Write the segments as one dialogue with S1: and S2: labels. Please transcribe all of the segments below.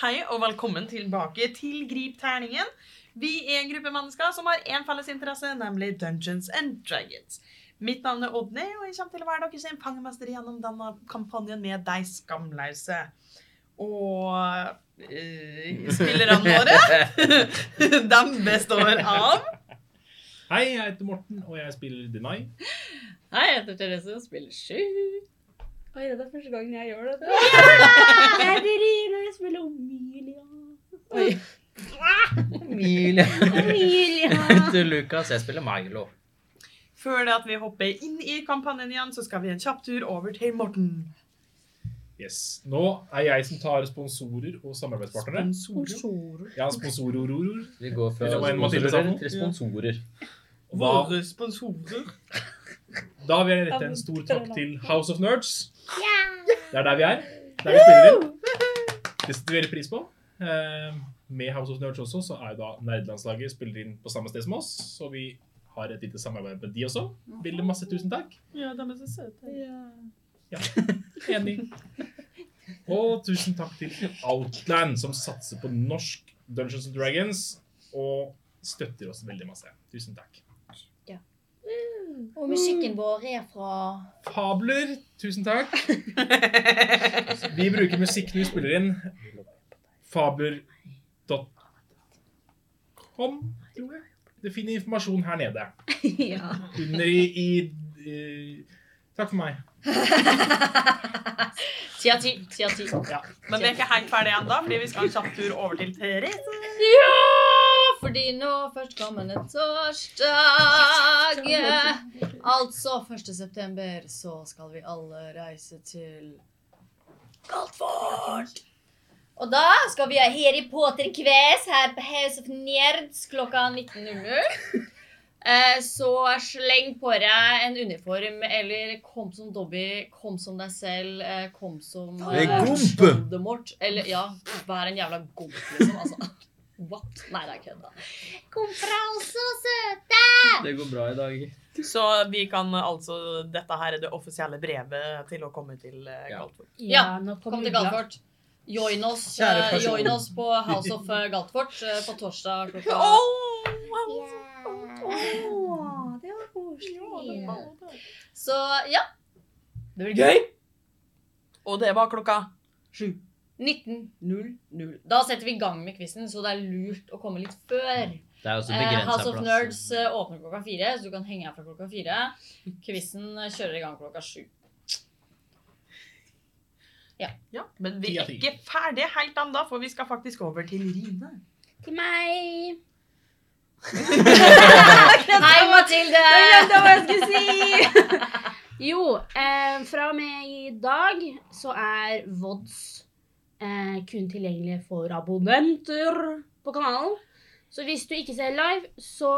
S1: Hei og velkommen tilbake til Grip terningen. Vi er en gruppe mennesker som har én felles interesse, nemlig Dungeons and Dragons. Mitt navn er Odny, og jeg kommer til å være deres sin fangemester gjennom denne kampanjen med de skamløse. Og eh, spillerne våre, de består av
S2: Hei, jeg heter Morten, og jeg spiller Denai.
S3: Hei, jeg heter Therese og spiller sju. Oi, det er første gangen jeg gjør dette. Jeg heter Rina, jeg spiller Omilia. Oi,
S4: Emilie.
S3: Omilia.
S4: Etter Lukas, jeg spiller Milo.
S1: Før det at vi hopper inn i kampanjen igjen, så skal vi en kjapp tur over til Morten.
S2: Yes. Nå er jeg som tar sponsorer og samarbeidspartnere.
S1: Sponsorer.
S2: Ja, sponsorororor.
S4: Vi går fra
S2: Det var en Mathilde
S4: sponsorer
S2: Sandmo.
S4: til sponsorer.
S2: Og Da,
S1: Våre sponsorer.
S2: da vil jeg rette en stor takk til House of Nerds. Det er der vi er. Der vi spiller inn. Det setter vi veldig pris på. Eh, Med House of Nerds også, så er jo da nerdelandslaget spiller inn på samme sted som oss. Så vi har et lite samarbeid med de også. Ville masse tusen takk.
S1: Ja, de er så søte.
S2: Enig. Og tusen takk til Outland, som satser på norsk Dungeons and Dragons og støtter oss veldig masse. Tusen takk.
S5: Og
S6: Mm.
S5: musikken vår er fra
S2: Fabler, tusen takk. Vi bruker musikk når vi spiller inn. Fabler.com, tror jeg. Du finner informasjon her nede.
S3: Ja.
S2: Under i, i, i Takk for meg.
S3: Ti av ti, ti av ti.
S2: Ja.
S1: Men vi er ikke helt ferdige ennå, fordi vi skal ha en kjapp tur over til Therese.
S3: Fordi nå førstkommende torsdag, eh, altså 1. september, så skal vi alle reise til Galtvort.
S5: Og da skal vi ha Harry Potter-kves her på House of Nerds klokka 19.00.
S3: Eh, Så sleng på deg en uniform, eller kom som Dobby, kom som deg selv, eh, kom som
S4: Det er
S3: eh,
S4: gomp.
S3: Voldemort. Eller ja, vær en jævla gomp, liksom. Altså. What? Nei, det er kødda.
S5: Kom fra altså, søt!
S4: Det går bra i dag.
S1: Så vi kan eh, altså Dette her er det offisielle brevet til å komme til eh,
S4: Ja.
S1: Galtvort.
S3: Ja,
S6: nå
S3: Kom til Galtvort. Join oss,
S4: Kjære
S3: eh,
S4: person.
S3: join oss på House of eh, Galtvort eh, på torsdag klokka
S5: det var koselig.
S1: Og
S3: Så ja.
S4: Det blir gøy!
S1: det var klokka
S3: 19.00. Da setter vi i gang med quizen, så det er lurt å komme litt før.
S4: Det er også
S3: Eh, House
S4: begrensa
S3: of Nerds eh, åpner klokka fire, så du kan henge her fra klokka fire. Quizen eh, kjører i gang klokka sju.
S1: Ja, men vi
S2: Ti av
S1: er
S2: ti.
S1: ikke ferdige helt ennå, for vi skal faktisk over til Rine.
S5: Til meg.
S3: Hei, Mathilde!
S6: Jeg glemte hva jeg skulle si! Jo, eh, fra og med i dag så er VODs eh, kun tilgjengelig for abonnenter på kanalen. Så hvis du ikke ser live, så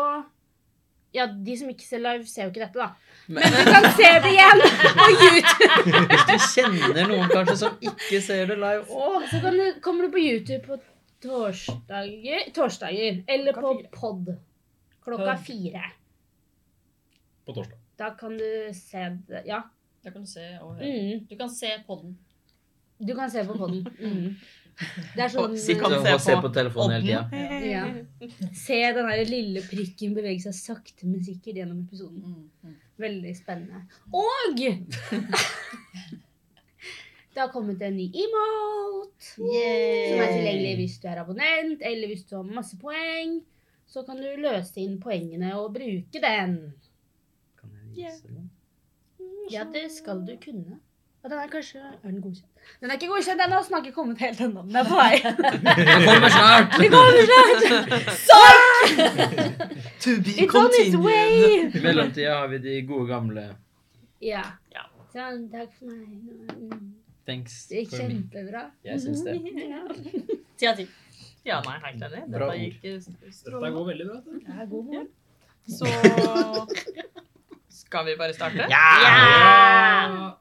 S6: Ja, de som ikke ser live, ser jo ikke dette, da. Men du kan se det igjen på YouTube.
S4: Hvis du kjenner noen kanskje som ikke ser det live
S6: Og så kan du, kommer du på YouTube på torsdager, torsdager eller på pod klokka
S3: Pod.
S6: fire.
S2: På torsdag.
S6: Da kan du se det. Ja.
S3: Da kan du se og høre.
S6: Mm.
S3: Du kan se podden.
S6: Du kan se på podden. Mm. Det er
S1: Og
S6: sånn
S1: sitt
S4: og
S1: Kan se
S4: se, se
S1: på
S4: på telefonen hele tida.
S6: ja. Se den der lille prikken bevege seg sakte, men sikkert gjennom episoden.
S3: Mm.
S6: Veldig spennende. Og det har kommet en ny emote som er tilgjengelig hvis du er abonnent, eller hvis du har masse poeng. Så kan du løse inn poengene og bruke den. Ja, det skal du kunne. Og den er kanskje er den godkjent? Den er ikke godkjent ennå, så den har ikke kommet helt ennå. Den er på vei.
S4: Det kommer snart!
S1: To be
S6: It's on its way!
S4: I mellomtida har vi de gode gamle
S6: Ja.
S1: Ja.
S6: Sånn, takk for meg. Mm,
S4: thanks
S6: Det gikk
S4: for me.
S6: kjempebra.
S4: Jeg syns det.
S3: Ti av ti.
S1: Ja, nei, helt enig. Dette
S4: Bra ord.
S1: gikk eh,
S2: Dette
S1: strålende.
S2: går veldig bra. dette.
S6: Ja, god morgen.
S1: Så skal vi bare starte?
S2: Ja!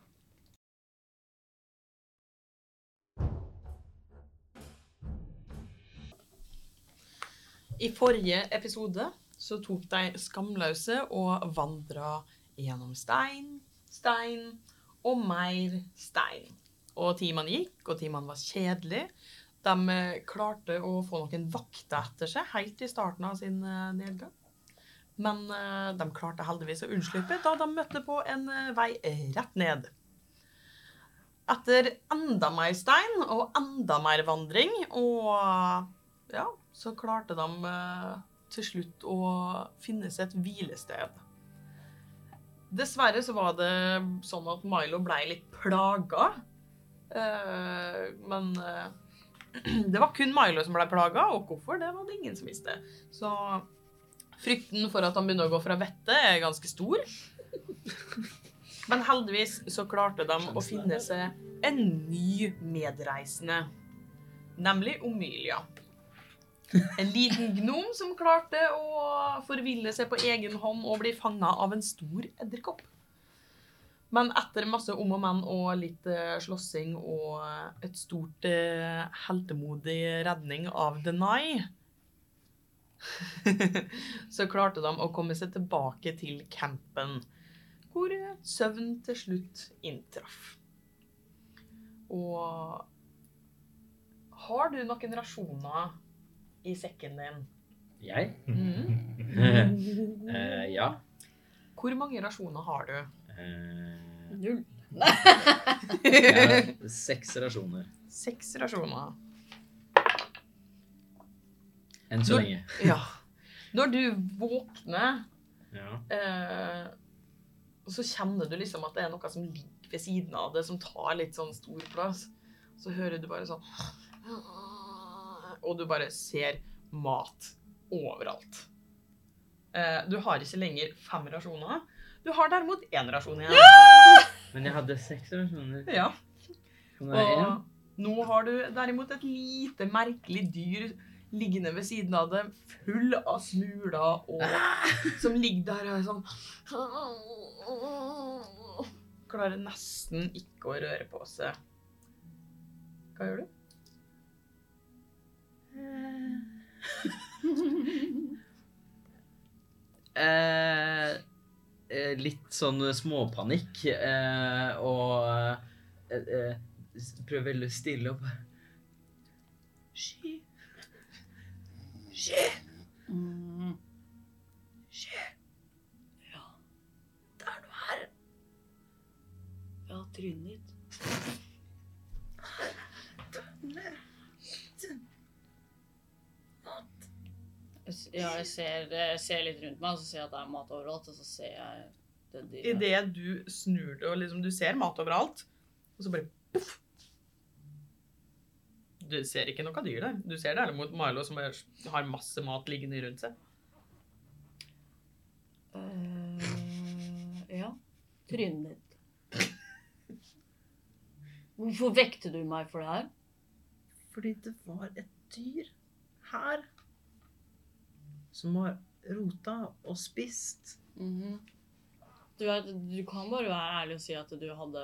S1: I forrige episode så tok de skamløse og vandra gjennom stein, stein og mer stein. Og timene gikk, og timene var kjedelig. De eh, klarte å få noen vakter etter seg helt i starten av sin eh, nedgang. Men eh, de klarte heldigvis å unnslippe da de møtte på en eh, vei rett ned. Etter enda mer stein og enda mer vandring, og ja, så klarte de eh, til slutt å finne seg et hvilested. Dessverre så var det sånn at Milo ble litt plaga. Eh, men eh, det var kun Milo som ble plaga, og hvorfor, det var det ingen som visste. Så frykten for at han begynner å gå fra vettet, er ganske stor. Men heldigvis så klarte de å finne seg en ny medreisende, nemlig Omilia. En liten gnom som klarte å forville seg på egen hånd og bli fanga av en stor edderkopp. Men etter masse om og men og litt eh, slåssing og et stort eh, heltemodig redning av Denai, så klarte de å komme seg tilbake til campen, hvor eh, søvn til slutt inntraff. Og har du noen rasjoner i sekken din?
S4: Jeg?
S1: Mhm.
S4: Eh, ja.
S1: Hvor mange rasjoner har du?
S4: Eh,
S5: Null.
S4: jeg har seks rasjoner
S1: Seks rasjoner.
S4: enn så lenge.
S1: Ja. Når du våkner
S4: Ja.
S1: Eh, og så kjenner du liksom at det er noe som ligger ved siden av det, som tar litt sånn stor plass. Så hører du bare sånn Og du bare ser mat overalt. Eh, du har ikke lenger fem rasjoner. Du har derimot én rasjon igjen.
S4: Men jeg hadde seks rasjoner.
S1: Ja,
S4: Så nå er jeg én.
S1: og nå har du derimot et lite merkelig dyr liggende ved siden av det, full av smuler, og som ligger der og er sånn Klarer nesten ikke å røre på seg. Hva gjør du?
S4: Eh, eh, litt sånn småpanikk eh, og eh, eh, s- prøver veldig stille opp. Sky. Sky.
S3: Mm.
S7: Ja, trynet ditt.
S3: Ja, jeg ser, jeg ser litt rundt meg, og så ser jeg at det er mat overalt, og så ser jeg det dyret.
S1: Idet du snur deg og liksom, du ser mat overalt, og så bare poff. Du ser ikke noe dyr der. Du ser derimot Milo som er- har masse mat liggende rundt seg.
S7: Eh, ja. Trynet ditt. Hvorfor vekte du meg for det her?
S4: Fordi det var et dyr her som har rota og spist.
S3: Mhm. Du, er, du kan bare være ærlig og si at du hadde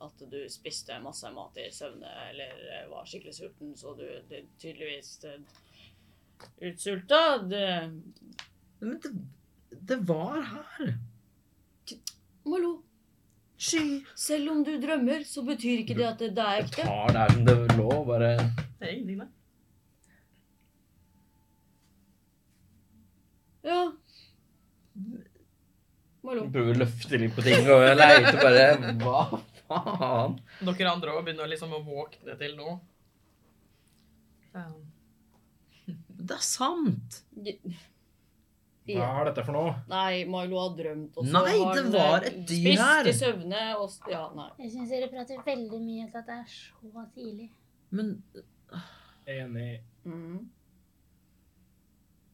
S3: At du spiste masse mat i søvne eller eh, var skikkelig sulten, så du det, tydeligvis det, utsulta. Det,
S4: Men det, det var her.
S7: Malo,
S4: Sky.
S7: selv om du drømmer, så betyr ikke det at det, det er
S4: Jeg
S7: ekte.
S4: tar der som det lå, bare
S1: Det er ingenting der.
S7: Ja. Malo.
S4: prøver å løfte litt på ting og jeg leter bare Hva faen?
S1: Dere andre òg begynner liksom å våkne til nå.
S4: Det er sant!
S2: Hva er dette for noe?
S7: Nei, Milo har drømt. og så
S4: Nei,
S7: har
S4: det
S7: han,
S4: var
S7: eh,
S4: et dyr her.
S7: Spist i søvne og s- Ja, nei.
S8: Jeg syns dere prater veldig mye til at det er så tidlig.
S4: Men
S2: Enig.
S7: Mhm.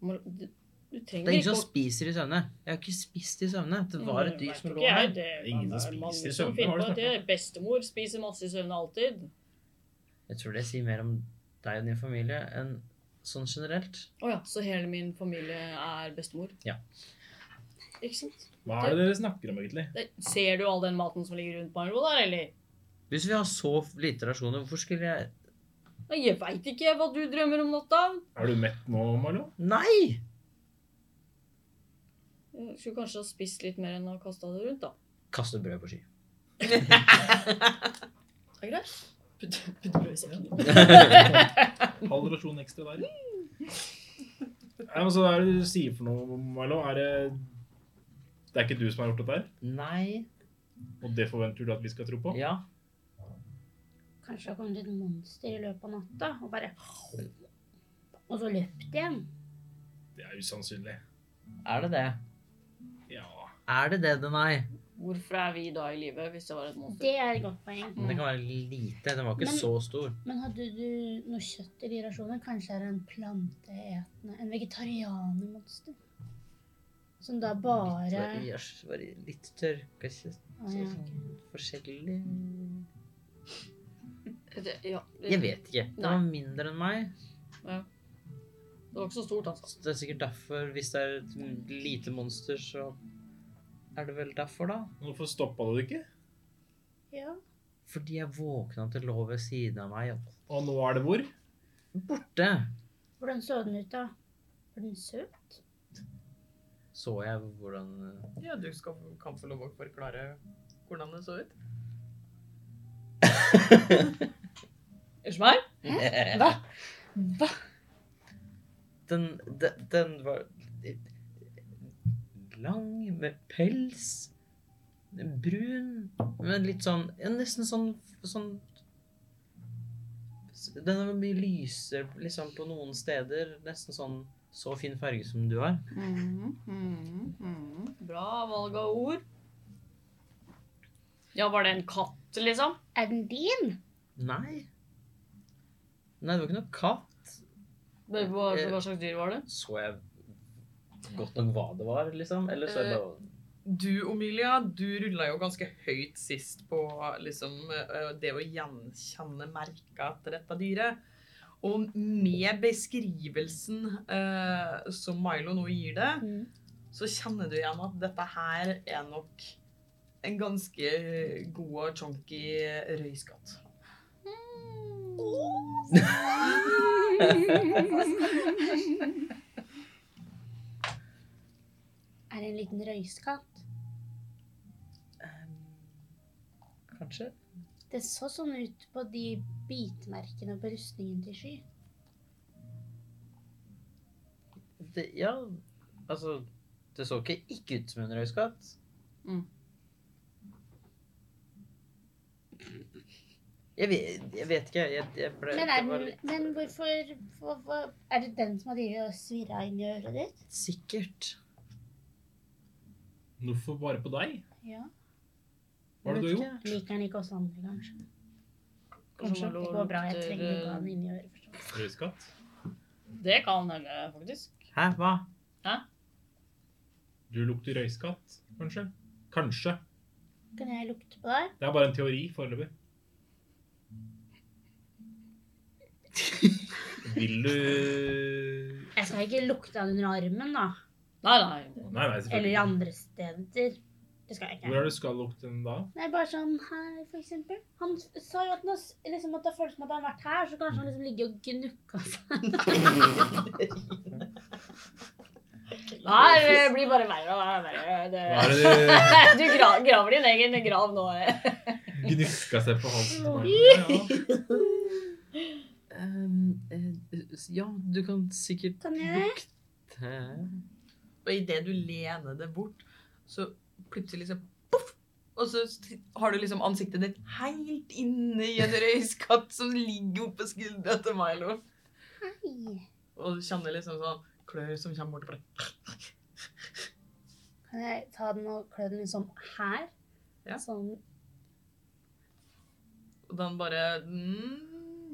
S7: Malo, du, du
S4: det
S7: trenger
S4: er ingen
S7: ikke
S4: som
S7: å
S4: spiser i søvne. Jeg har ikke spist i søvne. Det var et dyr som lå
S3: Jeg
S4: her.
S3: vet ikke, jeg. Mm. Det er
S2: Ingen som
S3: mange
S2: spiser i
S3: som
S2: søvne,
S3: finner
S2: har du
S3: på
S2: snakket
S3: det. Bestemor spiser masse i søvne alltid.
S4: Jeg tror det sier mer om deg og din familie enn sånn generelt.
S7: Å ja, så hele min familie er bestemor?
S4: Ja.
S7: Ikke sant?
S2: Hva er det dere snakker om, egentlig?
S7: Det, ser du all den maten som ligger rundt Marlo der, eller?
S4: Hvis vi har så lite rasjoner, hvorfor skulle jeg
S7: Nei, jeg veit ikke hva du drømmer om natta.
S2: Er du mett nå, Marlo?
S4: Nei!
S7: Jeg Skulle kanskje ha spist litt mer enn å kaste det rundt, da.
S4: Kaste brød på sky.
S7: Det er greit.
S3: Putt putt brød i sekken.
S2: Halv rasjon ekstra der. Nei, men så hva er det du sier for noe, Milo? Er det Det er ikke du som har gjort dette her,
S4: Nei
S2: og det forventer du at vi skal tro på?
S4: Ja.
S6: Kanskje det har kommet et monster i løpet av natta, og bare Og så løpt igjen.
S2: Det er usannsynlig.
S4: Er det det?
S2: Ja.
S4: Er det det, Denai?
S3: Hvorfor er vi da i live hvis det var et monster?
S6: Det er et godt poeng.
S4: Det kan være lite. Den var ikke
S6: Men-
S4: så stor.
S6: Men hadde du noe kjøtt i de rasjonene? Kanskje er det en planteetende En vegetarianermonster? Som da bare
S4: Litt, var- jøss, var litt tørka kjøtt.
S6: Å, ja.
S4: Forskjellig
S3: Det, ja, det,
S4: Jeg vet ikke. Det var mindre enn meg.
S3: det var ikke så stort, altså.
S4: Så det er sikkert derfor, hvis det er et lite monster, så er det vel derfor, da.
S2: Men Hvorfor stoppa du det ikke?
S6: ja.
S4: Fordi jeg våkna til lå ved siden av meg. og
S2: Og nå er det hvor?
S4: Borte
S6: Hvordan så den ut, da? Var den søt?
S4: så jeg hvordan
S1: Ja, du skal, kan få lov å forklare hvordan det så ut.
S3: Unnskyld meg?
S4: Hva? Hva? eh, Den, den, den var lang, med pels. Brun, men litt sånn ja, Nesten sånn, sånn Den var mye lysere liksom, på noen steder. Nesten sånn så fin farge som du har.
S2: Mm,
S3: Mhm, mhm, mhm. Bra valg av ord. Ja, var det en katt, liksom?
S6: Er den din?
S4: Nei. Nei, det var ikke noe katt.
S3: Hva, hva
S4: Eh,
S3: hva slags dyr var det?
S4: Så jeg godt nok hva det var, liksom? Eller så jeg
S1: Eh,
S4: bare
S1: Du, Omilia, du rulla jo ganske høyt sist på liksom, eh, det å gjenkjenne merka etter dette dyret. Og med beskrivelsen eh, som Milo nå gir det,
S6: Mm.
S1: så kjenner du igjen at dette her er nok en ganske god og chonky røyskatt.
S6: Er det en liten røyskatt?
S4: Kanskje?
S6: Det så sånn ut på de bitmerkene på rustningen til Sky.
S4: Det, ja, altså Det så ikke ikke ut som en røyskatt.
S3: Mm.
S4: Jeg vet, jeg vet ikke. Jeg, jeg ble,
S6: Men, er
S4: det var
S6: den, men hvorfor hvor, hvor, Er det den som har drevet og svirra inn i øret ditt?
S4: litt sikkert.
S2: Hvorfor bare på deg?
S6: Ja.
S2: Hva er det du har
S4: Jeg
S2: gjort?
S4: vet ikke.
S6: Liker han ikke oss andre, kanskje?
S3: Kanskje
S6: Kanskje
S3: han
S6: at det går bra. Jeg
S3: lukter,
S6: trenger ikke
S3: eh,
S6: ha den inn i øret. forstå.
S2: Røyskatt?
S3: Det kan hende, faktisk.
S4: Hæ, hva?
S2: Du lukter røyskatt, kanskje? Kanskje.
S6: Kan jeg lukte på deg?
S2: Det er bare en teori foreløpig. Vil du
S6: Jeg skal ikke lukte han under armen, da.
S3: Nei, nei.
S2: Nei, nei,
S6: Eller i
S2: selvfølgelig.
S6: andre steder. Det skal jeg
S2: Hvor
S6: ikke.
S2: er det skal lukte den da?
S6: Nei, bare sånn her, for eksempel. Han sa jo at, han har s- liksom, at det føles som at han har vært her, så kanskje han liksom ligger og sånn. gnukker seg.
S3: Nei, det blir bare verre og verre.
S6: Eh.
S2: Hva
S3: Det-
S2: er det
S3: Du gra- graver din egen grav nå. eh.
S2: du gniska seg på halsen til meg? Ja,
S4: Ehm, eh, ja, du kan sikkert
S6: Kan jeg det?
S4: lukte
S1: Og idet du lener det bort, så plutselig så poff! Og så har du liksom ansiktet ditt helt inne i en røyskatt som ligger oppå skuldra til Milo.
S6: Hei.
S1: Og du kjenner liksom sånn klør som kommer bort på deg.
S6: Kan jeg ta den og klø den liksom her?
S1: Ja.
S6: Sånn.
S1: Og den bare mm,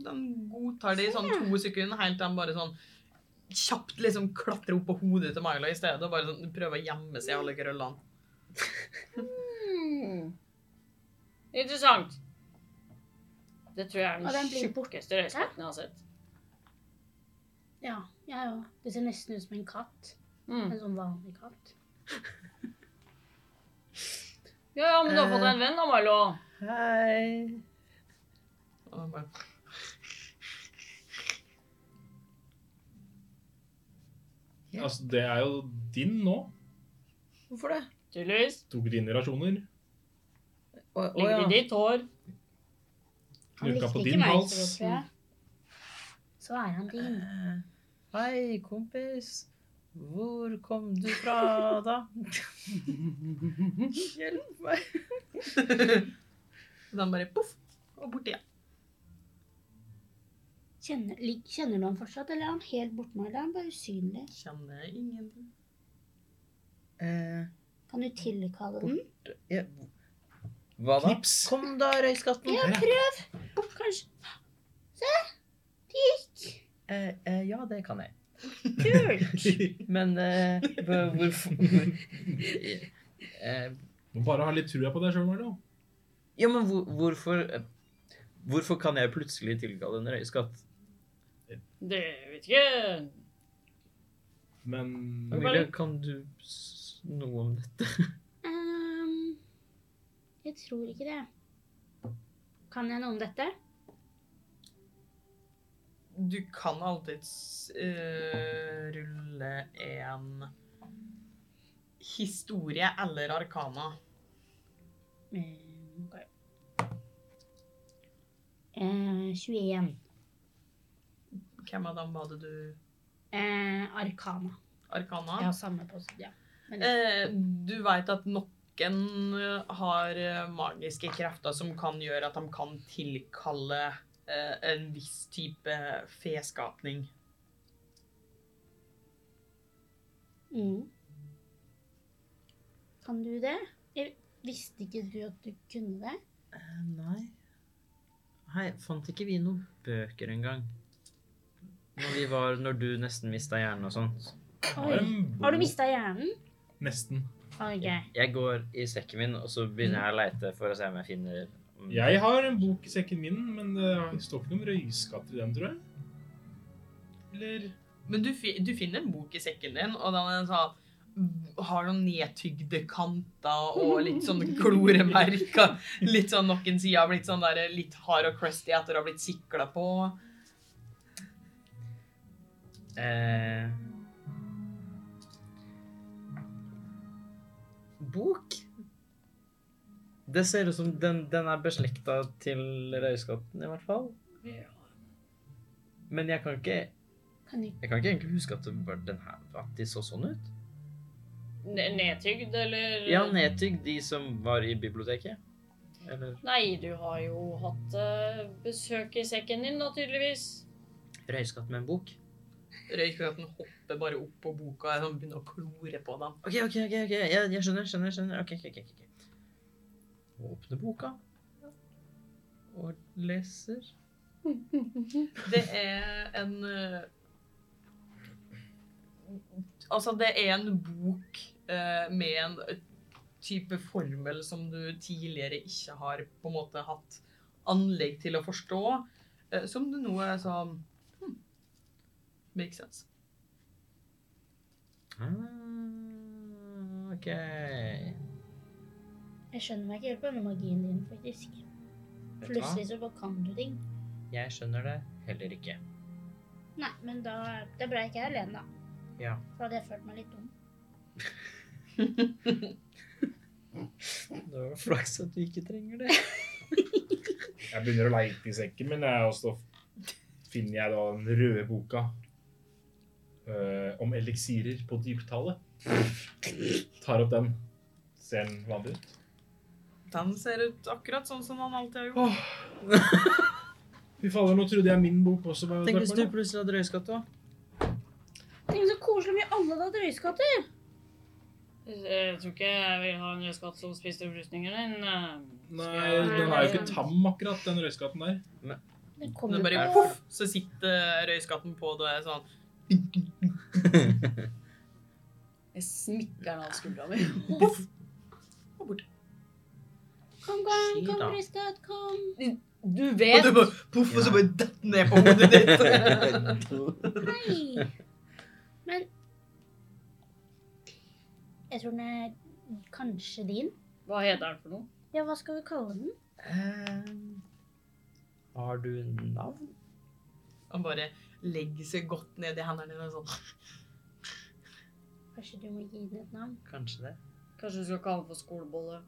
S1: Den godtar det i sånn to sekunder, helt til den bare sånn kjapt liksom klatrer opp på hodet til Milo i stedet og bare sånn prøver å gjemme seg i alle krøllene.
S2: Mm.
S3: Hmm. Interessant. Det tror jeg er
S6: Og den
S3: den
S6: blir borte.
S3: tjukkeste røyskatten jeg har sett.
S6: Ja, jeg òg. Det ser nesten ut som en katt.
S3: Mm.
S6: En sånn vanlig katt.
S3: Ja, ja, men du har fått deg en venn da, Milo.
S4: Hei.
S1: Og den bare
S2: altså, det er jo din nå.
S4: Hvorfor det?
S3: Tydeligvis.
S2: Tok dine rasjoner.
S4: Å, å
S3: Ligger
S4: ja.
S3: i ditt hår.
S6: Han
S2: Knurka
S6: likte
S2: på
S6: ikke
S2: din
S6: meg
S2: hals.
S6: så godt, tror jeg. Så er han din.
S4: Eh, Hei, kompis. Hvor kom du fra, da? Hjelp meg.
S1: Så den bare poff, og bort igjen.
S6: Kjenner, lik- kjenner du ham fortsatt, eller er han helt borte nå? Eller er han bare usynlig?
S1: Kjenner ingenting.
S4: Eh,
S6: Kan du tilkalle den?
S4: ja. Hva da?
S2: Knips.
S4: Kom da, røyskatten.
S6: Ja,
S2: Der, ja.
S6: prøv! Kanskje
S4: Eh, eh, ja, det kan jeg.
S6: Kult!
S4: Men eh, hva- hvorfor hvor, eh,
S2: Må bare ha litt trua på deg sjøl, Marlo.
S4: Ja, men hvor, hvorfor eh, Hvorfor kan jeg plutselig tilkalle en røyskatt?
S3: Det vet ikke.
S2: Men
S4: Amelia, kan du s- noe om dette?
S6: Ehm, jeg tror ikke det. Kan jeg noe om dette?
S1: Du kan alltids eh, rulle en historie eller arkana.
S6: Ehm, ok. Eh, 21.
S1: Hvem av dem var det du
S6: Eh, Arkana.
S1: Arkana?
S6: Jeg har samme på ja.
S1: Eh, du veit at noen eh, har eh, magiske krefter som kan gjøre at de kan tilkalle eh, en viss type feskapning.
S6: Mm. Kan du det? Jeg visste ikke du at du kunne det?
S4: nei. Hei, fant ikke vi noen bøker engang? Når vi var Når du nesten mista hjernen og sånn. sånt.
S2: Har
S6: Oi.
S2: en bok.
S6: Har du mista hjernen?
S2: Nesten.
S6: Ok.
S4: Jeg går i sekken min, og så begynner jeg å leite for å se om jeg finner om-
S2: Jeg har en bok i sekken min, men det står ikke noen røyskatter i den, tror jeg. Eller
S1: Men du, fi- du finner en bok i sekken din, og den er sånn har noen nedtygde kanter og litt sånn kloremerker. Litt sånn noen sider har blitt sånn der litt hard og crusty etter å ha blitt sikla på.
S4: Eh, bok? Det ser ut som den, den er beslekta til røyskatten, i hvert fall. Men jeg kan ikke
S6: Kan du
S4: Jeg kan ikke egentlig huske at, det var den her, at de så sånn ut.
S3: Ne- Nedtygd, eller?
S4: Ja, nedtygg, de som var i biblioteket. Eller
S3: Nei, du har jo hatt eh, besøk i sekken din, da, tydeligvis.
S4: røyskatt med en bok.
S1: Røykatten hopper bare opp på boka og sånn begynner å klore på den.
S4: OK, OK, ok, ok, jeg, jeg skjønner. skjønner, skjønner. Ok, ok, ok, ok. Åpne boka og leser.
S1: Det er en eh, Altså, det er en bok eh, med en type formel som du tidligere ikke har på en måte hatt anlegg til å forstå, eh, som du nå er sånn hmm, Makes sense.
S4: Ah, OK.
S6: Jeg skjønner meg ikke helt på denne magien din, faktisk.
S4: Vet du hva?
S6: Plutselig så bare kan du ting.
S4: Jeg skjønner det heller ikke.
S6: Nei, men da Det er bra jeg ikke er alene, da.
S4: Ja.
S6: For da hadde jeg følt meg litt dum.
S4: Det var flaks at du ikke trenger det.
S2: Jeg begynner å leite i sekken min, jeg, og så finner jeg da den røde boka eh, om eliksirer på dyptallet. Tar opp den. Ser den vanlig ut?
S1: Den ser ut akkurat sånn som han alltid har gjort.
S2: Åh. Fy fader, nå trodde jeg min bok også var
S4: Tenk hvis du
S2: døpt.
S4: plutselig hadde røyskatt òg.
S6: Tenk så koselig mye alle hadde røyskatter.
S3: Eh, Jeg tror ikke jeg vil ha en rødskatt som spiste opplysningen din. eh.
S2: Nei, den er jo ikke tam akkurat, den røyskatten der.
S6: Det
S1: Det
S6: kommer
S1: er bare
S6: jo på.
S1: poff, så sitter røyskatten på, og det er sånn
S3: Jeg smikker den av skuldra mi.
S1: og borte.
S6: Kom, kom,
S4: Shit,
S6: kom,
S4: da.
S6: røyskatt, kom.
S3: Du
S1: Og
S3: vet
S1: du bare poff, og så bare detter ned på hodet ditt.
S6: Hei. Men Jeg tror den er kanskje din.
S3: Hva heter den for noe?
S6: Ja, hva skal vi kalle den?
S4: Har du navn?
S1: Han bare legger seg godt ned i hendene dine og sånn.
S6: Kanskje du må gi den et navn?
S4: Kanskje det.
S3: Kanskje du skal kalle den for skolebolle?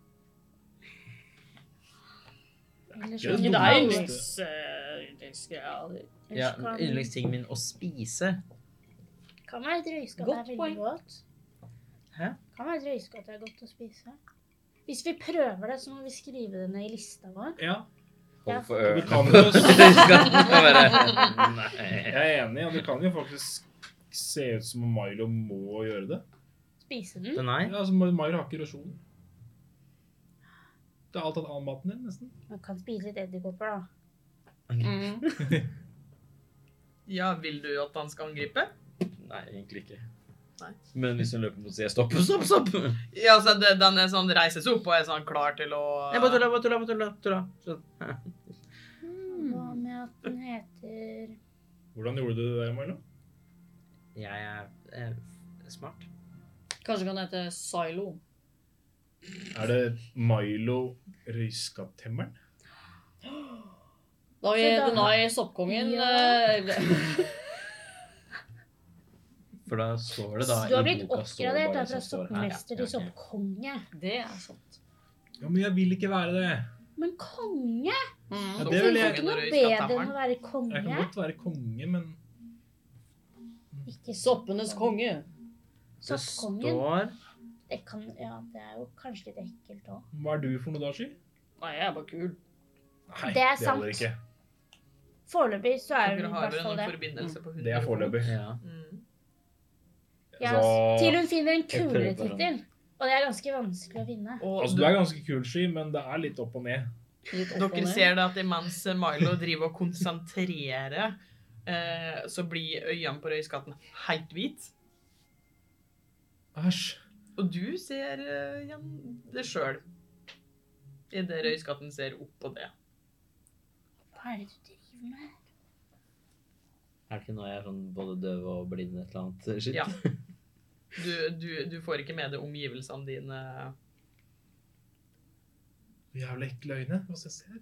S6: Eller
S2: Gjør
S3: Ikke
S2: det
S3: det
S2: dummeste.
S3: er yndlings- eh, yndlingsgreia di.
S4: Ja,
S6: Ellers kan-
S4: Yndlingstingen min å spise.
S6: Kan være et røyskatt
S3: Godt
S6: er veldig
S3: poeng.
S6: godt.
S4: Hæ?
S6: Kan være et røyskatt er godt å spise. Hvis vi prøver det, så må vi skrive det ned i lista vår.
S2: Ja,
S6: Ja.
S4: Hold for
S2: du
S4: ørene.
S2: kan jo
S4: Røyskatten må være- Nei.
S2: Jeg er enig, og det kan jo faktisk se ut som om Milo må gjøre det.
S6: Spise den.
S4: Nei.
S2: Ja, altså, Milo har ikke rosjon. Det er alt annet av maten din, nesten.
S6: Man kan spise litt edderkopper, da.
S1: Ja, vil du at han skal angripe?
S4: Nei, egentlig ikke.
S1: Nei.
S4: Men hvis hun løper mot og sier stopp, stopp, stopp Jeg
S1: Ja, så det, den er sånn, reises opp og er sånn klar til å
S4: bare tulla, bare tulla, bare tulla, tulla. Sånn.
S6: Hva med at den heter
S2: Hvordan gjorde du det der, Milo?
S4: Jeg er, er smart.
S3: Kanskje kan det hete Silo.
S2: Er det Milo Røyskattemmeren?
S3: Da vil
S6: Så da-
S3: Denai soppkongen
S6: Ja.
S3: eh,
S4: For da står det da
S6: Du har
S4: i
S6: blitt
S4: boka, står det bare
S6: oppgradert da fra
S4: som står her.
S6: soppmester
S4: Ja,
S6: til
S4: ok.
S6: soppkonge.
S3: Det er sant.
S2: Ja, men jeg vil ikke være det.
S6: Men konge?
S2: Ja,
S3: Mm.
S2: det vil
S6: Det er
S2: jeg.
S6: ikke noe bedre enn å være
S2: Jeg kan
S6: konge.
S2: godt være konge, men
S6: Ikke sopp.
S3: Soppenes konge.
S4: Det
S6: Soppkongen.
S4: står
S6: Det kan Ja, det er jo kanskje litt ekkelt òg.
S2: hva er du for noe da, Sky?
S3: Nei, jeg er bare kul.
S2: Nei,
S6: Det er sant.
S2: holder ikke.
S6: Foreløpig så er hun
S1: Dere
S6: i
S1: har
S6: hvert
S1: vel
S6: fall
S1: en
S6: det.
S1: forbindelse på 100
S2: Det er foreløpig.
S4: ja.
S1: Mm.
S6: Ja,
S2: Så-
S6: til hun finner en kulere
S4: prøver bare.
S6: tittel. Og det er ganske vanskelig å finne.
S1: Og
S2: Altså, du
S1: du,
S2: er ganske kul, Sky, men det er litt opp og ned.
S3: Litt opp og
S1: dere
S3: ned.
S1: ser det at imens Milo driver og konsentrerer, eh, så blir øynene på røyskatten helt hvit.
S2: Æsj.
S1: Og du ser eh, igjen det sjøl. Idet røyskatten ser opp på det.
S6: Hva er det du driver med?
S4: Er det ikke nå jeg er sånn både døv og blind et eller annet shit?
S1: Ja. Du, du, du får ikke med deg omgivelsene dine.
S2: Jævla ekle øyne. Hva skal jeg se her?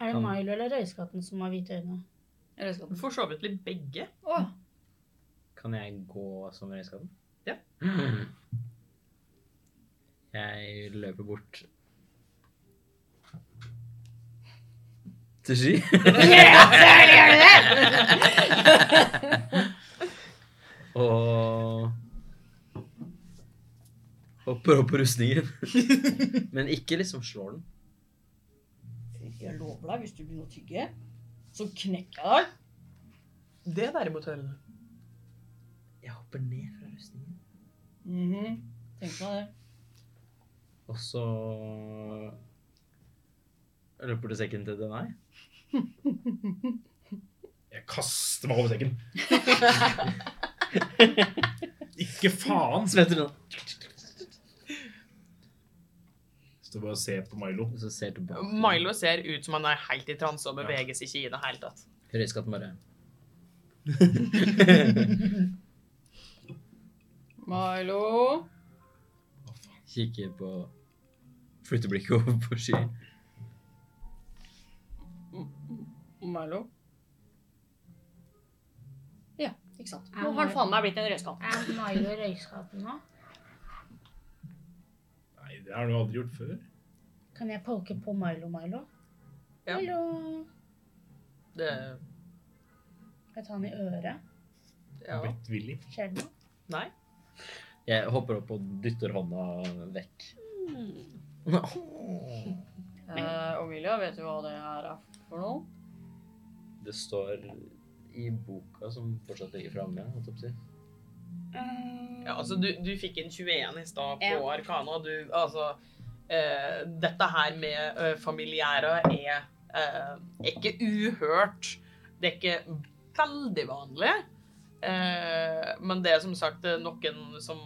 S6: Er det
S4: Kan-
S6: Milo eller Røyskatten som har hvite øyne?
S1: Du
S3: Jeg elsker den.
S1: får så vidt litt begge.
S3: Åh,
S4: Kan jeg gå som røyskatten?
S1: Ja.
S4: Jeg løper bort Til sky. og hopper opp på rustningen. Men ikke liksom slår den.
S3: Jeg lover deg, hvis du begynner å tygge, så knekker jeg deg.
S1: Det derimot hører du.
S4: Jeg hopper ned fra rustningen.
S3: Mhm. Tenk meg det.
S4: Og så løper du sekken til Denai.
S2: Jeg kaster meg over sekken. ikke faen!
S4: Svetter hun.
S2: Står bare og ser på Milo.
S4: Og så ser tilbake.
S1: Milo ser ut som han er helt i transe og beveger seg ikke i det hele tatt.
S4: Røyskatten bare
S3: Milo.
S4: kikker på Flytter blikket over på sky.
S3: Milo. Ja, ikke sant.
S6: Ja,
S3: Nå har
S6: Milo.
S3: han faen meg blitt en rødskatt.
S6: Er Milo Røyskatten nå?
S2: Nei, det har du aldri gjort før.
S6: Kan jeg poke på Milo Milo?
S1: Ja.
S6: Milo.
S1: Det,
S6: Skal jeg ta han i øret?
S1: ja.
S2: Blitt villig.
S6: Skjer det noe?
S1: Nei.
S4: Jeg hopper opp og dytter hånda vekk.
S3: Eh, Omilia, vet du hva det her er for noe?
S4: Det står i boka som fortsatt ligger framme. holdt jeg på å si.
S1: Ja, altså, du, du fikk en 21 i stad på
S6: Ja.
S1: Arkana. Du, altså eh, Dette her med eh, familiære er eh, er ikke uhørt. Det er ikke veldig vanlig. Eh, men det er som sagt eh, noen som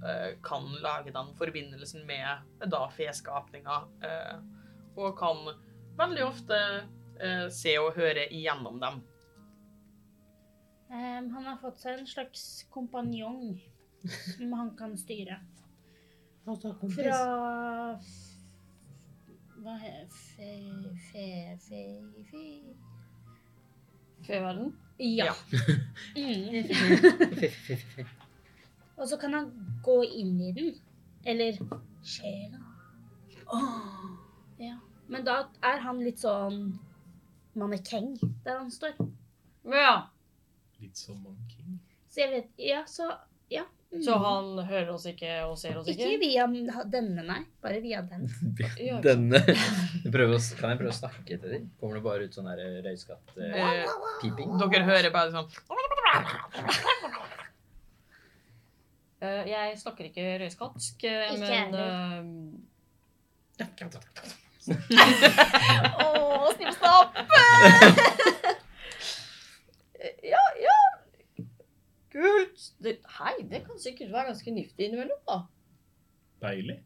S1: eh, kan lage den forbindelsen med eh, da feskapninga. Eh, og kan veldig ofte eh, se og høre igjennom dem.
S6: Ehm, han har fått seg en slags kompanjong som han kan styre. Fra f- Hva he- fe... fe... fe... fe...
S3: Feverden?
S6: Ja.
S1: Ja.
S6: Mm. Og så kan han gå inn i den. Eller sjela. Ja. Men da er han litt sånn mannekeng der han står.
S3: Ja.
S2: Litt som Monkey.
S6: Så jeg vet Ja, så ja. Mm.
S3: Så han hører oss ikke og ser oss
S6: Ikke
S3: ikke?
S6: via denne, nei. Bare via den.
S3: Ja, ikke
S4: Denne Jeg prøver å, s- Kan jeg prøve å snakke til dem? Kommer det bare ut sånn der røyskatt-piping?
S1: Eh, dere hører bare sånn
S3: Eh, jeg snakker ikke røyskatsk, eh,
S9: Ikke
S3: men eh,
S9: Åh, snippstopp!
S3: eh, Ja, ja. Kult. Det, hei, det kan sikkert være ganske nifty innimellom, da.
S2: Deilig.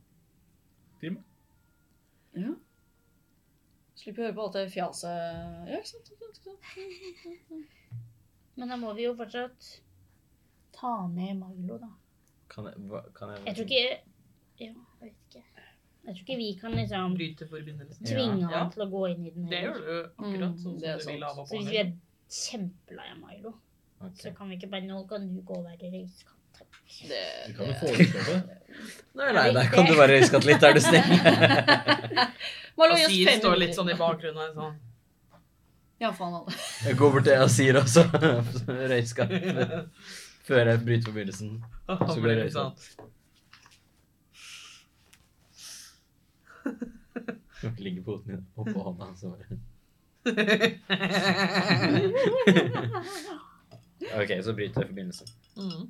S3: Slipper å høre på alt det fjaset. Ja, ikke sant? ikke sant, ikke sant?
S6: Men da må vi jo fortsatt ta ned Milo, da.
S4: Kan jeg, hva, kan jeg,
S6: Jeg tror ikke Ja, jeg vet ikke. Jeg tror ikke vi kan liksom
S1: Bryter forbindelsen.
S6: tvinge
S1: Ja.
S6: han til å gå inn i den.
S1: Det gjør du akkurat sånn
S3: Mm,
S1: som
S3: det er
S1: du vil
S3: sant.
S1: av og
S6: Så
S1: på.
S6: hvis vi er kjempelei av Milo, så
S4: Ok.
S6: kan vi ikke bare Nå kan du gå og være røyskatt. takk».
S3: Det,
S2: Du kan jo foreslå det.
S4: Nå er jeg lei deg. Kan du være røyskatt litt, er du snill?
S3: Malo,
S1: Og
S3: gi oss
S1: Siri
S3: fem
S1: står litt sånn
S3: minutter.
S1: i bakgrunnen og er sånn
S3: Ja, faen alle.
S4: Jeg går bort til jeg og sier også røyskatt før jeg bryter forbindelsen.
S1: Og
S4: Så
S1: så
S4: blir
S1: blir
S4: det
S1: det sånn.
S4: Ligger poten din oppå hånda. Så. bare- Ok, så bryter jeg forbindelsen.
S1: Mm.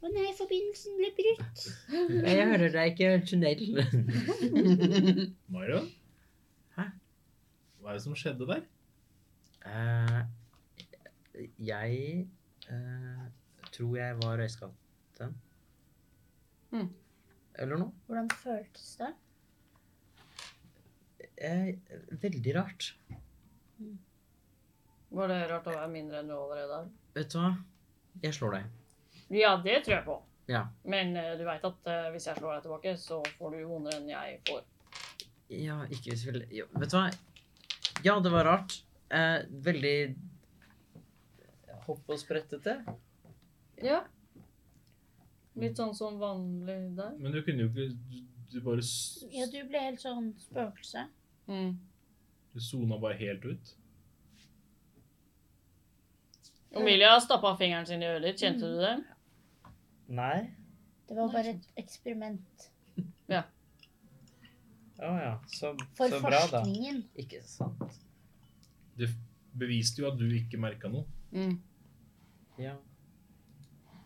S6: Å nei, forbindelsen ble brutt.
S4: Jeg hører deg ikke, tunnelen.
S2: Myron?
S4: Hæ?
S2: Hva er det som skjedde der?
S4: Eh, jeg eh, tror jeg var røyskatten.
S3: Mm.
S4: Eller noe.
S6: Hvordan føltes det?
S4: Eh, veldig rart.
S3: Var det rart å være mindre enn du allerede er?
S4: Vet du hva? Jeg slår deg.
S3: Ja, det tror jeg på.
S4: Ja.
S3: Men eh, du veit at eh, hvis jeg slår deg tilbake, så får du vondere enn jeg får.
S4: Ja, ikke hvis vel... Jo, vet du hva? Ja, det var rart. Eh, veldig hopp og sprettete.
S3: Ja. Litt sånn som vanlig der.
S2: Men du kunne jo ikke Du, du bare s-
S6: Ja, du ble helt sånn spøkelse.
S3: Mm.
S2: Du sona bare helt ut.
S3: Omilia stappa fingeren sin i øret ditt. Kjente du det?
S4: Nei.
S6: Det var bare et eksperiment.
S4: Å ja. Så,
S6: For
S4: så bra, da.
S6: forskningen.
S4: Ikke sant?
S2: Det f- beviste jo at du ikke merka noe.
S3: Mm.
S4: Ja.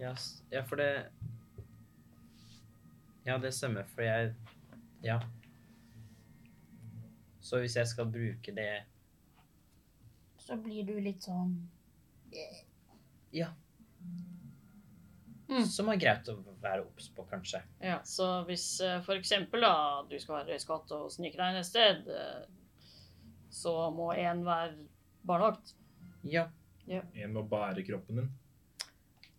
S4: Ja, s- ja, for det Ja, det stemmer, for jeg Ja. Så hvis jeg skal bruke det
S6: Så blir du litt sånn
S3: Mm.
S4: Som er greit å være obs på, kanskje.
S3: Ja, Så hvis eh, for eksempel da, du skal være røyskatt og snike deg ned et sted, eh, så må én være barnevakt.
S4: Ja.
S2: En med å bære kroppen din.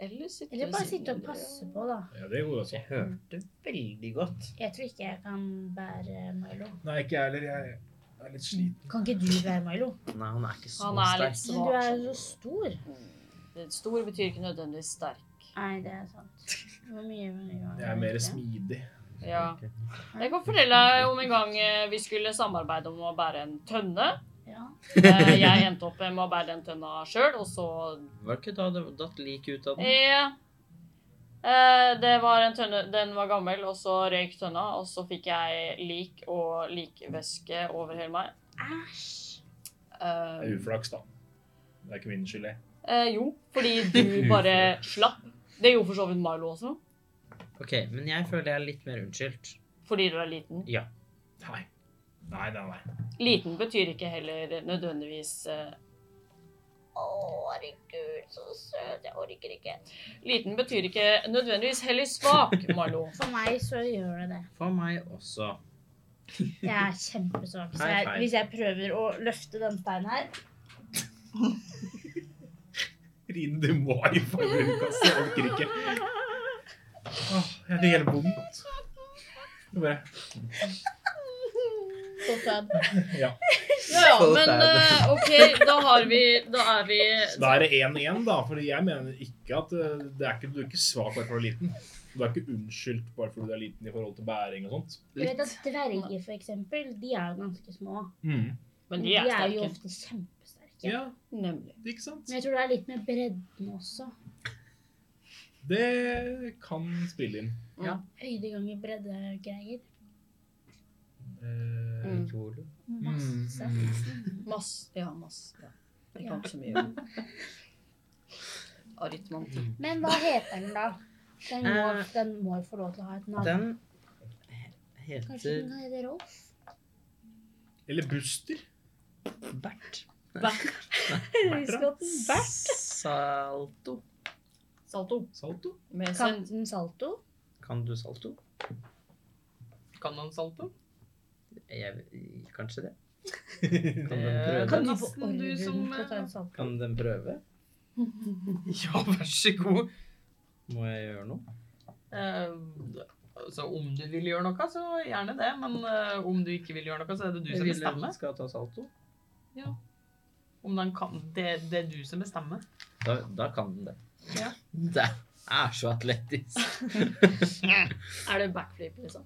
S3: Eller sitte
S6: Eller bare
S3: ved siden
S6: sitte og
S3: av
S6: passe
S3: dere.
S6: på, da.
S2: Ja, det går jo også.
S4: Jeg
S3: Mm.
S4: hørte veldig godt.
S6: Jeg tror ikke jeg kan bære Milo.
S2: Nei, ikke jeg heller. Jeg er litt sliten.
S6: Kan ikke du bære Milo?
S4: Nei, han er ikke så
S3: Han er litt
S4: sterk.
S6: Men du
S3: svak.
S6: er jo så stor.
S3: Mm. Det Stor betyr ikke nødvendigvis sterk.
S6: Nei, det er sant. Hvor mye
S2: Jeg er mer smidig.
S3: Ja. Jeg kan fortelle deg om en gang eh, vi skulle samarbeide om å bære en tønne.
S6: Ja.
S3: Eh, Jeg endte opp med å bære den tønna sjøl, og så
S4: Var det ikke da det datt lik ut av den?
S3: Ja. Eh, det var en tønne, den var gammel, og så røyk tønna, og så fikk jeg lik og likvæske over hele meg.
S6: Æsj.
S2: Det er
S3: Eh,
S2: uflaks, da. Det er ikke min skyld, jeg.
S3: eh, jo, fordi du bare slapp. Det gjorde for så vidt Milo også,
S4: Ok, men jeg føler jeg er litt mer unnskyldt.
S3: fordi du er liten.
S2: Nei. Nei, nei, nei.
S3: Liten betyr ikke heller nødvendigvis eh,
S9: Å, herregud, så søt. Jeg orker ikke.
S3: Liten betyr ikke nødvendigvis heller svak, Milo.
S6: For meg så gjør det det.
S4: For meg også.
S6: Jeg er kjempesvak. Så
S4: High
S6: jeg,
S4: five.
S6: hvis jeg prøver å løfte den steinen her
S2: Rine, du må i forbindelse. Jeg orker ikke. Åh, jeg fikk helt vondt. Det er bare-
S6: så sad.
S2: Ja.
S3: Ja,
S4: Så
S3: men
S4: sad.
S3: eh, OK, da har vi Da er vi
S2: Da er det 1-1, da. For jeg mener ikke at eh, det er ikke, du er ikke svak bare for å være liten. Du er ikke unnskyldt bare fordi du er liten i forhold til bæring og sånt.
S8: Du vet at dverger, for eksempel, de er jo ganske små.
S3: Men de er
S8: jo
S3: sterke.
S8: ofte kjempesterke.
S2: Ja,
S3: Nemlig.
S2: ikke sant?
S8: Men jeg tror det er litt med bredden også.
S2: Det kan spille inn.
S8: Høyde ganger bredde-greier.
S2: Eh,
S3: Mm.
S8: Masse.
S3: Mass. Ja, mass. Ja. Jeg kan ikke så mye. Aritmantikk.
S2: Mm.
S8: Men hva heter den, da? Den må,
S4: Eh,
S8: den må jo få lov til å ha et navn.
S4: Den
S8: Kanskje
S4: heter
S8: den kan hete Rolf?
S2: Eller Buster.
S4: Bert.
S8: Bert.
S4: Salto.
S3: Salto.
S2: Salto.
S3: Med sin
S8: Kaptein Salto.
S4: Kan du salto?
S1: Kan han salto?
S4: Jeg, kanskje det. Eh,
S2: Jeg
S4: Kan
S1: Kan
S4: den prøve?
S1: nissen du som eh,
S4: Kan den prøve?
S1: Ja, vær så god.
S4: Må jeg gjøre noe?
S1: Eh, altså, om du vil gjøre noe, så gjerne det. Men eh, om du ikke vil gjøre noe, så er det du som
S4: Jeg vil at
S1: bestemmer.
S4: den skal ta salto.
S1: Om den kan, det, det er du som bestemmer.
S4: Da, da kan den det.
S1: Ja.
S4: Det er så atletisk.
S7: Er det backflip, liksom?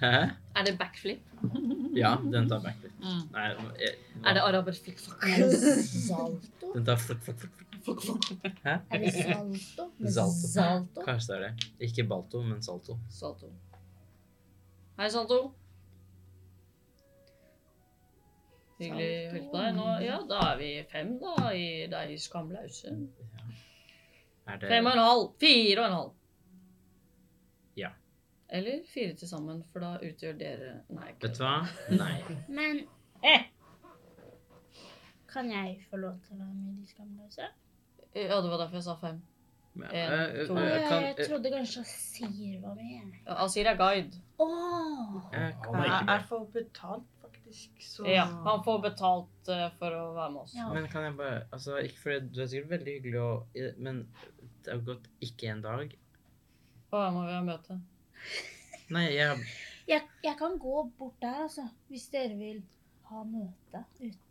S4: Hæ?
S7: Er det backflip?
S4: Ja, den tar backflip.
S3: Mm.
S4: Nei, jeg,
S7: Er det araber flikkflakk?
S8: Salto?
S4: Den tar flutt, flutt, flutt.
S8: Er det Salto? Med
S4: Salto.
S8: Salto?
S4: Kanskje det er det. Ikke balto, men salto.
S3: Salto. Hei, Salto. Hyggelig å høre på deg. Nå, ja, da er vi fem, da, i de skamløse.
S4: Er det
S3: Fem og en halv. Fire og en halv.
S4: Ja.
S3: Eller fire til sammen, for da utgjør dere Nei. ikke.
S4: Vet du hva? Nei.
S8: Men
S1: Eh!
S8: Kan jeg få lov til å være med i De skamløse?
S3: Ja, det var derfor jeg sa fem.
S4: Men,
S3: En,
S4: eh, eh,
S3: to.
S8: Å,
S4: kan,
S8: Jeg
S4: eh,
S8: trodde kanskje Asir var med.
S3: Ja, Asir er guide.
S8: Åh!
S4: jeg kan
S2: Nei,
S1: Jeg,
S2: ikke
S1: jeg får betalt, faktisk. Så
S3: Ja, han får betalt eh, for å være med oss.
S8: Ja.
S4: Men kan jeg bare altså, Ikke fordi du er sikkert veldig hyggelig, og, men det har gått ikke en dag.
S3: Og her må vi ha møte.
S4: Nei, jeg har
S8: Jeg, jeg kan gå bort der, altså. Hvis dere vil ha møte. Ut.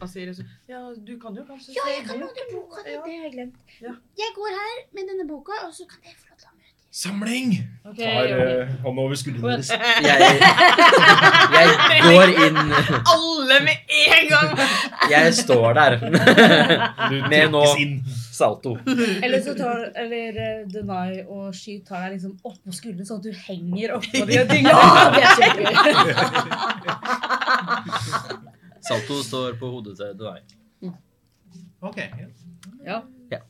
S1: Og sier så, ja, du kan jo kanskje
S8: Ja,
S1: se
S8: jeg kan
S1: det.
S8: låne boka di!
S1: Ja.
S8: Det har jeg glemt.
S1: Ja.
S8: Jeg går her med denne boka, og så kan dere få lov til å ha møte.
S2: Samling!
S3: Ok,
S2: Tar
S3: Jørgen.
S2: eh, hånda over skuldrene deres.
S4: jeg, jeg går inn
S1: Alle med en gang!
S4: Jeg står der.
S2: Du
S4: Med nå.
S2: trekkes inn.
S4: Salto.
S7: Eller så tar eller eh, Denai og Sky tar deg liksom oppå skulderen, sånn at du henger oppå de og dingler. Det er kjempegøy.
S4: Salto står på hodet til deg.
S2: Ok. ja.
S3: Ja.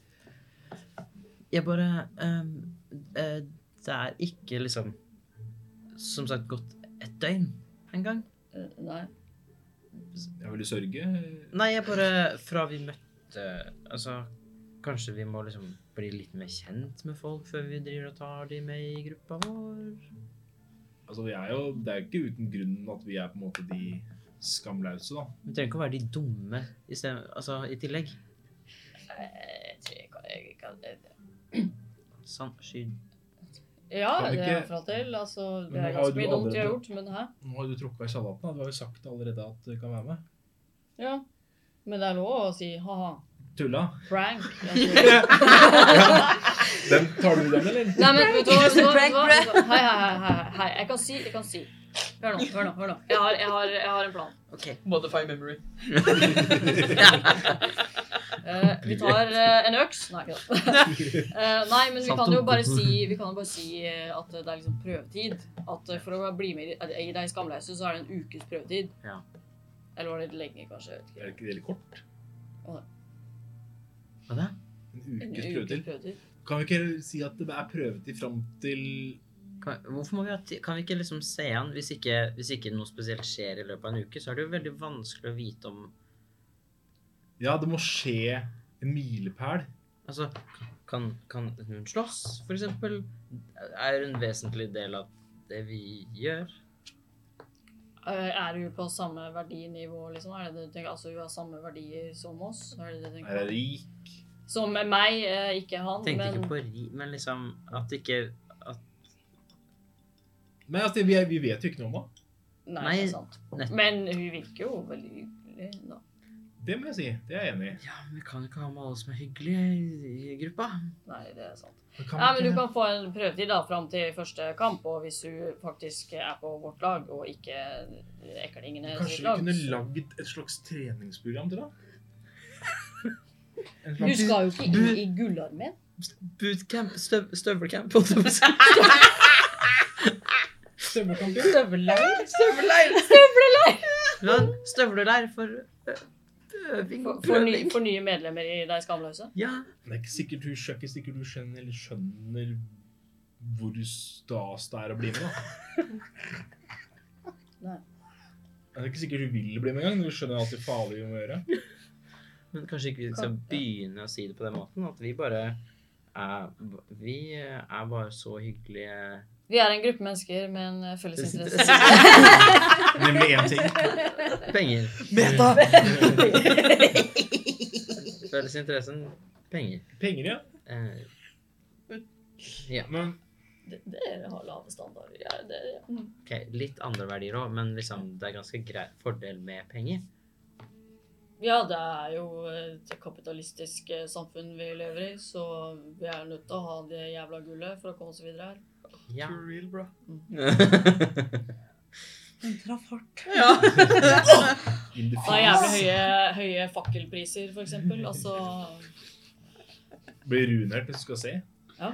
S4: Jeg bare ehm, eh, Det er ikke liksom Som sagt gått et døgn engang.
S3: Eh, Nei.
S2: Jeg vil sørge.
S4: Nei, jeg bare Fra vi møtte Altså, kanskje vi må liksom bli litt mer kjent med folk før vi driver og tar de med i gruppa vår?
S2: Altså, vi er jo, det er jo ikke uten grunn at vi er på en måte de skamløse, da.
S4: Vi trenger ikke å være de dumme i, sted, altså, i tillegg.
S3: Jeg tror jeg kan- jeg kan
S4: Sånn, sky
S3: Ja,
S2: Kan
S3: det
S2: ikke-
S3: er fra til. Altså, det
S2: Men nå
S3: er
S2: har jo
S3: ganske
S2: du
S3: mye dumt jeg har
S2: allerede-
S3: gjort, men hæ?
S2: Nå har jo du tråkka i salaten. da. Du har jo sagt allerede at du kan være med.
S3: Ja. Men det er lov å si ha-ha.
S2: Tulla.
S3: Prank. Altså.
S2: Den tar du den, eller?
S3: Nei, men vet du hva? Vet du hva? Vet du hva? Vet du hva? Hei, hei, hei, hei, hei. Jeg kan si, jeg kan si. Hør nå, hør nå. hør nå. Jeg har, jeg har, jeg har en plan.
S4: OK.
S1: Modify memory.
S3: Eh, vi tar eh, en øks. Nei, ikke det. Eh, nei, men vi kan jo bare si, vi kan jo bare si eh, at det er liksom prøvetid. At eh, for å bli med i, i De skamløse, så er det en ukes prøvetid.
S4: Ja.
S3: Eller var det litt lenge, kanskje? Jeg
S2: Er det
S3: vet ikke.
S2: ikke veldig kort?
S4: Hva da?
S2: En
S3: En
S2: ukes
S3: ukes
S2: prøvetid?
S3: prøvetid.
S2: Kan vi ikke si at det er prøvetid fram til
S4: Kan, hvorfor må vi ha ti- kan vi ikke liksom se an hvis ikke, hvis ikke noe spesielt skjer i løpet av en uke, så er det jo veldig vanskelig å vite om
S2: Ja, det må skje en milepæl.
S4: Altså, kan, kan hun slåss, for eksempel? Er hun en vesentlig del av det vi gjør?
S3: Eh, Er hun på samme verdinivå, liksom? Er det det du tenker? Altså, hun har samme verdier som oss? Er det det du
S2: Er jeg
S3: tenker?
S2: rik?
S3: Som med meg, eh, ikke han,
S4: Tenkte
S3: men
S4: ikke på ri, men liksom at ikke
S2: Nei, altså, vi, vi vet jo ikke noe om det.
S3: Nei,
S4: Nei,
S3: det er sant.
S4: nett-
S3: Men hun virker jo veldig hyggelig, da.
S2: Det må jeg si. Det er jeg enig i.
S4: Ja, men vi kan ikke ha med alle som er hyggelige i gruppa.
S3: Nei, det er sant.
S2: Men kan
S3: Ja,
S2: vi
S3: men
S2: ikke-
S3: Du kan få en prøvetid da, fram til første kamp, og hvis du faktisk er på vårt lag og ikke eklingene
S2: Kanskje
S3: sitt
S2: vi
S3: lag
S2: kunne
S3: så-
S2: lagd et slags treningsprogram til deg? En
S3: Du
S2: slags
S3: skal jo ikke inn i gullarmeen.
S4: Bootcamp, støv, støvelcamp, holdt jeg på å si.
S2: svømmekamp? ja.
S4: Støvelleir? Støvelleir! Ja, støvleleir for ø- øving.
S3: For, for, ny,
S4: Prøving.
S3: for nye medlemmer i Deg skamløse.
S4: Ja.
S2: Det er ikke sikkert du, skjø- ikke sikkert du skjønner, eller skjønner hvor stas det er å bli med, da.
S3: Nei.
S2: Det er ikke sikkert du vil bli med engang. men Du skjønner alt det farlige vi må gjøre.
S4: Men kanskje ikke vi skal begynne å si det på den måten, at vi bare er, vi er bare så hyggelige
S3: Vi er en gruppe mennesker med en eh, felles interesse.
S2: Nemlig én ting.
S4: Penger.
S2: Meta!
S4: Felles interessen penger.
S2: Penger, ja.
S4: Eh,
S2: Men
S3: Det- Dere har lave standarder. Ja, det, ja.
S4: ok, Litt andre verdier òg, men liksom, det er ganske grei fordel med penger.
S3: ja, det er jo et kapitalistisk eh, samfunn vi lever i, så vi er nødt til å ha det jævla gullet for å komme oss videre her.
S4: Ja.
S2: for real, bro.
S7: Hun traff hardt.
S1: Ja.
S2: In the
S3: Ha
S2: face.
S3: jævlig høye, høye fakkelpriser, for eksempel. Altså
S2: Blir runert, du skal se.
S3: Ja.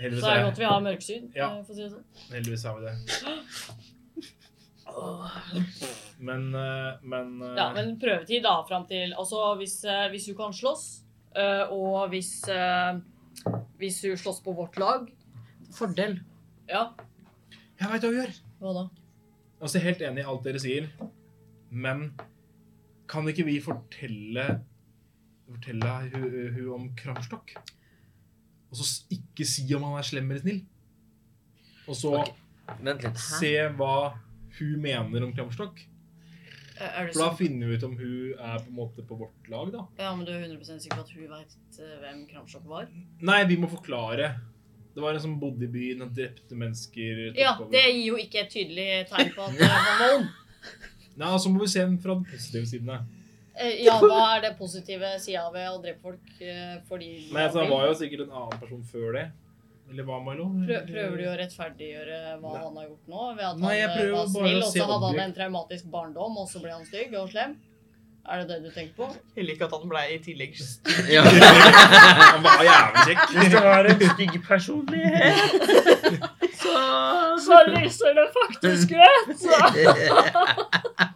S2: Heldigvis
S3: Så er det
S2: er,
S3: godt vi har mørksyn,
S2: Ja.
S3: eh, for å si det sånn.
S2: heldigvis har vi det. Men, eh, men, eh,
S3: Ja, men prøvetid da, fram til Altså, hvis, eh, hvis hun kan slåss, eh, og hvis eh, Hvis hun slåss på vårt lag
S4: Fordel.
S3: Ja,
S2: Jeg veit hva vi gjør.
S3: hva da?
S2: Altså, helt enig i alt dere sier, men kan ikke vi fortelle Fortelle hun hun om Kramstokk? Og så s- ikke si om han er slem eller snill. Og så
S4: Ok, Vent litt.
S2: se hva hun mener om Kramstokk.
S3: Eh, Er du
S2: For da
S3: sikker?
S2: finner vi ut om hun er på en måte på vårt lag, da.
S3: Ja, men du er 100 sikker på at hun veit hvem Kramsjok var?
S2: Nei, vi må forklare. Det var en som bodde i byen og drepte mennesker. tok
S3: Ja,
S2: over.
S3: det gir jo ikke et tydelig tegn på at eh, han var ond.
S2: Nei, Så må vi se den fra den positive siden. da.
S3: Eh, Ja, hva er det positive sida ved å drepe folk eh, fordi
S2: Nei, altså, Han var jo sikkert en annen person før det. Eller hva, Milo?
S3: Prø- Prøver du å rettferdiggjøre hva
S2: Nei.
S3: han har gjort nå? Ved at han
S2: Nei, jeg
S3: eh,
S2: prøver
S3: var
S2: bare
S3: snill,
S2: å se
S3: og så hadde han
S2: objekt.
S3: en traumatisk barndom, og så ble han stygg og slem? Er det det du tenker på?
S1: Jeg liker at han ble i tillegg
S4: Ja.
S2: Han var jævlig kjekk.
S4: Hvis du har en stygg personlighet, så
S3: Så lyser det faktisk rødt!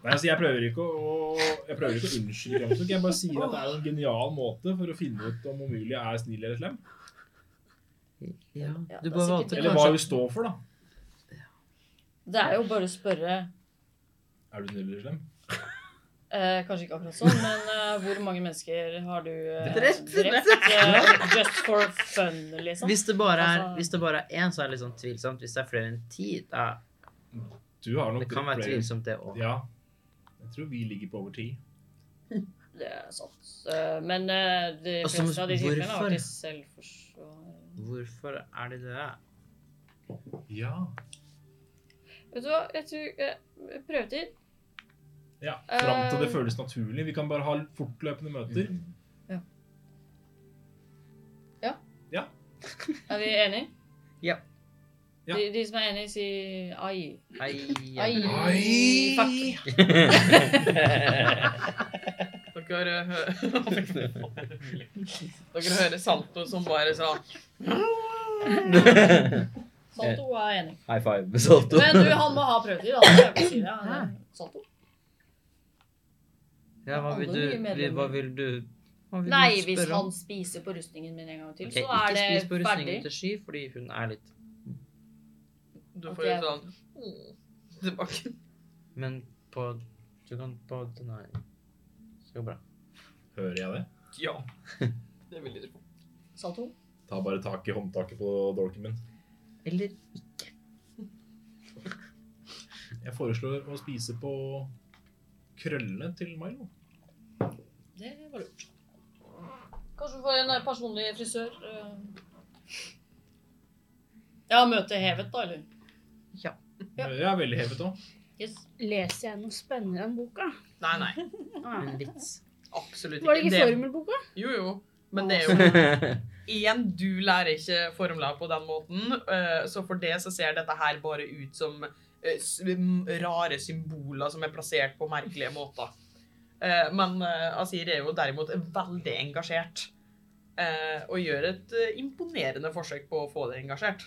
S2: Nei, altså, jeg prøver ikke å, jeg prøver ikke å unnskylde Kramsuk. Jeg bare sier at det er en genial måte for å finne ut om Omulie er snill eller slem.
S4: Ja,
S3: Ja, det er
S4: du bare
S3: sikkert-
S4: valgte
S2: Eller hva
S4: kanskje
S2: hun står for, da.
S3: Det er jo bare å spørre
S2: Er du snill eller slem?
S3: eh, Kanskje ikke akkurat sånn, men eh, hvor mange mennesker har du eh,
S4: Drept?
S3: drept eh, just for fun, liksom?
S4: Hvis det bare er
S3: Altså-
S4: Hvis det bare er én, så er det litt sånn tvilsomt. Hvis det er flere enn ti, da
S2: Du har nok
S4: Det kan være
S2: flere-
S4: tvilsomt, det òg.
S2: Ja. Jeg tror vi ligger på over ti.
S3: Det er sant. Eh, men eh, de
S4: Altså,
S3: fleste av de
S4: hvorfor?
S3: tilfellene har vært i selvforsvar.
S4: Hvorfor er de det?
S2: Ja.
S3: Vet du hva, jeg tror eh, Prøvetid.
S2: ja. Fram til det
S3: Eh.
S2: føles naturlig. Vi kan bare ha fortløpende møter.
S4: Mm.
S3: Er vi enige?
S4: Ja.
S2: Ja.
S3: De, de som er enige, sier ai.
S4: Ai,
S3: Ai.
S2: Ai.
S3: Fuck.
S1: Dere, hø Dere hører Salto som bare sånn
S3: Salto er enig.
S4: High five, Salto.
S3: Men du, han må ha prøvetid. Han må jo si det. han er Salto.
S4: Ja, hva vil
S3: Alle nye
S4: du vi- Hva
S3: medlemmer.
S4: vil du hva vil
S3: Nei,
S4: du
S3: hvis
S4: spørre om?
S3: han spiser på rustningen min en gang til,
S4: Ok,
S3: så er
S4: Ikke spis på
S3: det ferdig.
S4: rustningen til sky, fordi hun er litt
S1: Du
S3: At
S1: får jo
S3: jeg-
S1: sånn «Åh», tilbake.
S4: Men på Du kan på denne her. Så bra.
S2: Hører jeg det?
S1: Ja. Det vil jeg tro.
S3: Salto.
S2: Ta bare tak i håndtaket på dolken min.
S4: Eller
S2: Jeg foreslår å spise på krøllene til Milo.
S3: Det var lurt. Kanskje du får en eh, personlig frisør. eh. Ja, møte hevet, da, eller?
S2: Ja. Det er veldig hevet òg.
S3: Yes.
S6: Leser jeg noe spennende enn boka?
S1: Nei, nei.
S6: Ah,
S4: En vits.
S1: Absolutt ikke.
S6: var det ikke formelboka?
S1: Jo, jo. Men det er jo Igjen, du lærer ikke formler på den måten, eh, så for det så ser dette her bare ut som eh, s- m- rare symboler som er plassert på merkelige måter. Eh, Men eh, Asir er jo derimot veldig engasjert, eh, og gjør et eh, imponerende forsøk på å få det engasjert.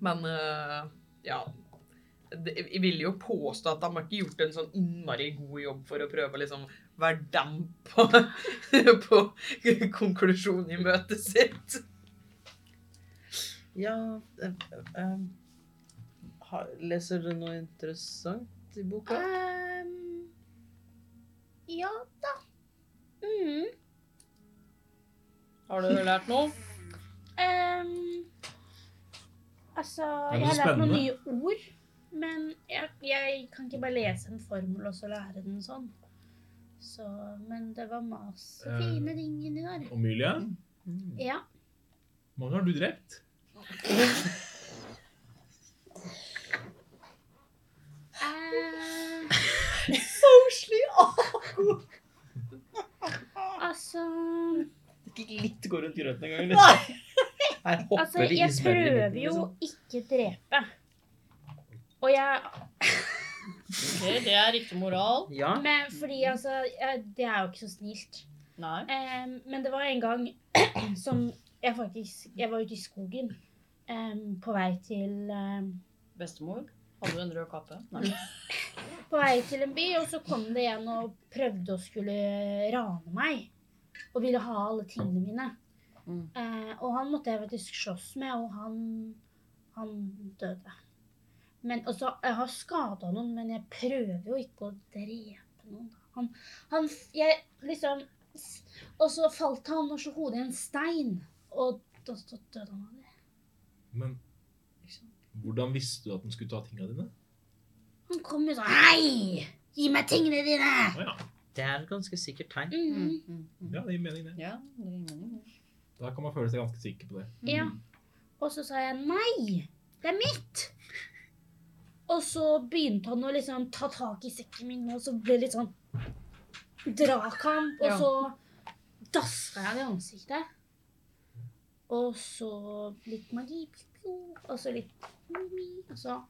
S1: Men eh, ja det- Jeg vil jo påstå at de har ikke gjort en sånn innmari god jobb for å prøve å liksom være damp på, på konklusjonen i møtet sitt.
S4: Ja eh, eh, har- Leser du noe interessant i boka?
S10: Ehm, ja da. Mm.
S3: Har du lært noe?
S6: Ehm, altså,
S2: er
S6: jeg har
S2: så
S6: lært noen nye
S2: spennende.
S6: ord, men jeg, jeg kan ikke bare lese en formel og så lære den sånn. Så, men det var masse
S2: Eh.
S6: fine ting inni der.
S2: Omilie,
S6: Ja.
S2: hvor mange har du drept?
S6: Eh,
S1: Koselig!
S6: altså,
S4: Ikke litt går rundt grøten engang. Liksom. Her hopper
S6: altså,
S4: det
S6: jeg
S4: isbjørn i midten,
S6: prøver jo
S4: liksom.
S6: ikke drepe. Og jeg,
S3: Ok, det er riktig moral.
S4: Ja.
S6: men fordi altså, jeg, det er jo ikke så snilt.
S3: Nei.
S6: Em, men det var en gang som jeg faktisk Jeg var ute i skogen em, på vei til em,
S3: Bestemor? Hadde du en rød kappe? Nei.
S6: På vei til en by, og så kom det en og prøvde å skulle rane meg. Og ville ha alle tingene mine.
S3: Mm.
S6: Eh, og han måtte jeg faktisk slåss med, og han, han døde. Men også, Jeg har skada noen, men jeg prøver jo ikke å drepe noen. Han, han Jeg liksom Og så falt han og slo hodet i en stein. Og da da døde han av det.
S2: Men hvordan visste du at den skulle ta tingene dine?
S6: Han kom jo sånn Hei! Gi meg tingene dine!
S2: Å ja.
S4: Det er et ganske sikkert tegn.
S6: Mhm.
S3: Mm, mm, mm.
S2: ja, det gir mening, det.
S3: Ja, det gir mening. det.
S2: Da kan man føle seg ganske sikker på det.
S6: Ja. Og så sa jeg nei, det er mitt. Og så begynte han å liksom ta tak i sekken min, og så ble det litt sånn dragkamp. Og
S3: Ja.
S6: så daska jeg han i ansiktet. Og så litt magi, pju, pju, og så litt mi, og så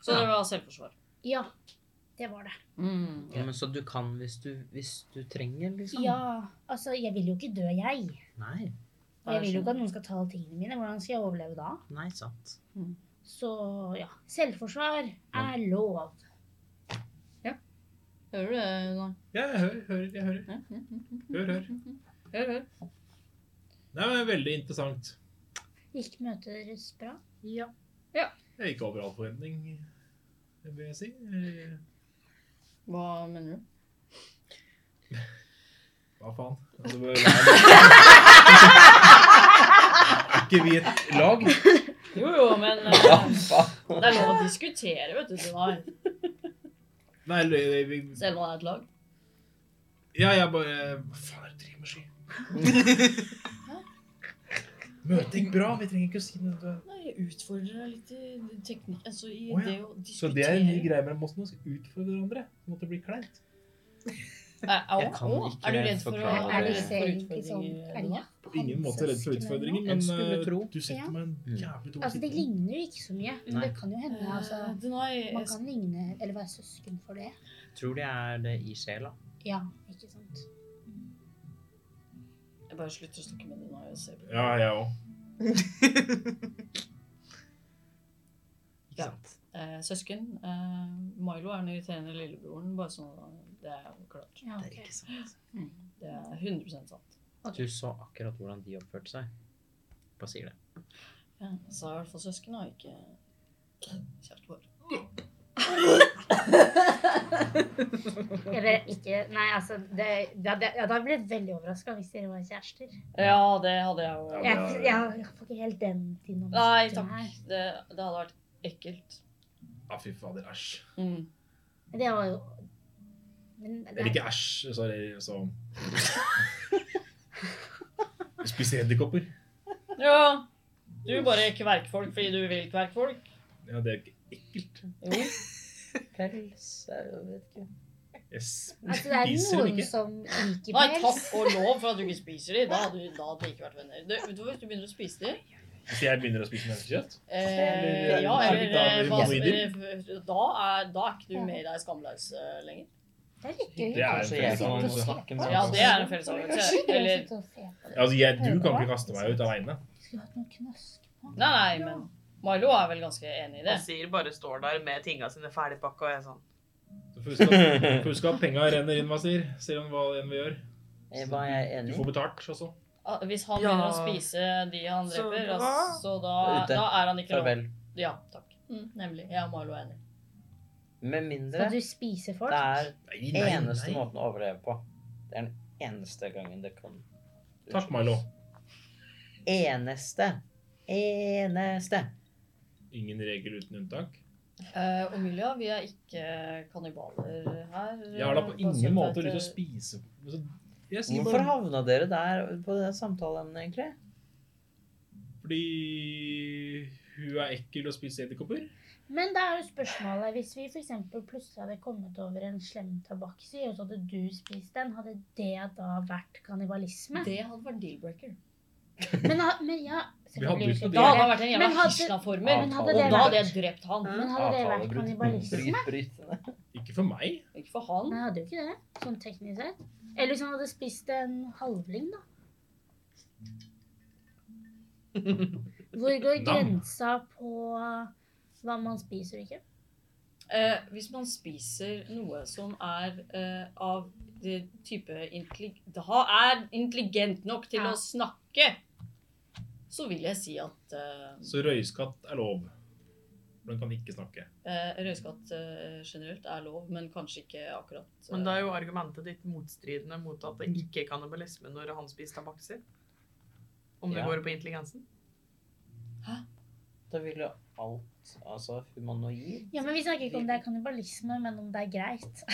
S3: Så det var selvforsvar.
S6: Ja, det var det.
S3: Mm.
S4: Ja, men så du kan hvis du, hvis du trenger, liksom?
S6: Ja, altså, jeg vil jo ikke dø, jeg.
S4: Nei.
S6: Og jeg vil jo ikke at noen skal ta alle tingene mine. Hvordan skal jeg overleve da?
S4: Nei, sant.
S6: Så ja, selvforsvar er lov.
S3: Hører du det? Nei.
S2: Ja, jeg hører, hører, jeg hører.
S3: Mm, mm, mm.
S2: Hør, hør.
S3: Hør, hør.
S2: Det er veldig interessant.
S6: Gikk møtet deres bra?
S2: Jeg gikk over all forventning, det vil jeg si. Eh,
S3: Hva mener du?
S2: Hva faen? Altså, hva- er ikke vi et lag?
S3: Jo, jo, men eh,
S4: faen?
S3: det er lov å diskutere, vet du. du har.
S2: Nei, eller, eh, vi,
S3: Selv om det er et lag.
S2: ja, jeg bare Hva faen er det du driver med, Sky? Møtet gikk bra, vi trenger ikke å si noe.
S3: Nei, jeg utfordrer deg litt i teknikk Altså i
S2: Å, ja.
S3: det å
S2: Så
S3: diskutere
S2: det er en ny greie mellom oss nå, skal utfordre hverandre. sånn Det måtte bli kleint.
S3: Nei, au,
S4: Jeg kan
S3: au.
S4: ikke
S3: Er du redd for, å,
S4: forklare
S3: er du
S4: det.
S3: redd for
S6: Ikke
S3: utfordringer?
S6: sånn,
S3: Elna?
S6: Elna?
S2: På ingen måte redd for utfordringer, men
S4: En skulle
S2: eh,
S4: tro.
S2: du setter
S6: Ja.
S2: meg i en
S5: Mm.
S2: jævlig dårlig
S6: Altså, det
S2: situasjon.
S6: ligner jo ikke så mye, men
S4: Nei.
S6: det kan jo hende. altså.
S3: Eh, Denai,
S6: Man kan ligne eller være søsken for det.
S4: Tror de er det i sjela.
S6: Ja, ikke sant.
S3: jeg bare slutter å snakke med Denai og se på.
S2: Ja, jeg òg.
S3: Ja.
S4: Ikke sant?
S3: Eh, søsken, eh, Milo er den irriterende lillebroren, bare sånn at det er jo klart.
S6: Ja,
S4: Det er
S6: ok.
S4: ikke sant.
S3: Det er 100 sant.
S4: Du så akkurat hvordan de oppførte seg. Hva sier det?
S3: Ja, så er i hvert fall søsken og ikke kjært vår.
S6: Jeg ble ikke Nei, altså det, ja, det, ja, Da ble jeg veldig overraska hvis dere var kjærester.
S3: Ja, det hadde jeg jo.
S2: Ja,
S6: Jeg,
S2: det er-
S6: jeg, jeg får ikke helt den dynamikken
S3: Nei, takk.
S6: her.
S3: Det, det hadde vært ekkelt.
S2: Ja, fy fader, æsj.
S3: Mm.
S6: Men Det var jo Men det,
S2: Eller ikke æsj, sorry, så Spise edderkopper.
S3: Ja, Du bare kverker folk fordi du vil kverke folk.
S2: Ja, det er ikke ekkelt.
S3: Jo.
S5: Pels Jeg vet ikke.
S2: Jeg
S5: Altså, det er
S2: spiser den
S5: noen
S2: ikke.
S5: som liker
S3: Nei,
S5: pels.
S3: takk og lov for at du ikke spiser de. Da hadde, da hadde vi ikke vært venner. Du, vet du hva, hvis du begynner å spise de
S2: Hvis jeg begynner å spise menneskekjøtt
S3: eh, Ja,
S2: Eller-
S3: eller eh, hva som
S2: Humanoider.
S3: Da er da er ikke du med i deg skamlaus eh, lenger.
S5: Det er litt gøy.
S2: Det er en
S4: Kanskje jeg kan
S2: fellesavgjørelse.
S4: snakke med
S3: Ja, det er en felles avgjørelse. Eller
S2: Altså, jeg, du kan ikke kaste meg ut av veiene.
S3: Nei, nei, men Milo er vel ganske enig i det.
S1: Asir bare står der med tinga sine ferdigpakka og er sånn
S2: Så får vi huske at- får huske at penga renner inn, Masir. Selv om hva enn vi gjør.
S4: Eh, Hva er jeg
S2: Du
S4: enig i?
S2: får betalt altså. også.
S3: Ah, Hvis han
S1: Ja.
S3: begynner å spise de han
S1: Så
S3: dreper,
S1: bra.
S3: ass, så da,
S4: Ute.
S3: da er han ikke lov.
S4: Farvel.
S3: Ja, takk. Mm, nemlig. Jeg og Milo er enig.
S4: Med mindre
S8: Skal du spise folk?
S4: det er
S2: Nei,
S4: eneste måten å overleve på. Det er den eneste gangen det kan
S2: Takk, Milo.
S4: Eneste. Eneste.
S2: Ingen regel uten unntak.
S3: Uh, Omilia, vi er ikke kannibaler her.
S2: Jeg har da på ingen måte lyst til å spise Altså, Jeg sier
S4: Hvorfor
S2: bare
S4: havna dere der på det samtaleemnet, egentlig?
S2: fordi hun er ekkel og spiser edderkopper.
S6: Men da er jo spørsmålet Hvis vi for eksempel plutselig hadde kommet over en slem tabaksi, og så hadde du spist den, hadde det da vært kannibalisme?
S3: Det hadde vært deal-breaker.
S6: Men, ha- men ja
S2: Vi hadde jo ikke
S6: selvfølgelig
S2: noe
S3: Da hadde han
S6: skulle
S3: vært en
S6: Men
S3: jævla Hishna-former.
S6: hadde- Men
S3: Og
S6: hadde det
S3: da
S6: vært,
S3: hadde jeg drept han.
S6: men hadde det vært
S4: Avtalebrudd.
S6: kannibalisme?
S4: Bryt- brytende.
S2: Ikke for meg.
S3: Ikke for han.
S6: Nei, hadde jo ikke det. Sånn teknisk sett. Eller hvis han hadde spist en halvling, da. Hvor går
S2: Nam.
S6: grensa på hva man spiser og ikke?
S3: Eh, hvis man spiser noe som er eh, av det type intellig- Da er intelligent nok til
S6: Ja.
S3: å snakke, så vil jeg si at eh,
S2: Så røyskatt er lov. For den kan ikke snakke.
S3: eh, røyskatt eh, generelt er lov, men kanskje ikke akkurat eh,
S1: Men da er jo argumentet ditt motstridende mot at det ikke er kannibalisme når han spiser tabakser. Om det
S4: Ja.
S1: går på intelligensen.
S4: Da vil jo alt Altså humanoid
S6: Ja, men Vi snakker ikke om det er kannibalisme, men om det er greit.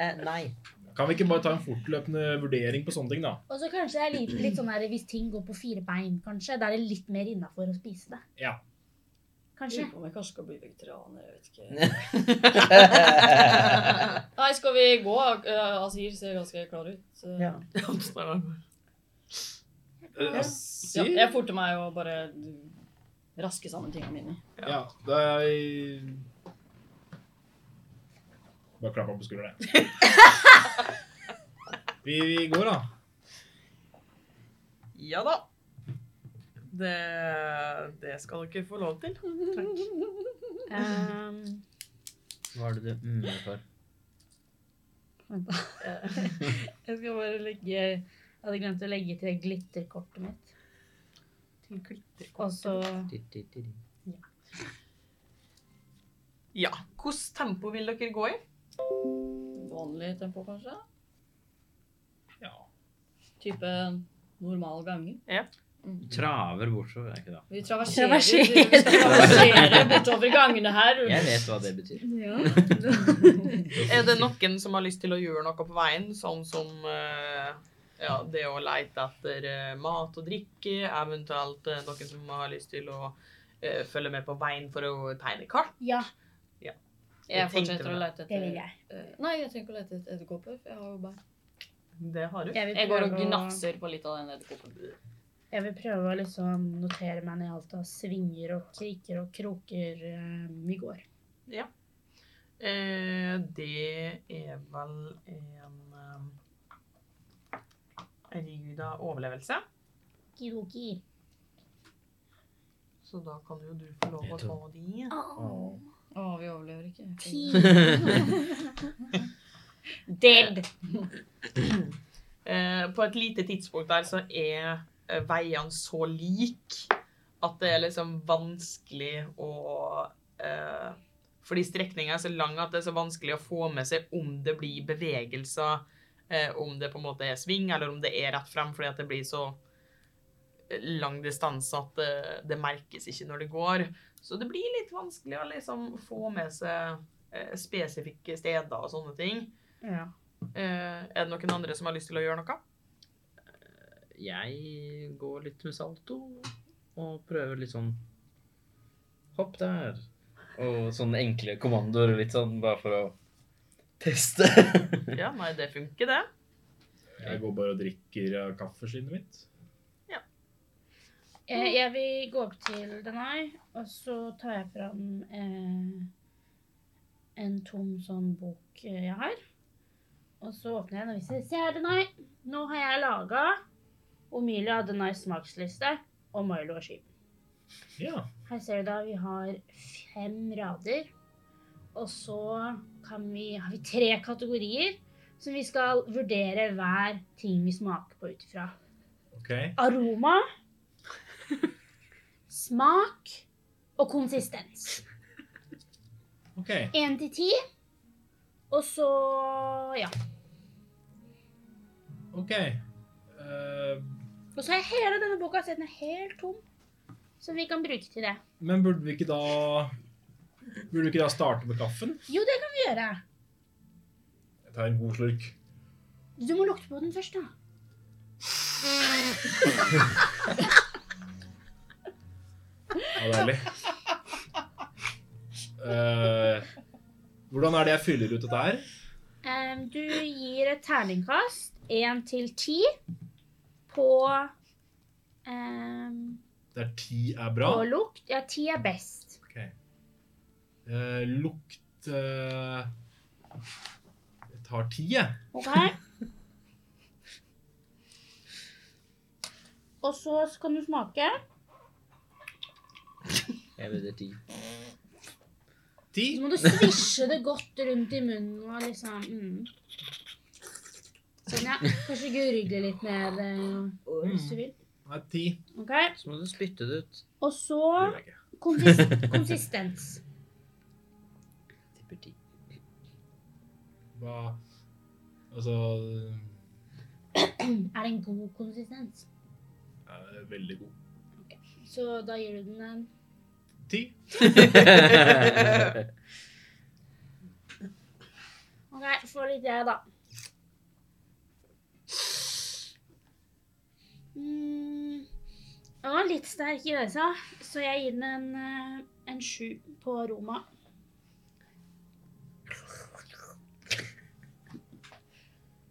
S4: eh, Nei.
S2: Kan vi ikke bare ta en fortløpende vurdering på sånne ting, da?
S6: Og så kanskje det er litt, litt sånn her, Hvis ting går på fire bein, kanskje, da er det litt mer innafor å spise det.
S2: Ja.
S3: Jeg
S6: Kanskje.
S3: lurer på om jeg kanskje skal bli vegetarianer. Jeg vet ikke.
S4: Nei,
S3: Nei, skal vi gå? Uh, Asir ser ganske klar ut. Eh,
S4: Ja.
S1: Han står der bare,
S2: Eh,
S3: ja,
S2: Sier
S3: jeg forter meg å bare raske sammen tingene mine.
S2: Ja, det er Bare klapp opp på skulderen, jeg. Vi, vi går, da.
S1: Ja da. Det, det skal dere få lov til. Takk.
S8: Ehm,
S4: Hva er det du mm for?
S8: jeg skal bare legge Jeg hadde glemt å legge til glitterkortet mitt.
S1: Til glitterkort.
S8: Og så
S4: Di, di, di, di.
S1: Ja. Hvilket tempo vil dere gå i?
S3: Vanlig tempo, kanskje?
S2: Ja.
S3: Type normal gange.
S4: Traver bortover, er ikke det?
S3: Vi traverserer,
S8: Traverserer.
S3: vi skal traversere bortover gangene her.
S4: Jeg vet hva det betyr.
S1: Er det noen som har lyst til å gjøre noe på veien, sånn som eh, ja, det å leite etter eh, mat og drikke, eventuelt eh, noen som har lyst til å eh, følge med på veien for å tegne kart?
S6: Ja,
S3: Jeg
S1: Jeg tenkte
S3: fortsetter å
S1: meg.
S3: lete
S6: det
S3: etter
S6: vil jeg.
S3: eh, Nei, jeg trenger ikke å lete etter edderkopper. for Jeg har jo bær.
S1: Det har du.
S8: jeg vil
S3: Jeg går og
S8: prøve å-
S3: gnafser på litt av den edderkoppen.
S8: Jeg vil prøve å liksom notere meg ned alt av svinger og kriker og kroker eh, vi går.
S1: Eh, det er vel en eh, Herregud, da. Overlevelse.
S6: Kidoki.
S1: Så da kan jo du få lov å
S4: Jeg
S1: ta
S4: tror-
S1: de.
S3: Å, vi overlever ikke.
S6: Ti.
S3: Dead!
S1: Eh, på et lite tidspunkt der så er eh, veiene så lik at det er liksom vanskelig å eh, Fordi strekninga er så lang at det er så vanskelig å få med seg om det blir bevegelser, eh, om det på en måte er sving, eller om det er rett frem, fordi at det blir så eh, lang distanse at det, det merkes ikke når det går. Så det blir litt vanskelig å liksom få med seg eh, spesifikke steder og sånne ting.
S8: Ja.
S1: Eh, er det noen andre som har lyst til å gjøre noe?
S4: jeg går litt med salto og prøver litt sånn Hopp der. Og sånne enkle kommandoer og litt sånn bare for å teste.
S1: Ja, nei, det funker, det.
S2: Jeg går bare og drikker av kaffeskinnet mitt.
S6: Eh, jeg vil gå opp til Denai, og så tar jeg fram eh, en tom sånn bok eh, jeg har. Og så åpner jeg den og viser. Se her, Denai. Nå har jeg laga Omilia og Denais smaksliste og Milo og Sheep.
S2: Ja.
S6: Her ser du da vi har fem rader. Og så kan vi, har vi tre kategorier som vi skal vurdere hver ting vi smaker på ut ifra.
S2: Ok.
S6: Aroma, smak og konsistens.
S2: Ok.
S6: Én til ti. Og så ja.
S2: Ok. Eh,
S6: Og så er hele denne boka så den er helt tom, som vi kan bruke til det.
S2: men burde vi ikke da Burde vi ikke da starte med kaffen?
S6: Jo, det kan vi gjøre.
S2: Jeg tar en god slurk.
S6: Du må lukte på den først, da.
S2: Ja, deilig. Eh, hvordan er det jeg fyller ut dette her?
S6: Ehm, du gir et terningkast, én til ti, på ehm,
S2: Der ti er
S6: På
S2: bra.
S6: lukt. Ja, ti er best.
S2: Ok. Eh, lukt eh, Jeg tar ti, jeg.
S6: OK? Og så kan du smake.
S4: Jeg vil det ti.
S2: Ti?
S6: Så må du svisje det godt rundt i munnen og liksom mm. Sånn, ja. Kanskje gurgle litt med det hvis du vil.
S2: Nei, ti.
S6: OK?
S4: Så må du spytte det ut.
S6: Og så
S2: Det gjør jeg ikke.
S6: konsis konsistens.
S4: Tipper ti.
S2: Hva Altså
S6: Er det en god konsistens?
S2: ja, det er Veldig god.
S6: Så da gir du den en
S2: Ti.
S6: OK, få litt jeg, da. Mm. Den var litt sterk i nesa, så jeg gir den en, eh, en sju på Roma.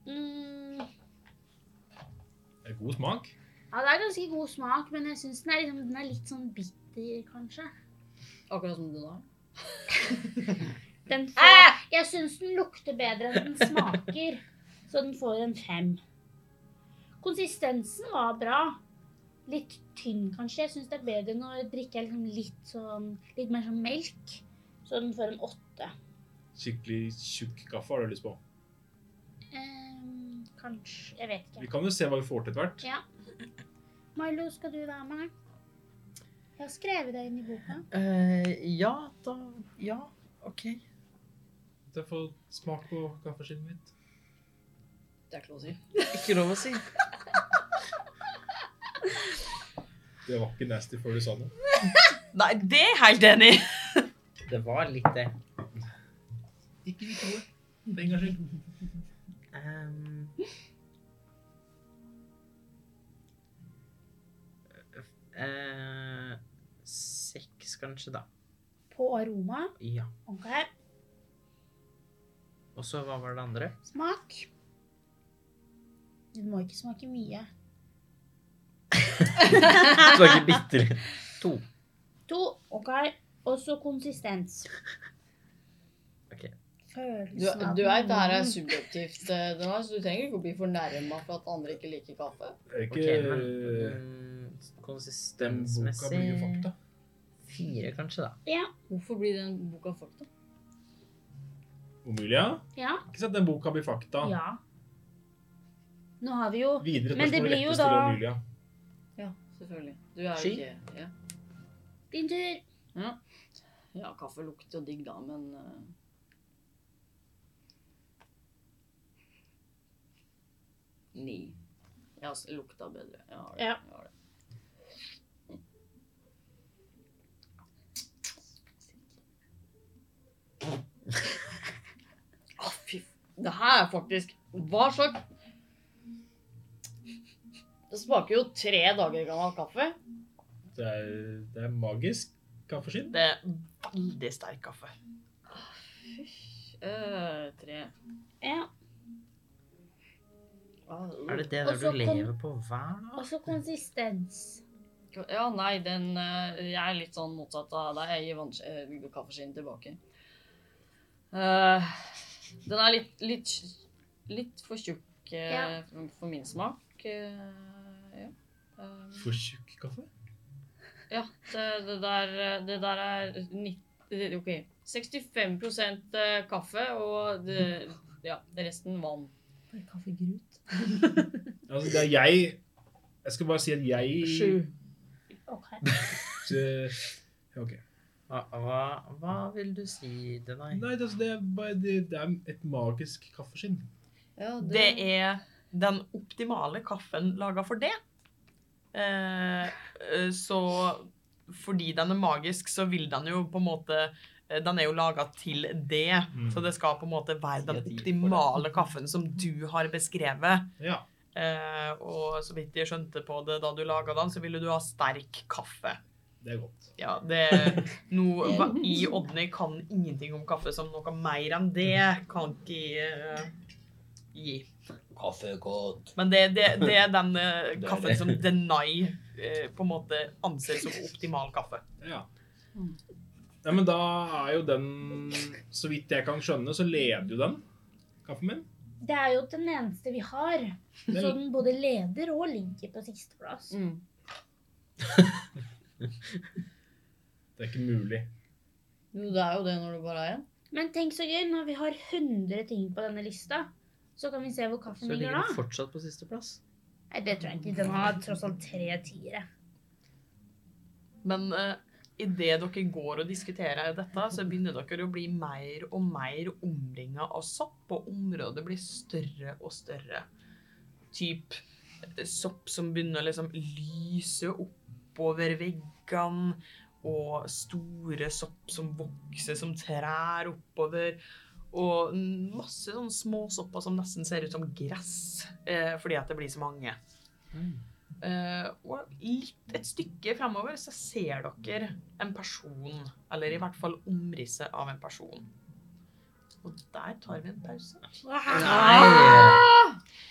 S6: Mm.
S2: Det er god smak.
S6: Ja, det er ganske god smak, men jeg syns den, er liksom, den er litt sånn bitter, kanskje.
S3: Akkurat som du da.
S6: Den får, jeg syns den lukter bedre enn den smaker, så den får en fem. Konsistensen var bra. Litt tynn, kanskje. Jeg syns det er bedre når jeg drikker liksom litt, sånn, litt mer sånn melk, så den får en åtte.
S2: Skikkelig tjukk kaffe har du lyst på.
S6: Ehm, kanskje Jeg vet
S2: Vi
S6: ikke.
S2: kan jo se hva vi får til etter hvert.
S6: Milo, skal du være med? Jeg har skrevet deg inn i boka.
S1: Eh,
S4: ja, da Ja, OK.
S2: Jeg får smak på kaffeskinnet mitt.
S3: Det er ikke lov å si.
S4: Ikke lov å si.
S2: Det var ikke nasty før du sa det.
S1: Nei, det er jeg helt enig i.
S4: Det var litt det.
S2: Ikke vi to. For en gangs skyld.
S4: Ehm. Eh, seks, kanskje, da.
S6: På aroma.
S4: Ja.
S6: OK.
S4: Og så hva var det andre?
S6: Smak. Du må ikke smake mye.
S4: Smaker bitter. To.
S6: To, ok. Og så konsistens.
S4: Ok.
S6: Følelsen
S3: Du,
S6: av
S3: du vet, det her er
S6: munnen.
S3: subjektivt, eh, Dana, så du trenger ikke å bli fornærma for at andre ikke liker kaffe.
S2: Det er
S4: Ok,
S2: ikke
S4: men
S2: okay, Den boka
S4: mm,
S2: blir jo
S4: konsistensmessig
S2: fakta.
S4: fire, kanskje, da.
S3: Hvorfor blir den boka fakta?
S2: Omulia?
S6: Ja.
S2: Ikke sant den boka blir fakta.
S6: ja. Nå har vi jo
S2: Videre
S6: Men det
S2: spørsmål
S6: blir jo
S2: rettes til
S6: da-
S2: Omulia.
S3: Ja, selvfølgelig. Du er jo
S4: Ski?
S3: ikke ja.
S6: din tur.
S3: ja, kaffe lukter jo digg da, men eh, Ni. Jeg har s- lukta bedre. Jeg har det.
S6: Ja.
S3: Jeg har det. Å, fy f... Det her er faktisk Hva slags Det smaker jo tre dager gammel kaffe.
S2: Det er, det er magisk kaffeskinn.
S1: Det er veldig sterk kaffe.
S3: Eh, tre.
S6: Ja.
S3: Ah,
S4: Er det det
S6: Og
S4: der
S6: så
S4: du
S6: kom-
S4: lever på hver dag?
S6: Også konsistens.
S3: Ja, nei, den eh, Jeg er litt sånn motsatt av deg. Jeg gir vanns- eh, kaffeskinnen tilbake. Eh, den er litt, litt, litt for tjukk eh, for- for min smak. eh, ja. Um,
S2: For tjukk kaffe?
S3: ja, det, det, der, eh, det der er 90, det- OK. 65 eh, kaffe og det, ja, resten vann.
S7: Bare kaffegrut.
S2: Altså, det er jeg Jeg skal bare si at jeg
S6: Ok.
S2: Eh, Ok.
S4: Hva, hva, hva vil du si til deg?
S2: Nei, det, altså, det, er bare, det, det er et magisk kaffeskinn.
S3: Ja,
S1: Det er den optimale kaffen laga for det. Eh, eh, så fordi den er magisk, så vil den jo på en måte eh, Den er jo laga til det.
S2: Mm.
S1: Så det skal på en måte være den
S4: Sier de for det.
S1: optimale kaffen som du har beskrevet.
S2: Ja.
S1: Eh, og så vidt jeg skjønte på det da du laga den, så ville du ha sterk kaffe.
S2: Det er godt.
S1: Ja, det Nå hva- i Odny kan ingenting om kaffe, som noe mer enn det kan ikke jeg eh, gi.
S4: Kaffe godt.
S1: Men det, det, det er den eh,
S4: Det er
S1: kaffen
S4: det.
S1: som Denai eh, på en måte anser som optimal kaffe.
S2: Ja. Nei, men da er jo den Så vidt jeg kan skjønne, så leder jo den kaffen min.
S6: Det er jo den eneste vi har.
S2: Det
S6: Så
S2: er,
S6: den både leder og ligger på sisteplass.
S3: Mm.
S2: det er ikke mulig.
S3: Jo, det er jo det når du bare er én.
S6: Men tenk så gøy, når vi har 100 ting på denne lista, så kan vi se hvor kaffen
S4: Så
S6: ligger
S4: ligger den
S6: da.
S4: fortsatt på sisteplass.
S6: Nei, det tror jeg ikke. Den har tross alt tre tiere.
S1: Men eh, i idet dere går og diskuterer dette, så begynner dere å bli mer og mer omringa av sopp, og området blir større og større. Typ eh, sopp som begynner å liksom lyse oppover veggene, og store sopp som vokser som trær oppover. Og masse sånne små sopper som nesten ser ut som gress, eh, fordi at det blir så mange. Eh, og litt et stykke fremover så ser dere en person, eller i hvert fall omrisset av en person. Og der tar vi en pause.
S6: Ah!
S4: Nei!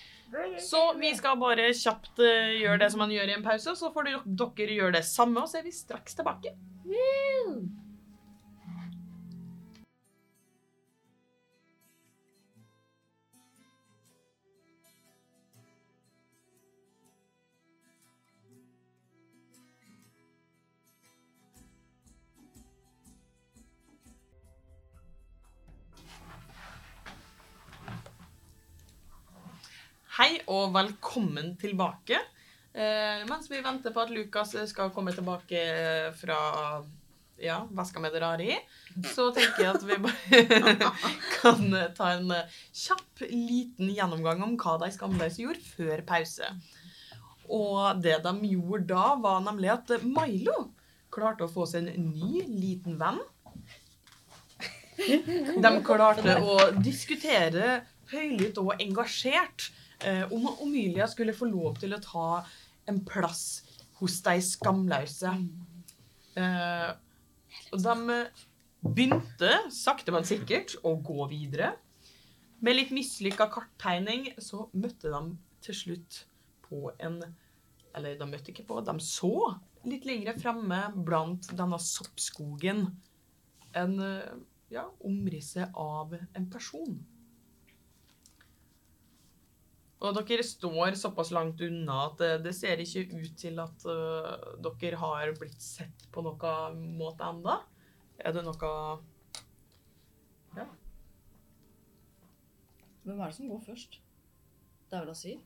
S1: Så vi skal bare kjapt eh, gjøre det som man gjør i en pause, og så får dere- dere gjøre det samme, og så er vi straks tilbake. Hei og velkommen tilbake. Eh, mens vi venter på at Lukas skal komme tilbake fra ja, veska med det rare i, så tenker jeg at vi bare kan ta en kjapp liten gjennomgang om hva de skamløse gjorde før pause. Og det de gjorde da, var nemlig at Milo klarte å få seg en ny liten venn. De klarte å diskutere høylytt og engasjert eh, om Omilia skulle få lov til å ta en plass hos de skamløse. Eh, og de begynte, sakte, men sikkert, å gå videre. Med litt mislykka karttegning så møtte de til slutt på en Eller de møtte ikke på, de så litt lengre fremme blant denne soppskogen en eh, ja, omrisset av en person. Og dere står såpass langt unna at det, det ser ikke ut til at øh, dere har blitt sett på noen måte enda. Er det noe
S3: Hvem er det som går først? Det er vel Asir?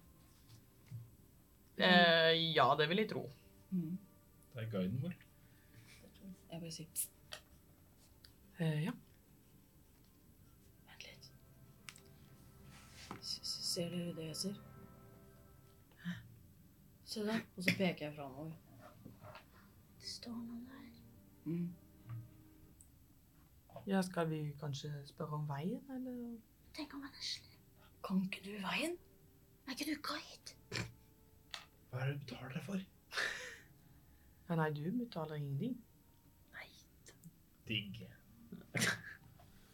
S1: eh, Ja, det vil jeg tro.
S2: Det er guiden vår.
S3: Jeg vil si «Pst,
S1: Eh, ja.
S3: Vent litt. S- s- Ser dere det jeg ser? Se der. Og så peker jeg framover.
S6: Det står noen der.
S1: ja, skal vi kanskje spørre om veien, eller?
S6: Tenk om han er slem.
S3: Kan ikke du veien?
S6: Er ikke du guide?
S2: Hva er det du betaler deg for?
S1: Ja, nei, du betaler ingenting.
S2: Digg.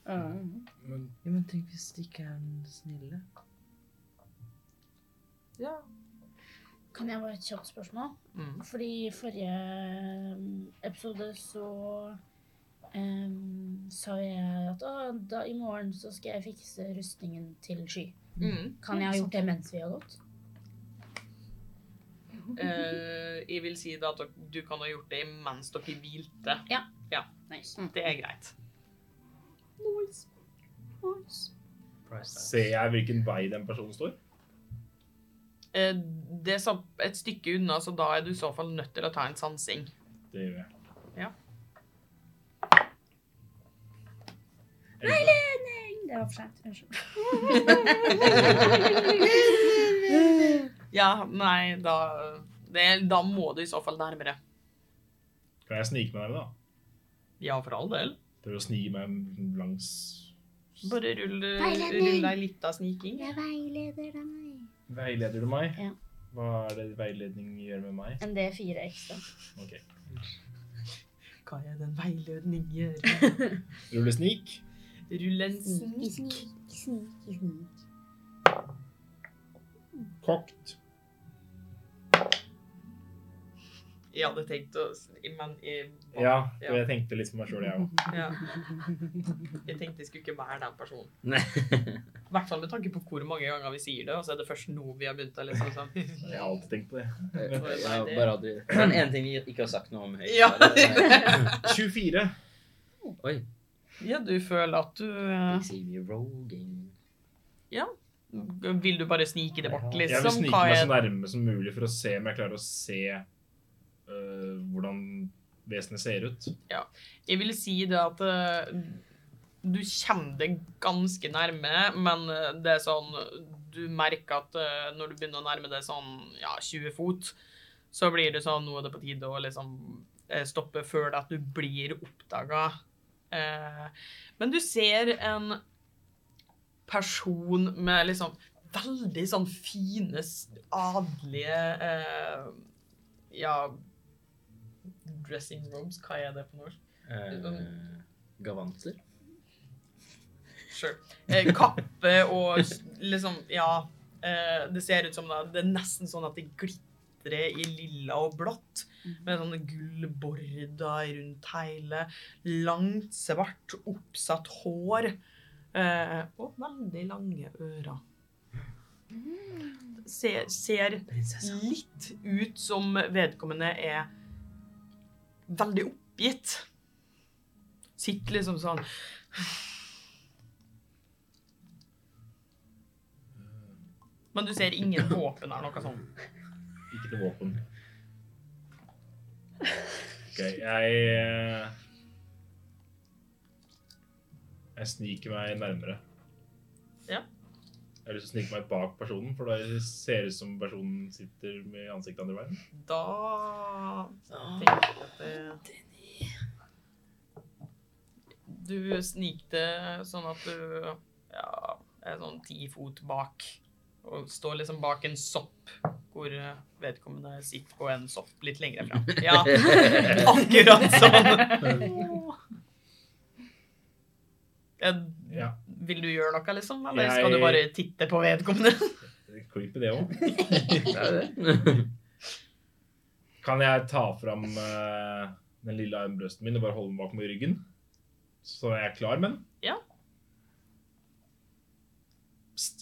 S2: Men
S4: Ja, men tenk hvis det ikke er den snille.
S1: Ja.
S6: Kan jeg bare et kjapt spørsmål?
S1: Mm.
S6: Fordi i forrige um, episode så um, sa jeg at «Å, da, i morgen så skal jeg fikse rustningen til Sky.
S1: Mm.
S6: Kan jeg ha gjort det mens vi har gått?
S1: Eh, jeg vil si da at dere- du kan ha gjort det mens dere hvilte.
S6: Nice.
S1: Det er greit.
S2: Ser jeg hvilken vei den personen står?
S1: Eh, det er så et stykke unna, så da er du i så fall nødt til å ta en sansing.
S2: Det gjør jeg.
S1: Ja.
S2: Elleve.
S6: Det var for sent. Unnskyld.
S1: Ja, nei, da det, Da må du i så fall nærmere.
S2: Kan jeg snike meg nærmere, da?
S1: Ja, for all del.
S2: Prøver å snike meg langs
S1: Bare rull, eh,
S6: Veiledning.
S1: rull ei lita sniking.
S6: Jeg veileder deg.
S2: Veileder du meg?
S6: Ja.
S2: Hva er det veiledning gjør med meg?
S6: En D4 ekstra.
S2: Ok.
S1: Hva er den veiledning gjør?
S2: Rulle snik.
S1: Rull en snik.
S2: Kokt.
S1: Jeg hadde tenkt å s- Men jeg,
S2: Ja, for jeg tenkte litt på meg sjøl, jeg òg.
S1: ja. Jeg tenkte jeg skulle ikke være den personen.
S4: Nei.
S1: I hvert fall med tanke på hvor mange ganger vi sier det, og så er det først nå vi har begynt å liksom sånn
S2: Jeg har alltid tenkt på det.
S4: Jeg har
S1: det-
S4: bare aldri... Men en ting vi ikke har sagt noe om høyt.
S1: Ja.
S4: er-
S2: 24.
S4: Oi,
S1: Ja, du føler at du eh,
S4: det sier vi roguing.
S1: Vil du bare snike det bort,
S2: Jeg vil
S1: liksom?
S2: snike
S1: Hva
S2: meg så
S1: er
S2: nærme som mulig for å se om jeg klarer å se øh, hvordan vesenet ser ut.
S1: Jeg vil si det at eh, du kommer det ganske nærme, men eh, det er sånn Du merker at eh, når du begynner å nærme deg sånn ja, 20 fot, så blir det sånn Nå er det på tide å liksom eh, stoppe før det at du blir oppdaga. Eh, men du ser en person med liksom veldig sånn fine, s- adelige eh, Ja Dressing robes, hva er det på norsk?
S4: Eh, gavanter.
S1: Sure. Eh, kappe og s- liksom, ja eh, Det ser ut som det, det er nesten sånn at det glitrer i lilla og blått. Med sånne gullborder rundt hele. Langt, svart, oppsatt hår. Eh, og veldig lange ører. Ser, ser litt ut som vedkommende er veldig oppgitt. Sitter liksom sånn Men du ser ingen våpen her, noe sånt.
S2: Ikke til våpen. Ok, jeg eh, Jeg sniker meg nærmere.
S1: Ja.
S2: Jeg har lyst til å snike meg bak personen, for da ser det ut som personen sitter med ansiktet andre veien.
S1: Da tenker jeg at det Du snikte sånn at du ja, er sånn ti fot bak. Og står liksom bak en sopp, hvor eh, vedkommende sitter på en sopp litt lenger fram. Ja, akkurat sånn. Eh,
S2: Ja.
S1: Vil du gjøre noe, liksom? Eller
S2: Jeg-
S1: skal du bare titte på vedkommende?
S2: Det er Creepy, det òg.
S4: Det er
S6: Ah.
S4: det.
S2: Kan jeg ta fram eh, den lille armbrøsten min og bare holde den bak meg i ryggen? Så er jeg klar med den?
S1: Ja.
S2: Pst.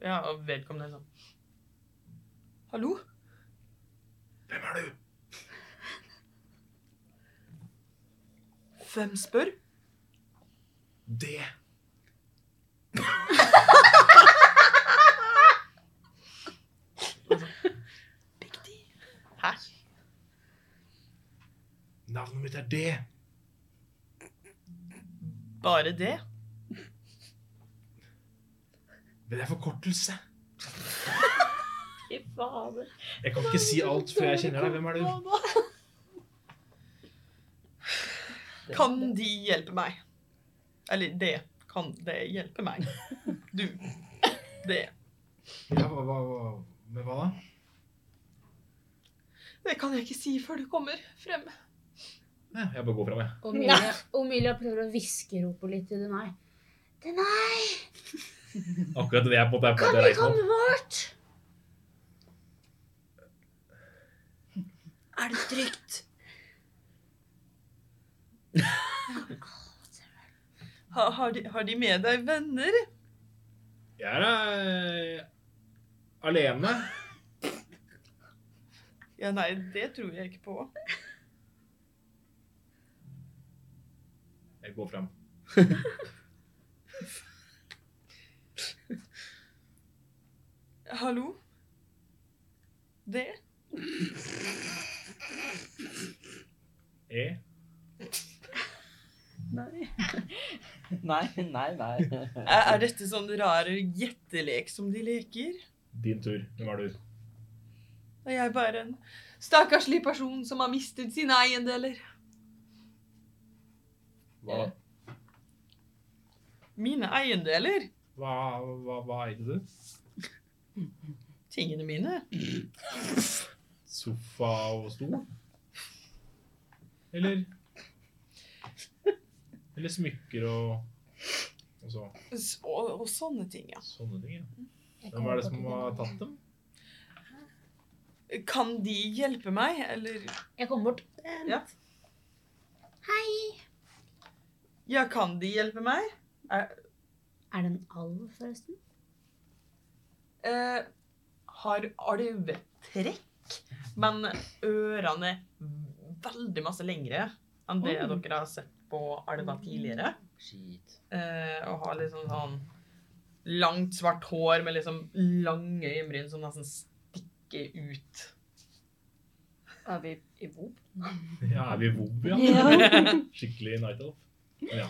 S1: Ja, og vedkommende er sånn Hallo?
S2: Hvem er du?
S1: Hvem spør?
S2: Det.
S1: Hæ?
S2: Navnet mitt er det.
S1: Bare det?
S2: Men det er forkortelse.
S3: Fy fader.
S2: Jeg kan ikke si alt før jeg kjenner deg. Hvem er du?
S1: Kan de hjelpe meg? Eller det. Kan det hjelpe meg? Du. Det.
S2: Ja, hva, hva, hva- med hva da?
S1: Det kan jeg ikke si før du kommer frem.
S2: Nei, jeg bare går fram, jeg.
S8: Omilia, Omilia prøver å hviskerope litt til Denai. Denai,
S2: Akkurat det jeg på en måte er på
S8: kan
S2: det
S8: vi
S2: reisen opp.
S8: komme bort?
S1: Er det trygt? Ha, har, de, har de med deg venner?
S2: Jeg er eh, alene.
S1: Ja, nei, det tror jeg ikke på.
S2: Jeg går fram.
S1: Hallo? Det?
S2: E.
S4: Nei, nei, nei.
S1: Er, er dette sånn rar gjettelek som de leker?
S2: Din tur. Hvem er du?
S1: Og jeg er bare en stakkarslig person som har mistet sine eiendeler.
S2: Hva,
S1: Mine eiendeler?
S2: hva, hva, hva eide du?
S1: Tingene mine?
S2: Sofa og stol? Eller Eller smykker og og så,
S1: S og, og sånne ting, ja.
S2: sånne ting. Ja. Hvem er det som har tatt dem?
S1: Kan de hjelpe meg, eller
S8: Jeg kommer bort.
S1: Ja. Ja, kan de hjelpe meg?
S8: Er det en alv, forresten?
S1: Eh, har alvetrekk, men ørene veldig masse lengre enn det dere har sett på alver tidligere.
S4: Shit.
S1: Eh, og har liksom sånn langt, svart hår med liksom lange øyenbryn som nesten stikker ut.
S3: Er vi i Vop?
S2: Ja, er vi i Vob, ja? Skikkelig Night Elf. Ja.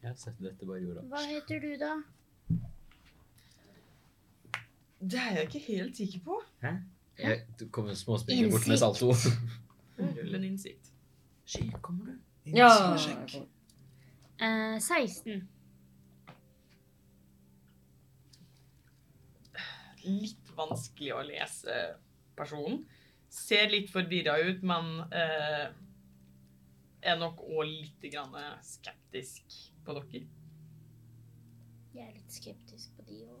S4: Jeg har sett dette bare i jorda.
S6: Hva heter du, da?
S1: Det er jeg ikke helt sikker på.
S4: Jeg du kommer småspringende bort med salto.
S1: Rull en innsikt.
S4: Sky, kommer du?
S3: Ja.
S8: Eh, 16.
S1: Litt vanskelig å lese personen. Ser litt forvirra ut, men eh, er nok òg litt grann skeptisk på dere.
S6: Jeg er litt skeptisk på de òg.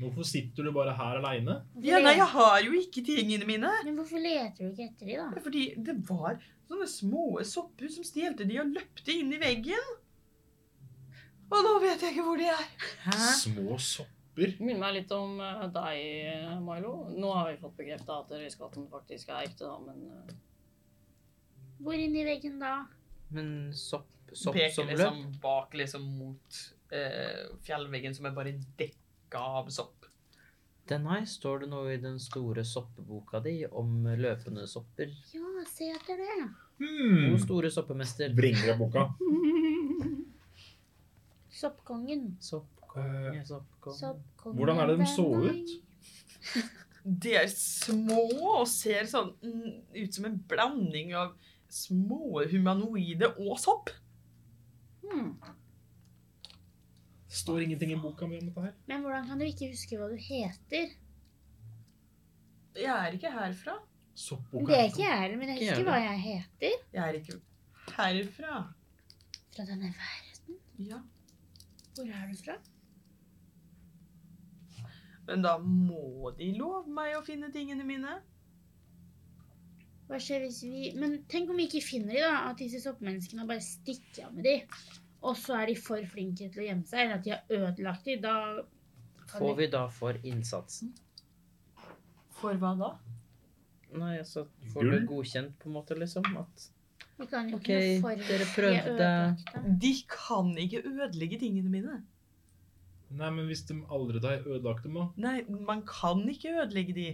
S2: Hvorfor sitter du bare her aleine?
S1: Ja, nei, jeg har jo ikke tingene mine.
S6: Men hvorfor leter du ikke etter de, da?
S1: Fordi det var sånne små sopper som stjelte de og løpte inn i veggen. Og nå vet jeg ikke hvor de er.
S2: Små sopper.
S3: Minner meg litt om eh, deg, eh, Milo. Nå har vi fått bekreftet at røyskatten faktisk er ekte, da, men eh,
S6: Hvor inni veggen da?
S4: Men sopp, sopp
S1: Peker
S4: som løp?
S1: liksom bak liksom mot eh, fjellveggen som er bare dekka av sopp.
S4: Den her står det noe i den store soppeboka di om løpende sopper.
S6: Ja, se etter det.
S2: Hmm.
S4: O store soppemester.
S2: Bringer deg boka.
S6: Soppkongen.
S2: Eh,
S4: Soppkonge, soppkonge.
S6: Soppkongen.
S2: Hvordan er det de så
S6: Nei.
S2: ut?
S1: De er små og ser sånn mm, ut som en blanding av små humanoide og sopp.
S2: Står ingenting i boka mi om dette her?
S6: Men hvordan kan du ikke huske hva du heter?
S1: Jeg er ikke herfra.
S2: Soppboka.
S6: Det er ikke jeg heller, men jeg
S4: Ikke jeg
S6: husker hva jeg heter.
S1: Jeg er ikke herfra.
S6: Fra denne verden.
S1: Ja.
S6: Hvor er du fra?
S1: Men da må de love meg å finne tingene mine.
S6: Hva skjer hvis vi Men tenk om vi ikke finner de da? At disse soppmenneskene bare stikker av med de. Og så er de for flinke til å gjemme seg, eller at de har ødelagt de. Da
S4: Får vi da for innsatsen?
S1: For hva da?
S4: Nei, altså får
S2: Gull?
S4: du godkjent på en måte, liksom? At
S6: vi kan jo
S4: OK,
S6: ikke noe for
S4: dere
S6: de er
S4: prøvde.
S6: ødelagte.
S1: De kan ikke ødelegge tingene mine.
S2: Nei, men hvis de allerede har ødelagt dem, da?
S1: Nei, man kan ikke ødelegge de.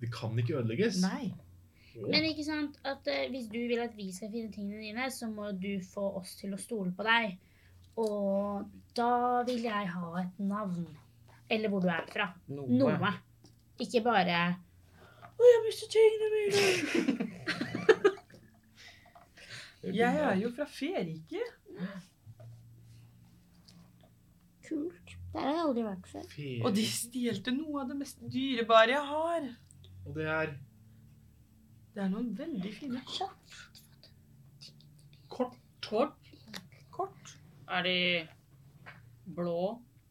S2: De kan ikke ødelegges?
S1: Nei.
S6: Men ikke sant at eh, hvis du vil at vi skal finne tingene dine, så må du få oss til å stole på deg. Og da vil jeg ha et navn. Eller hvor du er fra.
S4: Noe.
S6: Noe. Ikke bare
S1: Jeg er jo fra Ferike.
S6: Kult. Der er jeg aldri vært før.
S2: Ferie.
S1: Og de stjelte noe av det mest dyrebare jeg har.
S2: Og det er
S1: Det er noen veldig fine kort.
S2: kort.
S3: Kort.
S1: kort.
S3: Er de blå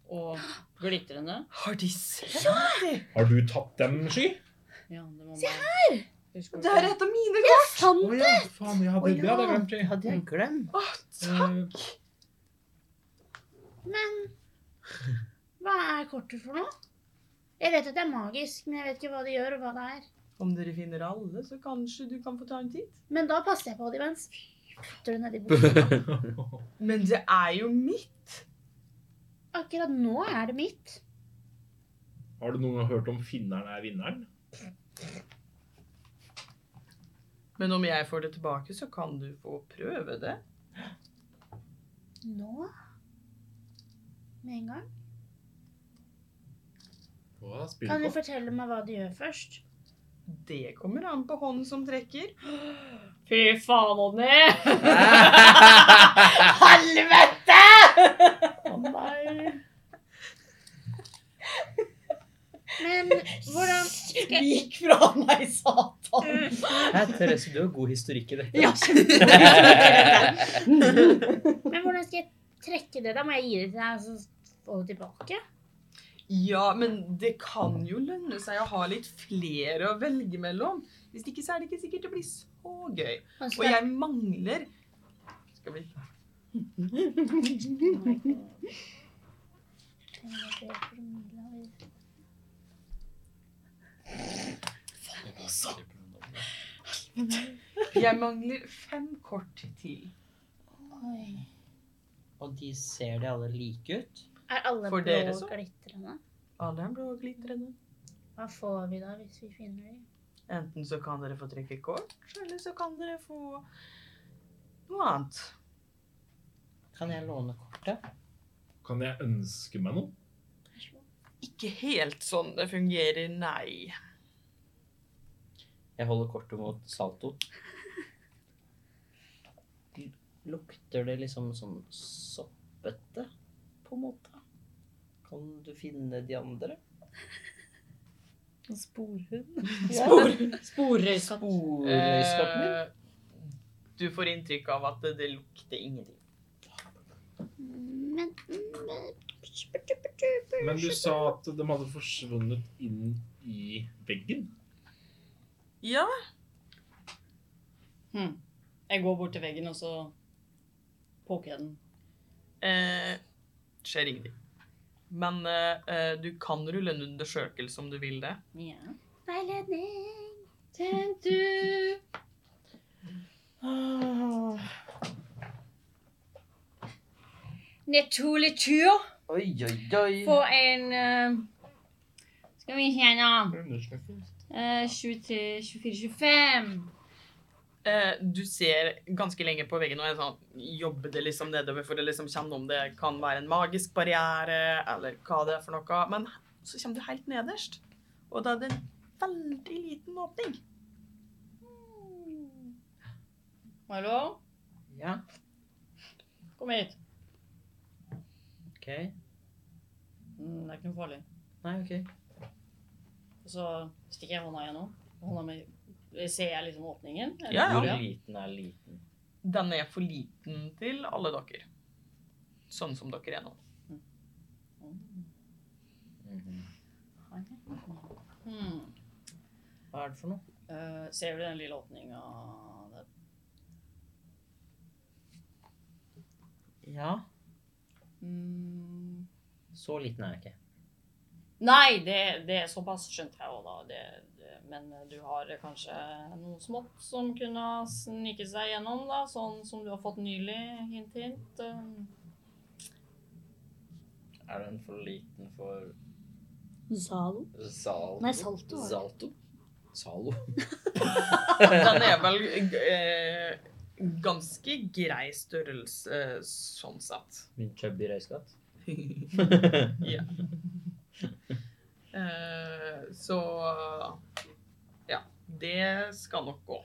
S3: og glitrende?
S1: Har de sett det?
S2: Har du tatt dem, Sky?
S3: Ja, det må Se her!
S1: Det er et av mine kort!
S6: Sånn.
S2: Å ja, faen, jeg hadde,
S1: Å ja.
S2: det Eh, hadde jeg glemt, Sky.
S4: Hadde jeg glemt.
S1: Åh,
S2: Takk.
S6: Hva er kortet for noe? Jeg vet at det er magisk, men jeg vet ikke hva det gjør og hva det er.
S1: Om dere finner alle, så kanskje du kan få ta en titt.
S6: Men da passer jeg på det imens. Putter det nedi bordet.
S1: Men det er jo mitt.
S6: Akkurat nå er det mitt.
S2: Har du noen gang hørt om finneren er vinneren?
S1: Men om jeg får det tilbake, så kan du få prøve det.
S6: Nå. Med en gang.
S2: Hva
S6: Kan
S2: spiller
S6: du
S2: du på?
S6: fortelle meg hva det gjør først?
S1: Det kommer an på hånden som trekker.
S3: Fy faen, Odny!
S5: Helvete!
S6: Men hvordan
S5: Vik fra meg, satan.
S4: Hæ, Therese, du har god historikk i dette.
S5: Ja,
S6: Men hvordan skal jeg trekke det? Da må jeg gi det til deg og så få det tilbake.
S1: Ja, men det kan jo lønne seg å ha litt flere å velge mellom. Hvis ikke så er det ikke sikkert det blir så gøy.
S6: Og
S1: Og
S6: så
S1: jeg mangler Skal vi Jeg mangler fem kort til.
S11: Og de ser de alle like ut?
S6: er alle
S1: For
S6: blå
S1: dere så?
S6: og glitrende?
S1: Alle er blå og glitrende.
S6: Hva får vi da hvis vi finner dem?
S1: Enten så kan dere få trekke kort, eller så kan dere få noe annet.
S11: Kan jeg låne kortet?
S2: Kan jeg ønske meg noe?
S1: Ikke helt sånn det fungerer, nei.
S11: Jeg holder kortet mot Salto. Lukter det liksom sånn soppete, på en måte? Kan du finne de andre? Sporhund? Sporhund?
S3: Sporrøyskatt.
S11: Sporskatten min?
S1: Eh, du får inntrykk av at det, det lukter ingenting.
S6: Men
S2: Men du sa at de hadde forsvunnet inn i veggen.
S1: Ja,
S3: Hm. Jeg går bort til veggen, og så poker jeg den.
S1: eh, skjer ingenting. Men eh, eh, du kan rulle en undersøkelse om du vil det.
S3: Ja.
S6: veiledning
S5: Naturlig tur
S11: Oi, oi, oi.
S5: på en eh, Skal vi se nå Eh, 23, 24, 25.
S1: Eh, du ser ganske lenge på veggen og jeg sånn, jobber det liksom nedover for å liksom kjenne om det kan være en magisk barriere, eller hva det er for noe. Men så kommer du helt nederst, og da er det en veldig liten åpning.
S3: Hallo?
S11: Ja,
S3: Kom hit.
S11: ok.
S3: Mm, det er ikke noe farlig.
S11: Nei, ok.
S3: Og så stikker jeg hånda gjennom. Hånda mi Ser jeg liksom åpningen? eller?
S1: Ja,
S11: Hvor
S1: ja.
S11: liten er liten?
S1: Den er for liten til alle dere. Sånn som dere er nå.
S11: Mhm.
S3: Hmm.
S11: Hva er det for noe?
S3: Eh, ser du den lille åpninga der?
S11: Ja,
S3: Mm.
S11: så liten er jeg ikke.
S3: Nei, det, det er såpass skjønte jeg òg, da. Det, det, men du har kanskje noe smått som kunne ha sniket seg gjennom, da? Sånn som du har fått nylig? Hint, hint. eh.
S11: Er den for liten for
S6: Zalo?
S11: Salto?
S6: Nei, Salto var det.
S11: Salto? Salo?
S1: Den er vel eh, ganske grei størrelse eh, sånn sett.
S11: Min chubby røyskatt?
S1: Ja. Eh, så ja. Det skal nok gå.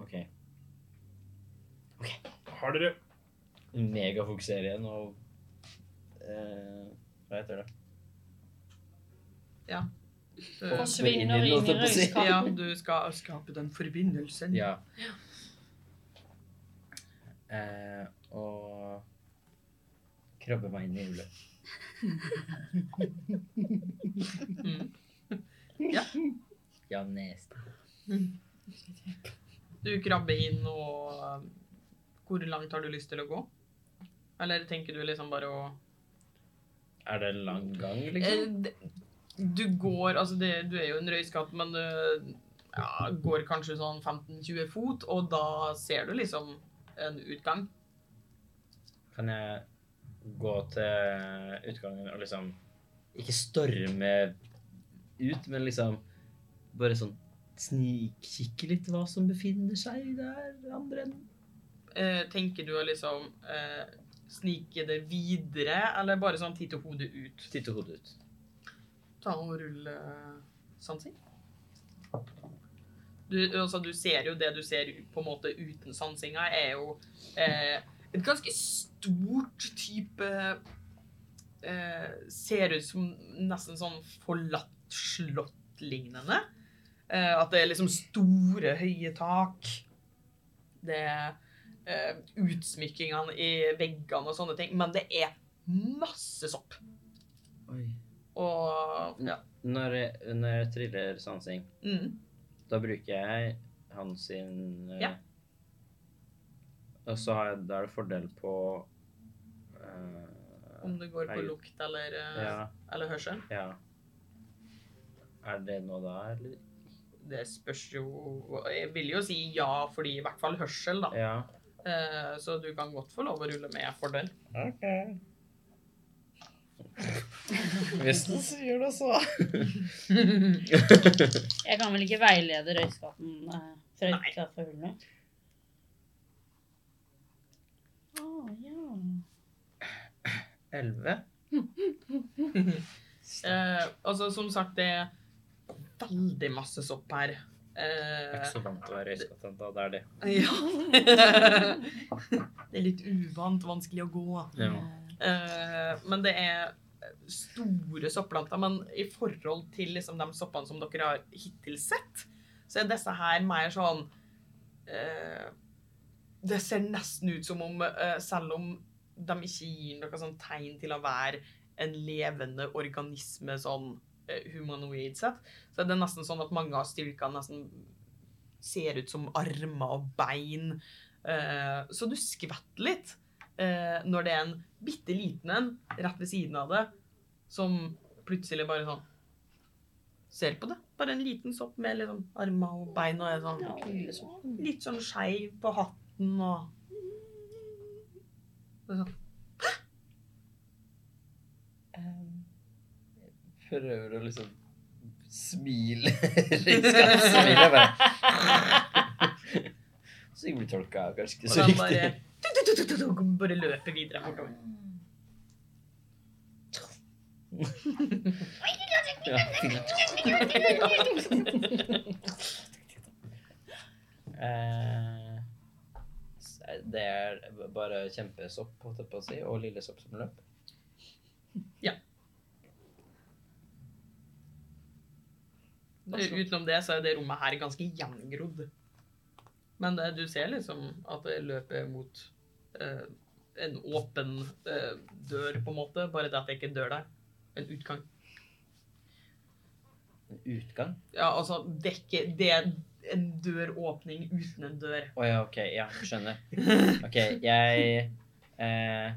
S11: Ok.
S2: Har dere
S11: Megafokuserer igjen og eh,
S4: Hva heter det?
S1: Du-
S4: Forsvinner inn i holdt jeg på å si.
S1: Ja, du skal skape den forbindelsen.
S4: Ja. Eh, og krabbe meg inn i hjulet.
S1: Mm.
S4: Ja, nesten.
S1: Du krabber inn, og um, hvor langt har du lyst til å gå? Eller tenker du liksom bare å
S4: Er det en lang gang,
S1: Eh,
S4: liksom?
S1: d- Du går Altså, det, du er jo en røyskatt, men du ja, går kanskje sånn 15-20 fot, og da ser du liksom en utgang.
S4: Kan jeg gå til utgangen og liksom Ikke storme ut, men liksom bare sånn snikkikke litt hva som befinner seg der andre enden?
S1: Eh, tenker du å liksom eh, snike det videre, eller bare sånn titte hodet ut?
S4: Titte hodet ut.
S1: Ta og rulle sansing. Du, altså, du ser jo det du ser på en måte uten sansinga, er jo eh, et ganske stort type eh, Ser ut som nesten sånn forlatt slott-lignende. Eh, at det er liksom store, høye tak. Det er eh, utsmykkingene i veggene og sånne ting. Men det er masse sopp.
S4: Oi.
S1: Og ja.
S4: Når jeg, når jeg triller sansing,
S1: Mm.
S4: da bruker jeg hans sin eh,
S1: Ja.
S4: Og så har jeg, da er det fordel på eh,
S1: Om det går på
S4: Nei.
S1: lukt eller, eh,
S4: ja,
S1: eller hørsel.
S4: ja. Er det noe da, eller?
S1: Det spørs jo Jeg vil jo si ja, fordi i hvert fall hørsel, da.
S4: Ja.
S1: Eh, Så du kan godt få lov å rulle med fordel.
S4: OK. Hvis du sier det, så.
S6: Jeg kan vel ikke veilede røyskatten eh, fra
S1: Nei.
S6: kaffehullet? Å, ja.
S4: Elleve?
S1: Eh, altså, som sagt, det er veldig masse sopp her.
S4: Jeg er
S1: Eh,
S4: ikke så vant til å være røyskatt, da. Det er det.
S1: ja. det er litt uvant, vanskelig å gå. Eh, men det er store sopplanter. Men i forhold til liksom, de soppene som dere har hittil sett, så er disse her mer sånn eh, Det ser nesten ut som om, eh, selv om de ikke gir noe sånn tegn til å være en levende organisme sånn eh, humanoid sett, så er det nesten sånn at mange av styrkene nesten ser ut som armer og bein. Eh, så du skvetter litt eh, når det er en bitte liten en rett ved siden av det, som plutselig bare sånn ser på det. Bare en liten sopp med liksom armer og bein og er sånn litt sånn skeiv på hatten og Det er sånn,
S4: Prøver å liksom smile. Røyskatt smiler bare. Så jeg blir tolka kanskje ikke
S1: Og
S4: så
S1: den
S4: riktig.
S1: bare, tu-tu-tu-tu-tu, bare løper videre bortover.
S4: Ja. Eh, Det er bare kjempesopp, holdt jeg på å si, og lille sopp som løp.
S1: Utenom det så er det rommet her ganske gjengrodd. Men eh, du ser liksom at det løper mot eh, en åpen eh, dør, på en måte. Bare det at det ikke er en dør der. En utgang.
S4: En utgang.
S1: Ja, altså, det er ikke Det er en døråpning uten en dør.
S4: Å ja, OK. Ja, skjønner. OK, jeg eh, eh,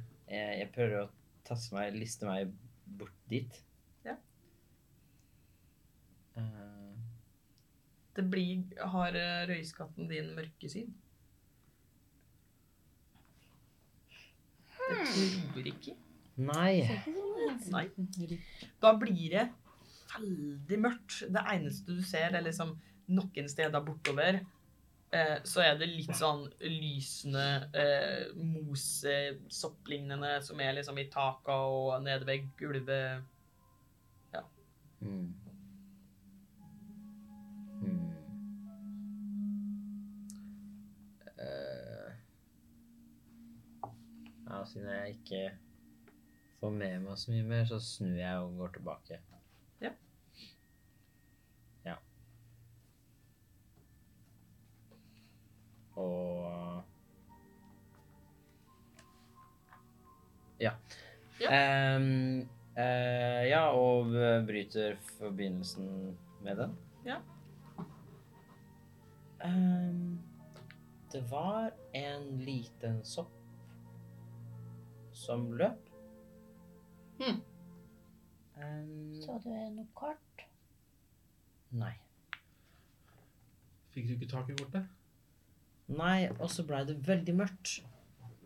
S4: Jeg prøver å tasse meg, liste meg bort dit.
S1: Ja.
S4: Eh,
S1: Det blir Har eh, røyskatten din mørkesyn? Det tror ikke.
S4: Nei.
S1: Nei. Da blir det veldig mørkt. Det eneste du ser, er liksom noen steder bortover. Eh, så er det litt sånn lysende eh, mosesopplignende som er liksom i taka og nede ved gulvet.
S4: Mm. Mm. Eh, ja, siden jeg ikke får med meg så mye mer, så snur jeg og går tilbake.
S1: Ja.
S4: Ja. Og eh, Ja.
S1: Ja.
S4: Ehm, eh, ja, og bryter forbindelsen med den.
S1: Ja.
S4: Ehm, det var en liten sopp som løp.
S3: Hmm.
S4: Ehm,
S6: Så du noe kart?
S4: nei.
S2: Fikk du ikke tak i kortet?
S4: Nei, og så ble det veldig mørkt.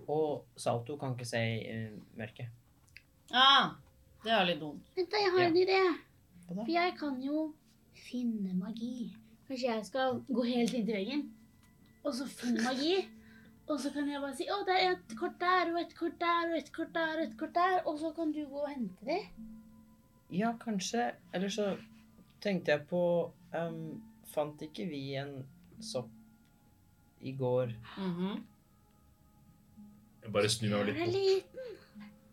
S4: Og Salto kan ikke se i eh, mørket.
S3: Ah, det er litt dumt.
S6: Vent, da, jeg har
S4: Ja.
S6: en idé.
S4: Hva da?
S6: For jeg kan jo finne magi. Kanskje jeg skal gå helt inn til veggen, og så finne magi. Og så kan jeg bare si 'Å, det er et kort der, og et kort der, og et kort der', og et kort der. Og så kan du gå og hente det.
S4: Ja, kanskje. Eller så tenkte jeg på ehm, Fant ikke vi en sopp i går?
S3: Mhm.
S2: Jeg bare snur meg litt
S6: Det er
S2: bort.
S6: litt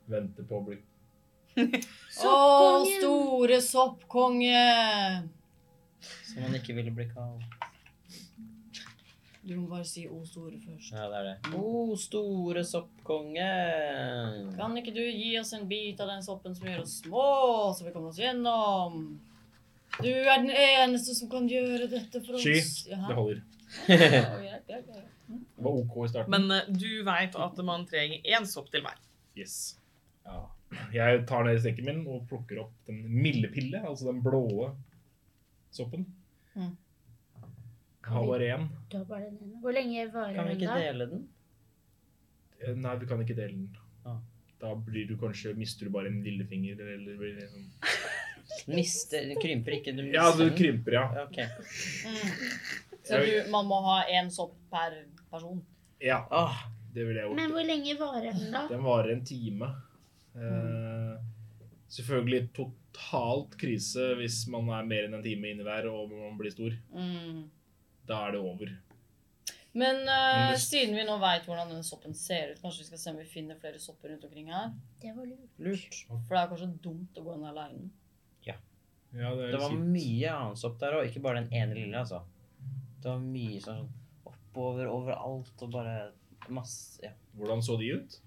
S2: Venter på å bli
S3: Å,
S6: Soppkongen.
S3: store soppkonge!
S4: Som han ikke ville bli kalt.
S3: Du må bare si O store først.
S4: Ja, det er det. Å, store soppkonge!
S3: Kan ikke du gi oss en bit av den soppen som gjør oss små, så vi kommer oss gjennom? Du er den eneste som kan gjøre dette for oss.
S2: Sky,
S3: Jaha.
S2: Det holder.
S3: Ja, greit, greit, greit.
S2: Det var OK i starten.
S1: Men eh, du vet at man trenger én sopp til hver.
S2: Yes. Ja. Jeg tar ned sekken min og plukker opp den milde pille, altså den blåe soppen.
S3: Mm.
S2: Jeg har bare én.
S6: Du har bare den ene. Hvor lenge
S4: Kan
S6: varer
S4: vi
S6: den,
S4: ikke
S6: da?
S4: dele den?
S2: Eh, Nei, vi kan ikke dele den.
S4: Ah.
S2: Da blir du kanskje Mister du bare en lillefinger, eller blir det sånn
S4: Mister, den krymper ikke, du mister
S2: Ja, du
S4: den.
S2: krymper, ja.
S4: Ok.
S3: Mm. Så du, man må ha én sopp per person?
S2: Ja,
S4: Åh,
S2: det ville jeg
S6: Men
S2: gjort.
S6: hvor lenge varer den, da?
S2: Den varer en time. Eh, selvfølgelig totalt krise hvis man er mer enn en time inne hver og man blir stor.
S3: Mm.
S2: Da er det over.
S3: Men eh,
S2: Men det-
S3: siden vi nå veit hvordan denne soppen ser ut, kanskje vi skal se om vi finner flere sopper rundt omkring her?
S6: Det var lurt.
S4: lurt.
S3: For det er kanskje dumt å gå inn aleine.
S2: Ja, er
S4: Det var
S2: kjipt.
S4: mye annen sopp der òg, ikke bare den ene lille, altså. Det var mye sånn oppover overalt og bare masse Ja.
S2: Hvordan så de ut?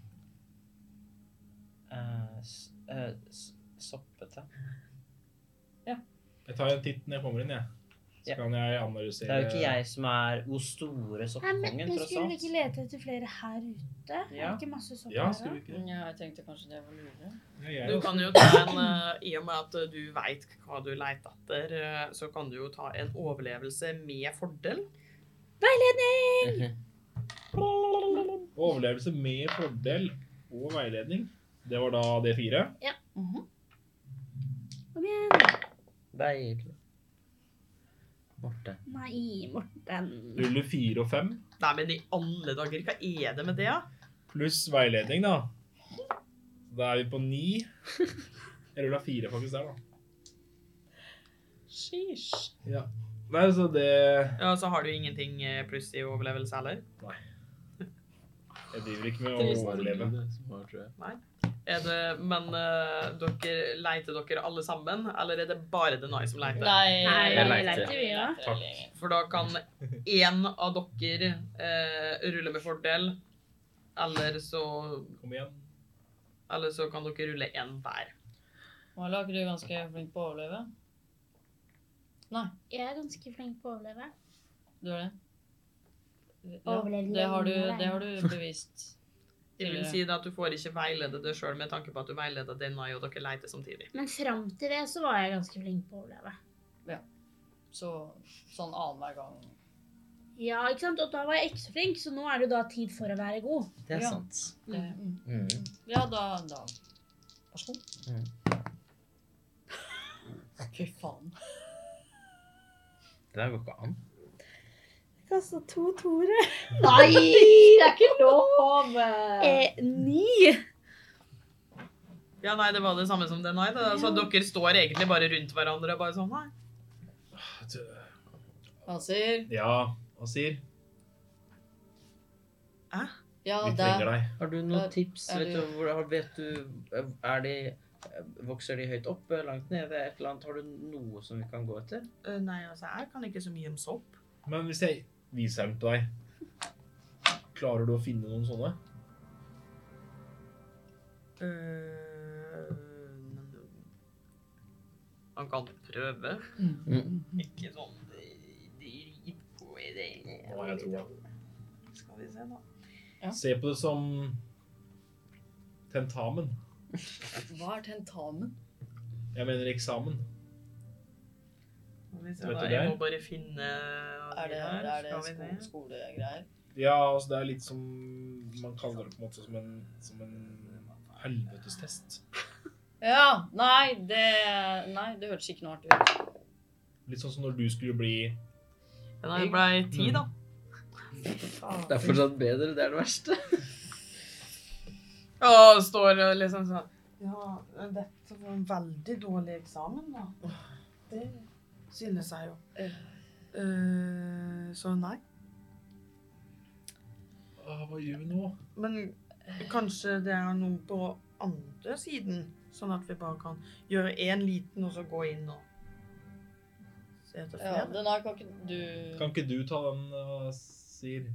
S4: Eh, s- eh, s- soppete.
S2: Jeg tar en titt når jeg kommer inn, jeg. Så
S4: Ja.
S2: kan jeg
S4: Det
S2: analysere
S4: er jo ikke jeg som er O store
S6: Nei, men
S4: soppkongen,
S6: men
S4: tross
S6: Skulle vi
S4: alt.
S6: ikke lete etter flere her ute? Er
S4: Ja.
S6: det ikke masse sånt
S2: Ja,
S6: her,
S2: skulle
S6: da?
S2: du ikke det?
S3: Mm, Ja, jeg tenkte kanskje det var lurere.
S2: Ja, jeg
S1: Du
S2: også.
S1: kan jo ta en, eh, I og med at eh, du veit hva du leter etter, eh, så kan du jo ta en overlevelse med fordel.
S2: Overlevelse med fordel og veiledning. Det var da det fire.
S6: Kom igjen.
S4: Deilig. Morte.
S6: Nei, Morten.
S2: Ruller fire og fem.
S1: Nei, men i alle dager, hva er det med det, da?
S2: Pluss veiledning, da. Da er vi på ni. Jeg rulla fire faktisk der, da.
S3: Sheesh.
S2: Ja. Nei, så det
S1: Ja, så har du ingenting eh, pluss i overlevelse heller.
S2: Jeg driver ikke med å overleve.
S1: Er det, men eh, dere leter dere alle sammen, eller er det bare Denai som leter?
S3: Nei,
S8: Nei,
S4: Jeg
S8: vi
S4: lekte.
S8: leter, vi, ja.
S2: Takk.
S1: For da kan én av dere eh, rulle med fordel, eller så,
S2: Kom igjen.
S1: eller så kan dere rulle én hver.
S3: Mala, er ikke du ganske flink på å overleve?
S6: Jeg er ganske flink på å overleve.
S3: Du er det? Ja,
S6: Overlevde
S3: det har du,
S6: lenge
S3: det har du bevist.
S1: Det vil si da at du får ikke veilede deg sjøl med tanke på at du veileder Denai og dere leter samtidig.
S6: Men fram til det så var jeg ganske flink på å overleve.
S3: Så sånn annenhver gang.
S6: Ja, ikke sant? Og da var jeg ikke så flink, så nå er det jo da tid for å være god.
S4: Det er
S3: Ja.
S4: sant.
S3: Det, mm.
S4: Mm.
S3: Ja, da, da. Vær så god.
S4: Mm.
S3: Fy faen.
S4: Det der går ikke an.
S6: Kasta to toere.
S5: Nei, det er ikke lov!
S6: Eh, ni.
S1: Ja, nei, det var det samme som Denai. da. Så dere står egentlig bare rundt hverandre og bare sånn, nei.
S3: Han sier
S2: Ja, hva sier?
S1: Hæ?
S3: Ja,
S2: Vi
S3: det
S2: trenger deg.
S11: Har du noen
S3: Er-
S11: tips?
S3: er
S11: vet,
S3: du-
S11: du, hvor, har- vet du Er de Vokser de høyt opp, langt nede, et eller annet? Har du noe som vi kan gå etter?
S1: Øh, nei, altså, jeg kan ikke så mye om sopp.
S2: Men hvis jeg viser dem til deg, klarer du å finne noen sånne?
S1: Øh, men Man kan prøve.
S3: Mm.
S1: Ikke sånn øh, dritgod idé.
S2: Hva jeg tror da.
S1: Skal vi se, da.
S2: Se på det som tentamen.
S3: Hva er tentamen?
S2: Jeg mener eksamen.
S1: Skal vi se,
S2: Vet
S1: da.
S2: du det?
S1: Jeg må bare finne
S3: Er det,
S1: her.
S3: er det
S1: Skal vi
S3: sko
S1: se.
S3: skolegreier?
S2: Ja, altså det er litt som Man kaller det på en måte som en, som en helvetestest.
S3: Ja, nei det, nei, det hørtes ikke noe artig ut.
S2: Litt sånn som når du skulle bli
S1: Ja, da, jeg ble
S3: Mm.
S1: ti, da.
S11: Det er fortsatt bedre, det er det verste.
S1: Og står
S2: eh,
S1: og liksom sånn Ja, dette var en veldig dårlig eksamen, da. Det synes jeg jo. Eh, så nei.
S2: Åh, Ah, Hva gjør vi nå?
S1: Men kanskje det er noe på andre siden, sånn at vi bare kan gjøre én liten og så gå inn og se etter
S3: Ja,
S1: flere.
S3: den her kan ikke du
S2: Kan ikke du ta den, eh, Sir?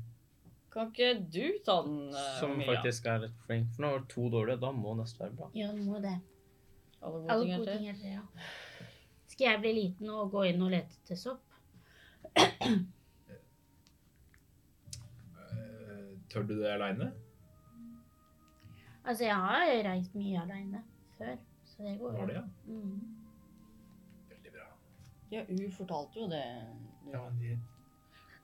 S3: Kan ikke du ta den, eh,
S4: Som
S3: Mia?
S4: faktisk er litt flink. For nå har du to dårlige, da må neste være bra.
S6: Ja, du må det.
S3: Alle gode
S6: Alle
S3: ting
S6: gode
S3: er
S6: ting
S3: til.
S6: er det, ja. Skal jeg bli liten og gå inn og lete etter sopp?
S2: Eh, Tør du det aleine?
S6: Altså, jeg har reist mye aleine før, så det går
S2: Var det,
S6: jo.
S2: ja?
S6: Mm.
S2: Veldig bra.
S3: Ja, hun fortalte jo det.
S2: Ja, men de-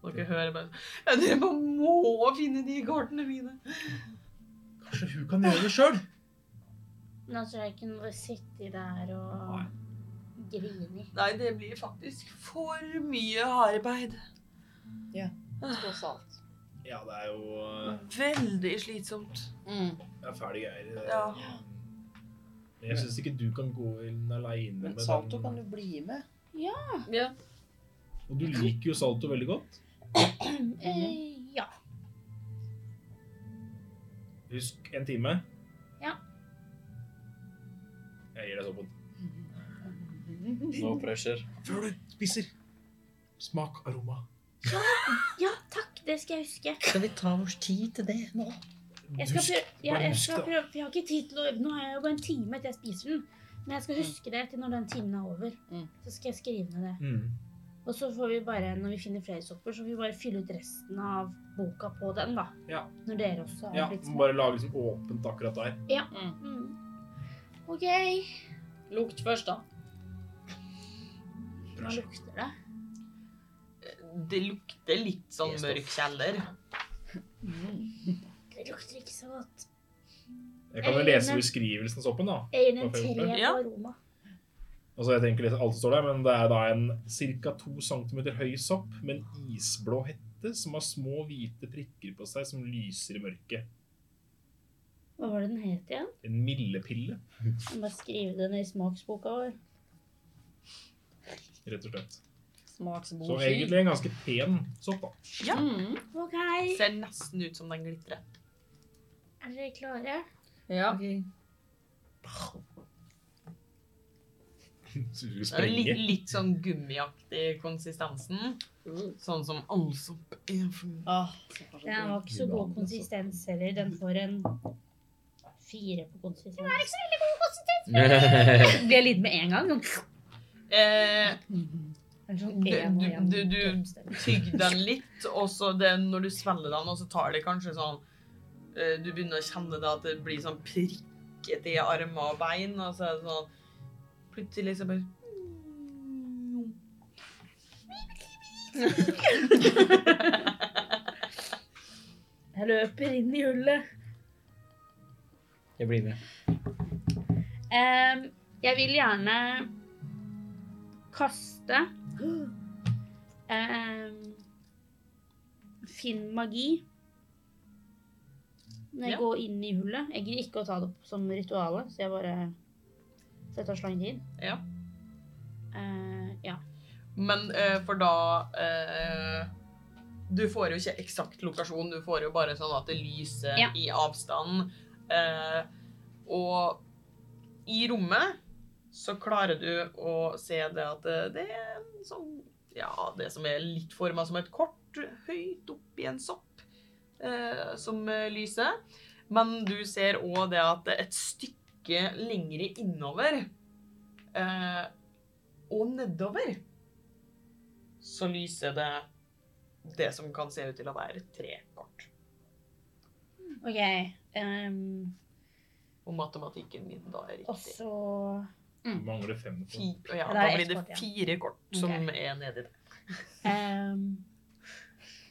S1: Dere hører bare Ja, dere bare må finne de kartene mine.
S2: Kanskje hun kan gjøre det sjøl?
S6: Men altså, jeg kunne bare sitte der og grine.
S1: Nei, det blir faktisk for mye arbeid.
S3: Tross alt.
S2: Ja, det er jo eh,
S1: Veldig slitsomt.
S3: Mm.
S2: Det er fæle greier. eh.
S1: Ja.
S2: Men Jeg syns ikke du kan gå inn aleine
S11: Men
S2: med
S11: Salto
S2: den.
S11: kan du bli med.
S3: Ja.
S2: Og du liker jo Salto veldig godt.
S6: Eh, ja.
S2: Husk en time.
S6: Ja.
S2: Jeg gir deg såpass.
S4: No pressure.
S2: Før du spiser, smak aroma.
S6: ja, takk, det skal jeg huske.
S11: Skal vi ta vår tid til det nå?
S6: Jeg skal
S2: Husk-
S6: prøve, ja,
S2: bare
S6: jeg
S2: husk
S6: skal
S2: det.
S6: prøve for jeg har ikke tid til å Nå har jeg jo bare en time til jeg spiser den. Men jeg skal huske det til når den timen er over.
S3: Mm.
S6: Så skal jeg skrive ned det.
S2: Mm.
S6: Og så får vi bare, når vi finner flere sopper, så får vi bare fylle ut resten av boka på den, da.
S2: Ja.
S6: Når dere også har
S2: Ja,
S6: blitt
S2: må
S6: små.
S2: bare lage liksom åpent akkurat der.
S6: Mm. OK.
S3: Lukt først, da.
S6: Hva lukter det?
S1: Det lukter litt sånn mørk kjeller.
S6: Det lukter ikke så godt.
S2: Jeg kan jo lese beskrivelsen av soppen, da.
S6: Jeg gir den
S2: Hvorfor
S6: tre
S2: gjorde
S6: på
S2: du
S1: det? Ja.
S6: aroma.
S2: Altså, jeg tenker litt alt som står der, men Det er da en ca. 2 cm høy sopp med en isblå hette som har små hvite prikker på seg som lyser i mørket.
S6: Hva var det den het igjen?
S2: En mildepille,
S6: Jeg må bare skrive den i smaksboka vår.
S2: rett og slett. Så
S3: Smaksbord.
S2: egentlig en ganske pen sopp, da.
S3: Mm.
S6: OK.
S1: Ser nesten ut som den glitrer.
S6: Er dere klare?
S3: Ja.
S2: Skulle
S1: Det er Litt,
S2: Sprenge.
S1: litt sånn gummiaktig konsistensen. Sånn som all sopp er. for-
S3: Ah, så kanskje det-
S6: Den har ikke så god konsistens heller. Den får en fire på konsistens. Den er ikke så veldig god konsistens! Blir jeg liten med en gang?
S1: Eh,
S6: Eller sånn
S1: Du-
S6: en og
S1: du-
S6: en
S1: du- du-
S6: konsistens.
S1: tygg den litt, og så det, når du svelger den, og så tar det kanskje sånn eh, Du begynner å kjenne det at det blir sånn prikket i armer og bein, og så er det sånn Plutselig så bare
S6: Jeg løper inn i hullet.
S4: Jeg blir med.
S6: Ehm, jeg vil gjerne kaste ehm, Finn magi. Når jeg
S1: Ja.
S6: går inn i hullet. Jeg gidder ikke å ta det opp som rituale, så jeg bare Så det tar så lang tid.
S1: Ja.
S6: Eh, ja.
S1: Men eh, for da eh, Du får jo ikke eksakt lokasjon, du får jo bare sånn at det lyser
S8: Ja.
S1: i avstanden. Eh, og i rommet så klarer du å se det at det- det er en sånn Ja, det som er litt forma som et kort høyt oppi en sopp eh, som eh, lyser. Men du ser òg det at det er et stykke lengre innover eh, og nedover så lyser det det som kan se ut til å være tre kort.
S6: OK. ehm,
S1: Og matematikken min da er
S6: og
S1: riktig.
S6: så
S2: Mangler fem.
S1: Fi, og ja,
S6: Ja, det
S1: da
S6: er
S1: blir
S6: ett kort
S1: det
S6: igjen.
S1: fire kort som er nedi der.
S6: ehm,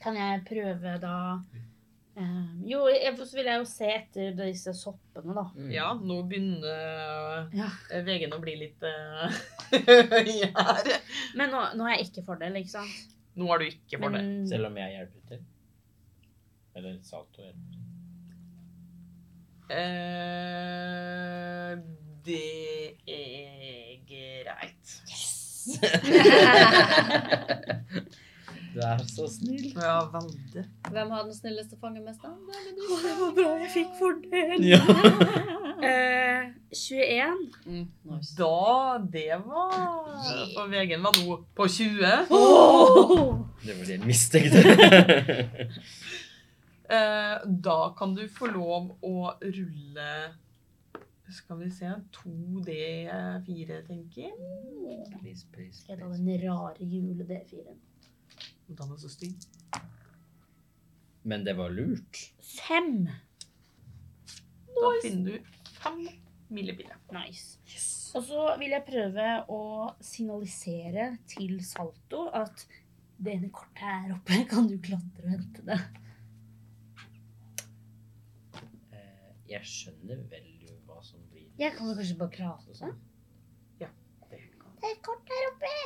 S6: Kan jeg prøve da ehm, Jo, jeg- så vil jeg jo se etter disse soppene, da.
S1: Ja, nå begynner
S6: Ja.
S1: eh, veggene å bli litt eh, høye her.
S6: Men nå, nå er jeg ikke for det, ikke sant?
S1: Nå har du ikke for det.
S6: Men,
S4: Selv om jeg hjelper til. Eller Salto hjelper.
S6: Mm.
S1: Eh, det er greit.
S4: Du er så snill.
S1: Ja, veldig.
S3: Hvem har den snilleste fangemesteren? Det er det
S6: Å, det var bra jeg fikk fordel!
S4: Ja.
S8: Eh, 21.
S3: Mm, nice.
S1: Da, det var For veien var nå på 20.
S4: Det var det jeg mistenkte.
S1: Eh, da kan du få lov å rulle Skal vi se 2D4, tenker jeg.
S4: please, please,
S6: Jeg tar
S4: please.
S6: den rare jule-D4-en.
S1: Den er så stygg.
S4: Men det var lurt.
S6: Fem!
S1: Da finner du fem millibiller.
S6: Nice. Og så vil jeg prøve å signalisere til Salto at det ene kortet her oppe kan du klatre og hente det.
S4: Eh, Jeg skjønner vel jo hva som blir sånn.
S6: Jeg kan jo kanskje bare prate? sånn.
S1: Ja,
S6: Det er et kort her oppe!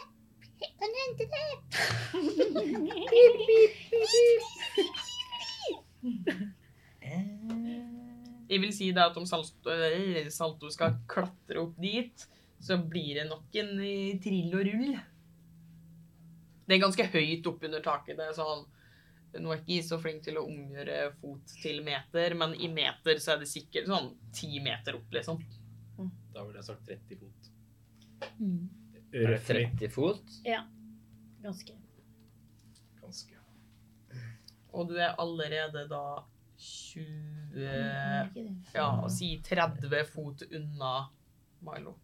S6: Kan du hente det?
S4: Eh.
S1: Jeg vil si da at om Salto, eh, Salto skal klatre opp dit, så blir det nok en eh, trill og rull. Det er ganske høyt opp under taket. det er sånn, Nå er ikke jeg så flink til å omgjøre fot til meter, men i meter så er det sikkert sånn ti meter opp, liksom.
S2: Da ville jeg sagt 30 fot.
S6: Mm,
S4: Er det
S2: Røffelig.
S4: 30 fot?
S6: ganske.
S2: Ganske.
S1: Og du er allerede da
S4: Eh.
S1: 20
S6: Ikke Mm, det.
S1: Ja, og si 30 fot unna Milo.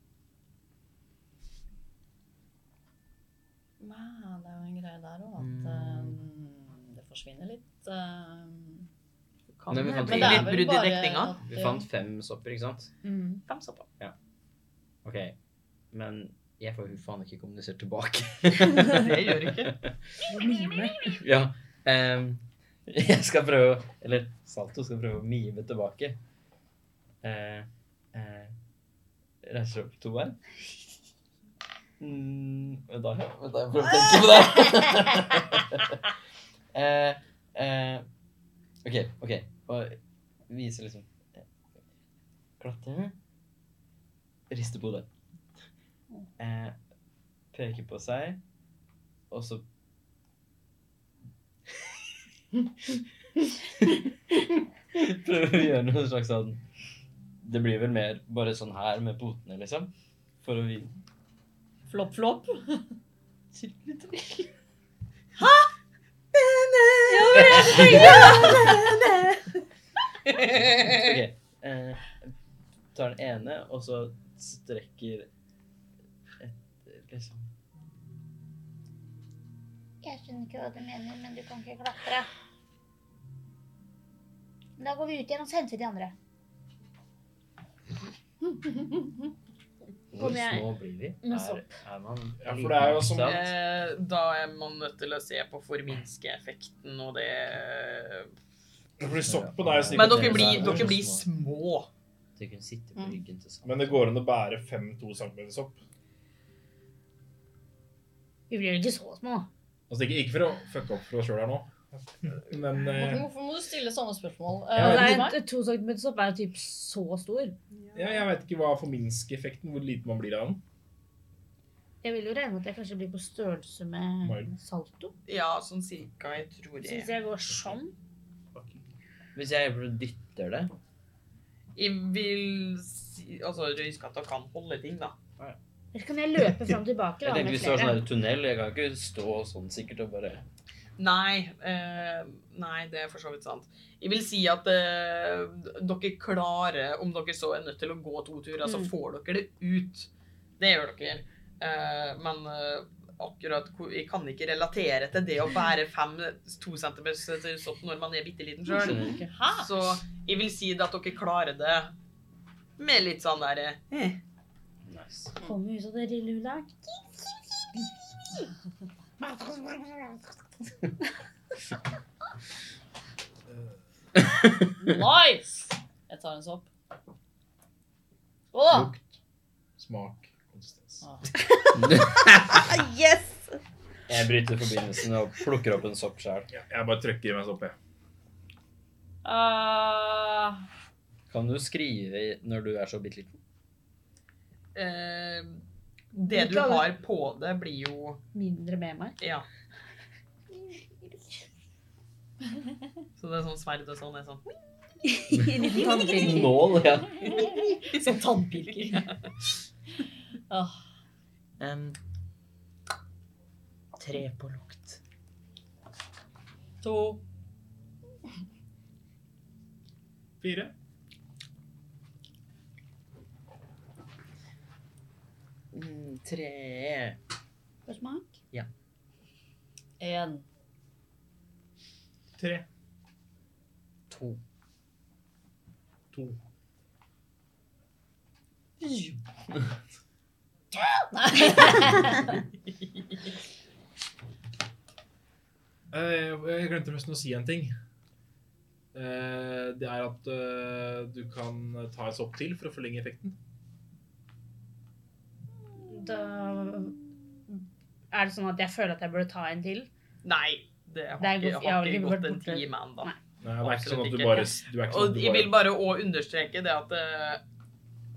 S3: Nei, det er jo en greie der òg,
S2: Mm.
S3: at eh, det forsvinner litt. eh,
S1: Kan
S4: Nei,
S1: det
S4: men kan
S1: bli
S4: det er
S1: litt brudd i dekninga?
S3: at eh,
S4: Vi
S3: det-
S4: fant fem sopper, ikke sant?
S3: Mm.
S1: Fem satt på.
S4: Ok, men jeg får jo faen ikke kommunisert tilbake.
S1: Det gjør du ikke.
S4: Ja. ehm, jeg skal prøve å Eller Salto skal prøve å mime tilbake. Eh, eh, Reiser opp to bein. Mm, Vent, da. Vent, da. Jeg prøver å tenke på det. Eh, eh, OK, OK. Og viser liksom eh, Klatre. Rister på hodet. Eh, peker på seg, og så Prøver å gjøre noe slags sånn Det blir vel mer bare sånn her med potene, liksom. For å vi...
S3: Flopp, flopp.
S4: Ok. Eh, tar den ene, og så strekker et liksom
S5: Jeg skjønner ikke hva du mener, men du kan ikke klatre. Da går vi ut igjen og henter de andre.
S4: Hvor
S6: Kommer jeg-
S4: små blir vi?
S6: Med
S4: Er,
S6: sopp.
S4: er man
S2: Ja, for det er jo
S4: liten,
S2: som-
S4: ikke sant?
S1: Eh, da er man nødt til å se på forminskeeffekten, og det
S2: Fordi soppen er jo sikkert
S1: Men dere blir, dere blir
S4: små.
S1: små.
S4: Du kunne sitte
S6: Mm.
S4: på ryggen til
S2: Men det går an å bære 5-2 cm sopp.
S6: Vi blir jo ikke så små.
S2: Altså ikke, ikke for å fucke opp for oss sjøl her nå, men eh,
S3: Hvorfor må du stille samme spørsmål?
S2: Ja,
S3: Eh, til
S6: Det er
S3: meg?
S6: en Altså, to centimeter sopp er jo typ så stor.
S2: ja, jeg veit ikke hva forminskeeffekten Hvor lite man blir av den.
S6: Jeg vil jo regne med at jeg kanskje blir på størrelse med
S2: Mile.
S6: Salto.
S1: Ja, sånn cirka. Jeg tror det.
S6: Syns jeg går sånn.
S4: Hvis jeg hjelper og dytter det
S1: Jeg vil si Altså, røyskatta kan holde ting, da.
S6: Eller kan jeg løpe fram og tilbake
S4: Jeg
S6: da,
S4: tenkte
S6: med
S4: hvis det var sånn
S6: flere?
S4: her tunnel, jeg kan ikke stå sånn sikkert og bare
S1: Nei. Eh, nei, det er for så vidt sant. Jeg vil si at eh, dere klarer, om dere så er nødt til å gå to turer, så
S6: Mm.
S1: får dere det ut. Det gjør dere. Eh, men eh, akkurat hvor- Jeg kan ikke relatere til det å være fem, to centimeter sånn når man er bitte liten sjøl.
S4: Skjønner ikke.
S1: Så jeg vil si det at dere klarer det med litt sånn derre eh.
S4: Nice.
S6: Kommer ut av det lille hullet.
S3: Nice! Jeg tar en sopp.
S5: Åh,
S2: Lukt, smak, konsistens.
S3: Ah.
S5: yes!
S4: Jeg bryter forbindelsen og plukker opp en sopp sjøl.
S2: Ja, jeg bare trykker i meg sopp, jeg.
S3: Eh,
S4: Kan du skrive i- når du er så bitte liten?
S1: eh, Det du har på det, blir jo
S6: Mindre med meg.
S1: Ja. Så det er sånn sverd og sånn er sånn
S4: Nål, ja.
S6: sånn
S3: som tannpirker. Åh,
S11: Tre på lukt.
S3: to.
S2: Fire.
S11: Mm, tre
S6: Hva smak?
S3: En.
S2: Tre.
S11: To.
S2: To. Eh, Jeg glemte forresten å si en ting. Eh, Det er at eh, du kan ta en sopp til for å forlenge effekten.
S6: Da er det sånn at jeg føler at jeg burde ta en til.
S1: Nei, det har
S6: Det er
S1: ikke,
S6: godt-
S1: har
S6: jeg har
S1: ikke
S6: ikke
S1: gått
S6: vært
S1: en
S6: borte.
S1: time ennå.
S6: Nei.
S2: Nei, det er ikke sånn at du
S1: Absolutt
S2: bare, du er ikke sånn at
S1: Og
S2: du
S1: jeg vil
S2: bare
S1: bare òg understreke det at eh,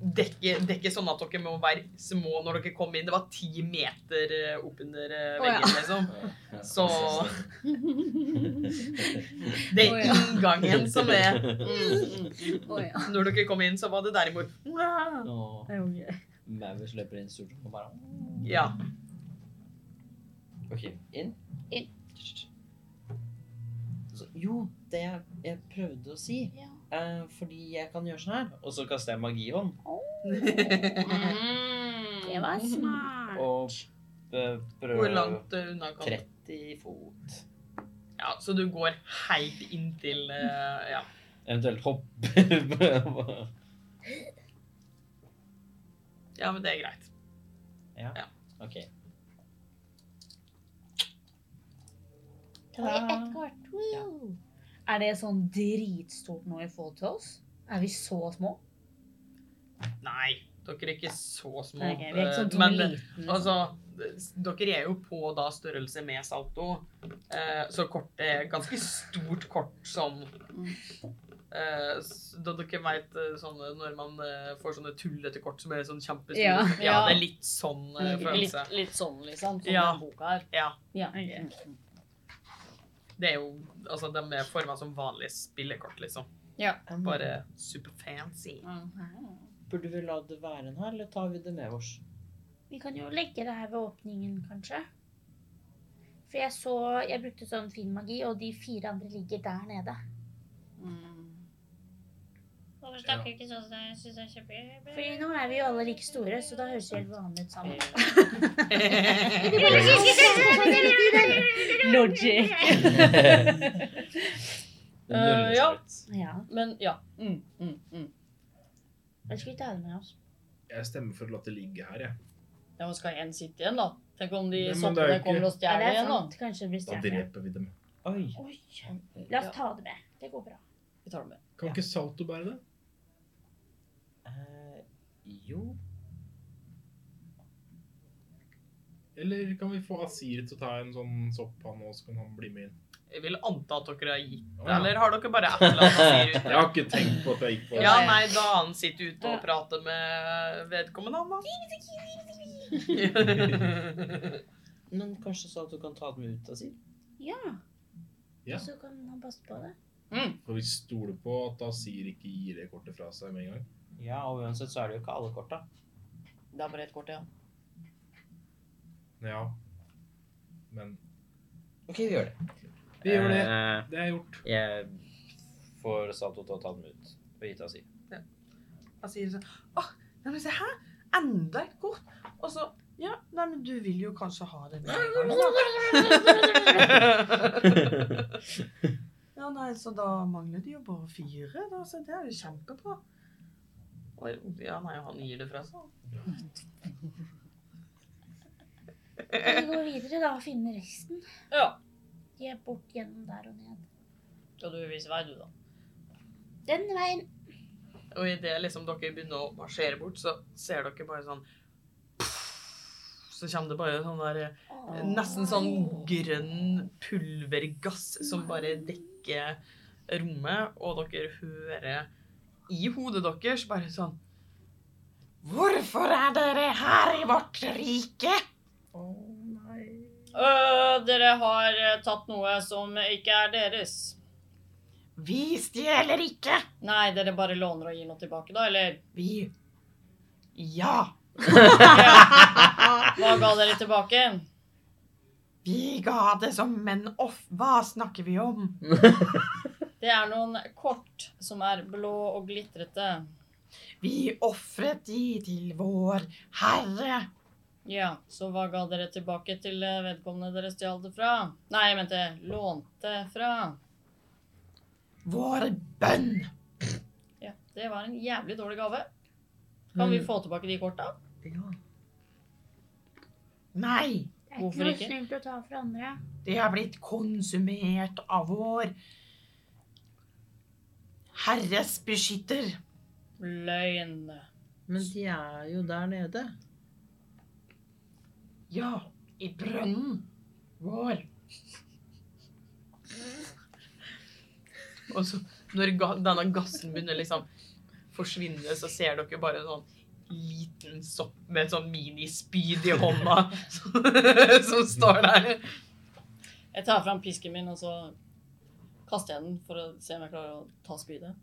S1: det er, ikke, det er ikke sånn at dere må være små når dere kom inn. Det var ti meter eh, oppunder eh,
S6: Å, ja.
S1: veggen, liksom. Så Det
S6: Å,
S1: er
S6: ja.
S1: inngangen som er Mm.
S6: Å ja.
S1: Når dere kom inn, så var det derimot
S4: Og
S6: Ok.
S4: Mavis løper inn stort og bare
S1: Ja.
S4: OK, inn.
S5: Inn.
S4: Så, jo, det jeg, jeg prøvde å si eh, Fordi jeg kan gjøre sånn her. Og så kaster jeg magihånd.
S3: Mm.
S6: Det var smart.
S4: Og eh,
S1: Hvor
S4: prøver
S1: langt eh, unna kan du
S4: 30 fot.
S1: Ja, så du går helt inntil eh, Ja.
S4: Eventuelt hopper.
S1: ja, men det er greit.
S4: OK.
S5: Ta i ett kort. Woo.
S6: Er det sånn dritstort nå i forhold til oss? Er vi så små?
S1: Nei, dere er ikke så små.
S6: Nei, ok, vi er ikke sånn
S1: eh,
S6: to
S1: men
S6: liten.
S1: altså, dere er jo på da størrelse med salto, eh, så kortet er ganske stort kort som eh, s- Da dere veit sånne når man eh, får sånne tullete kort som er sånn kjempestore
S6: Ja.
S1: ja.
S3: Ja.
S1: det er litt sånn eh,
S3: Litt,
S1: følelse.
S3: litt sånn, liksom. Sånn
S1: Ja.
S3: den boka her.
S1: Ja.
S6: ja, ok.
S1: Det er jo Altså, de er forma som vanlige spillekort, liksom.
S3: Ja.
S1: Bare superfancy.
S3: Mm.
S11: Burde vi la det være en her, eller tar vi det med oss?
S6: Vi kan jo legge det her ved åpningen, kanskje. For jeg så Jeg brukte sånn fin magi, og de fire andre ligger der nede. Mm.
S5: Hvorfor snakker du ikke sånn som jeg synes er kjempegøy?
S6: For nå er vi jo alle like store, så da høres det helt vanlig ut sammen. Logic.
S3: Eh, ja.
S6: Ja.
S3: Men ja. Mm, mm, mm.
S6: Eller skal vi ta det med oss?
S2: Jeg stemmer for å la det ligge her, jeg.
S3: Ja, men skal én sitte igjen, da? Tenk om de
S2: Nei, men det er jo
S3: soppene
S2: ikke-
S3: kommer og
S6: Ja,
S3: stjeler
S6: det er
S3: igjen, da.
S6: sant. Kanskje det blir
S2: Da
S6: stjerne.
S2: dreper vi dem.
S11: Oi.
S6: La oss ta det med. Det går bra.
S3: Vi tar det med.
S2: Kan ikke Salto bære det?
S11: Eh, jo.
S2: Eller kan vi få Asir til å ta en sånn sopp, han også, så kan han bli med inn?
S1: Jeg vil anta at dere har gitt det,
S2: Ja.
S1: eller har dere bare et eller annet han sier
S2: Jeg
S1: ute?
S2: har ikke tenkt på at jeg gikk på
S1: Ja, nei, da han sitter ute og prater med vedkommende, han da.
S11: Men kanskje så at du kan ta dem ut av sin?
S6: Ja.
S2: Ja.
S6: Så kan han passe på det.
S2: For vi stoler på at da sier ikke gir det kortet fra seg med en gang.
S11: Ja, og uansett så er det jo ikke alle korta.
S3: Det er bare ett kort igjen.
S2: Ja. Men
S11: Ok, vi gjør det.
S2: vi gjør det.
S4: Eh,
S2: Det er gjort.
S4: Jeg får Sato til å ta dem ut og gi til Asi.
S1: Han sier sånn Åh, nei, men se her! Enda et kort! Og så Ja, nei, men du vil jo kanskje ha det. ja, nei, så da mangler det jo bare fire, da, så det er jo kjempebra. Og ja, nei, han gir det fra seg.
S6: Vi går videre da og finner resten.
S3: Ja.
S6: De er bort gjennom der og ned.
S3: Skal du vise vei, du, da?
S6: Den veien.
S1: Og idet liksom dere begynner å marsjere bort, så ser dere bare sånn Så kommer det bare sånn der eh, Nesten sånn grønn pulvergass som bare dekker rommet, og dere hører i hodet deres bare sånn Hvorfor er dere her i vårt rike?
S3: Øh, dere har eh, tatt noe som ikke er deres.
S1: Vi stjeler ikke.
S3: Nei, dere bare låner og gir noe tilbake, da, eller?
S1: Vi Ja,
S3: Ja. Hva ga dere tilbake?
S1: vi ga det som en off... Hva snakker vi om?
S3: Det er noen kort som er blå og glitrete.
S1: Vi ofret de til vår Herre.
S3: Ja, så hva ga dere tilbake til eh, vedkommende dere stjal det fra? Nei, jeg mente lånte fra.
S1: Vår bønn.
S3: Ja, det var en jævlig dårlig gave. Kan vi få tilbake de korta?
S1: Nei,
S6: Det er
S3: Hvorfor
S6: ikke noe
S3: ikke?
S6: snilt å ta fra andre.
S1: det har blitt konsumert av vår Herres beskytter.
S3: Løgn.
S11: Men de er jo der nede.
S1: Ja, i brønnen vår. Og så, når ga denne gassen begynner liksom forsvinne, så ser dere bare en sånn liten sopp med et sånn minispyd i hånda som, som står der.
S3: Jeg tar fram pisken min, og så kaster jeg den for å se om jeg klarer å ta spydet.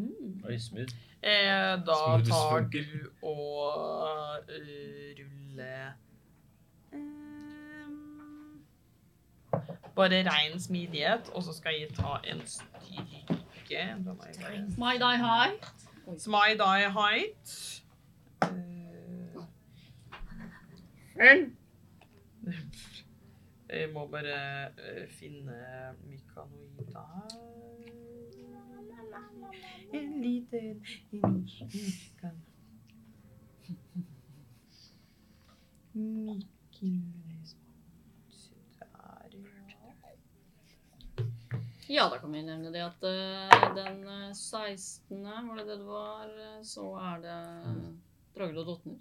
S4: Oi, smooth.
S1: Eh, da
S2: Smoothie
S1: tar
S2: funker.
S1: du og eh, ruller ehm, Bare rein smidighet, og så skal jeg ta en styrke. Da må jeg bare-
S3: My die high.
S1: Smile die height. Eh, Jeg må bare eh, finne mykanoida her. En liten mykan... Mykanoid
S3: Ja, da kan vi nevne det at eh, den eh, 16., var det det det var, eh, så er det Drager og Dottner.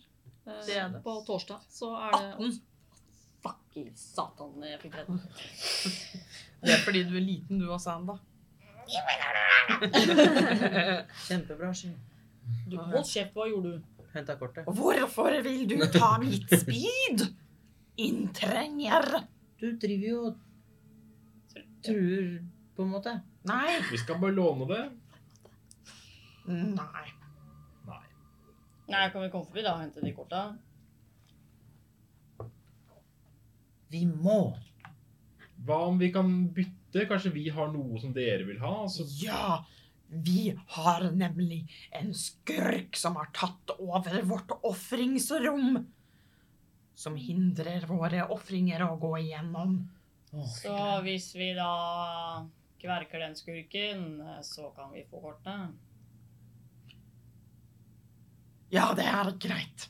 S3: Eh,
S1: Det er det.
S3: På torsdag så er det
S1: 18.
S3: Fucking satan, jeg fikk redd.
S1: Det er fordi du er liten, du også, Anda.
S11: Kjempebra, Sky.
S3: Du, hold kjeft, hva gjorde du?
S11: Henta kortet.
S1: Hvorfor vil du ta mitt spyd? Inntrenger.
S11: Du driver jo og truer, på en måte.
S1: Nei.
S2: Vi skal bare låne det.
S1: Nei.
S2: Nei.
S3: Nei, kan vi komme forbi da og hente de korta?
S11: Vi må!
S2: Hva om vi kan bytte? Kanskje vi har noe som dere vil ha? Altså, og Så
S1: Ja, vi har nemlig en skurk som har tatt over vårt ofringsrom. Som hindrer våre ofringer å gå igjennom.
S3: Så hvis vi da kverker den skurken, eh, så kan vi få kortene.
S1: Ja, det er greit.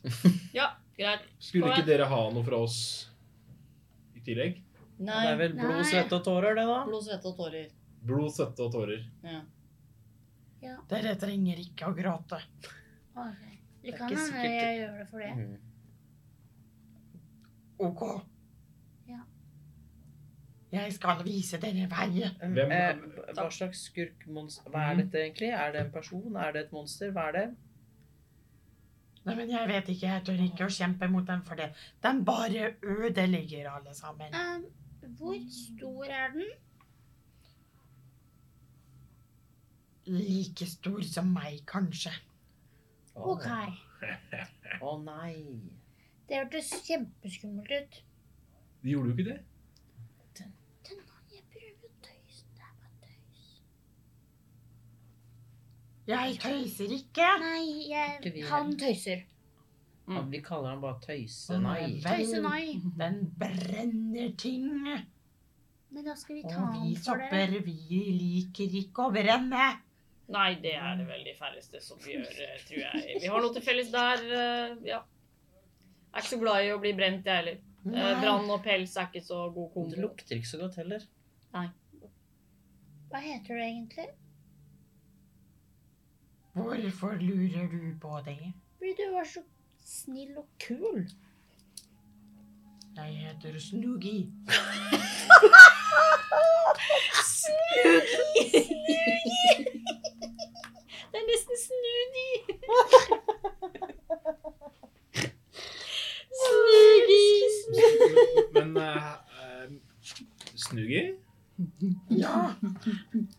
S3: Ja, greit.
S2: skulle ikke dere ha noe fra oss i tillegg?
S3: Nei.
S11: Det er vel blod,
S6: Nei.
S11: svette og tårer, det, da?
S3: Blod, svette og tårer.
S2: Blod, svette og tårer.
S3: Ja.
S1: Dere trenger ikke å gråte.
S6: Ok. Det
S4: er
S6: kan
S4: ikke
S6: hende
S4: sikkert-
S6: jeg gjør det for det.
S1: OK. Jeg skal vise dere veien.
S2: Hvem-
S11: Eh, hva slags skurkmonster Hva er dette egentlig? Er det en person? Er det et monster? Hva er det?
S1: Nei, men jeg vet ikke. Jeg tør ikke å kjempe mot dem for det. De bare ødelegger alle sammen.
S6: Um, hvor stor er den?
S1: Like stor som meg, kanskje.
S11: Å
S6: OK.
S11: å nei.
S6: Det hørtes kjempeskummelt ut.
S2: De gjorde jo ikke det.
S6: Jeg prøver å tøyse. det er bare tøys.
S1: Jeg tøyser ikke.
S6: Nei,
S11: Ikke vi
S6: jeg, han tøyser.
S11: Ja, Vi kaller han bare Tøyse.
S1: Å,
S11: Nei.
S1: nei,
S6: Tøyse nei.
S1: Den brenner ting.
S6: Men da skal vi ta
S1: Og vi
S6: han for det.
S1: sopper, vi liker ikke å brenne.
S3: Nei, det er det vel de færreste som gjør, eh, tror jeg. Vi har noe til felles der. eh, Ja. Jeg er ikke så glad i å bli brent, jeg heller. Eh, Brann og pels er ikke så god
S11: Det
S3: kombo.
S11: lukter ikke så godt heller.
S6: Hva heter du egentlig?
S1: Hvorfor lurer du på det?
S6: Fordi du var så snill og kul.
S1: Jeg heter Snoogie.
S6: Det er nesten snudig.
S2: Men uh, Snuggy?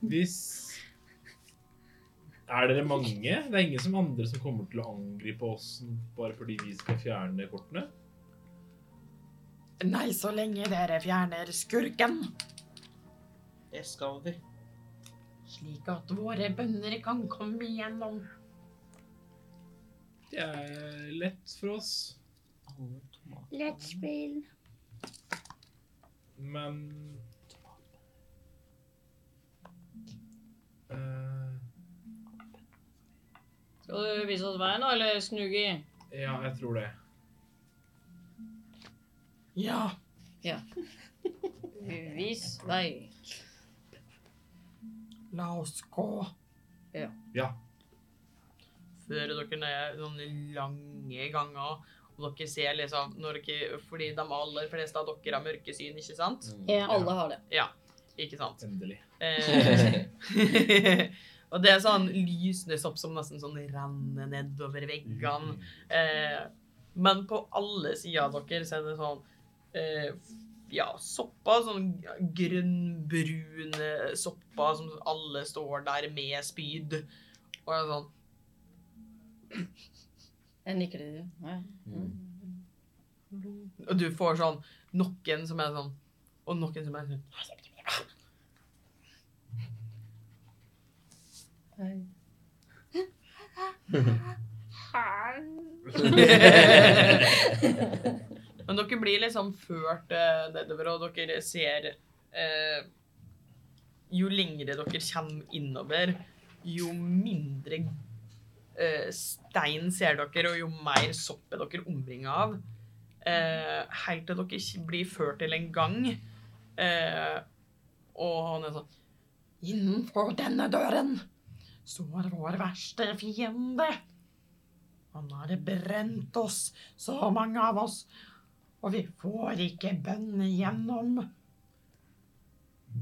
S2: Hvis Er dere mange? Det er ingen som andre som kommer til å angripe oss bare fordi vi skal fjerne kortene?
S1: Nei, så lenge dere fjerner skurken.
S11: Det skal vi.
S1: Slik at våre bønder kan komme igjennom.
S2: Det er lett for oss.
S11: Alle tomatene.
S6: Let's spill.
S2: Men Eh,
S3: Skal du vise oss veien, da, eller snugi?
S2: Ja, jeg tror det.
S1: Ja,
S3: Vis vei.
S1: la oss gå.
S2: Ja.
S1: Fører dere ned noen lange ganger, og dere ser liksom når dere, Fordi de aller fleste av dere har mørkesyn, ikke sant?
S6: Mm.
S3: Alle har det.
S1: Ikke sant?
S2: Endelig.
S1: Eh, og det er sånn lysende sopp som nesten sånn renner nedover veggene. Eh, men på alle sider av dere så er det sånn eh, ja, sopper, sånn grønnbrune sopper som alle står der med spyd. Og er sånn
S3: Jeg nikker til det. Nei.
S1: Og du får sånn noen som er sånn Og noen som er sånn Men dere blir liksom ført eh, nedover, og dere ser eh, Jo lengre dere kommer innover, jo mindre eh, stein ser dere, og jo mer sopp er dere omringa av. Eh, helt til dere ikke blir ført til en gang. Eh, og han er sånn Innenfor denne døren står vår verste fiende. Han har brent oss, så mange av oss. Og vi får ikke bønn igjennom.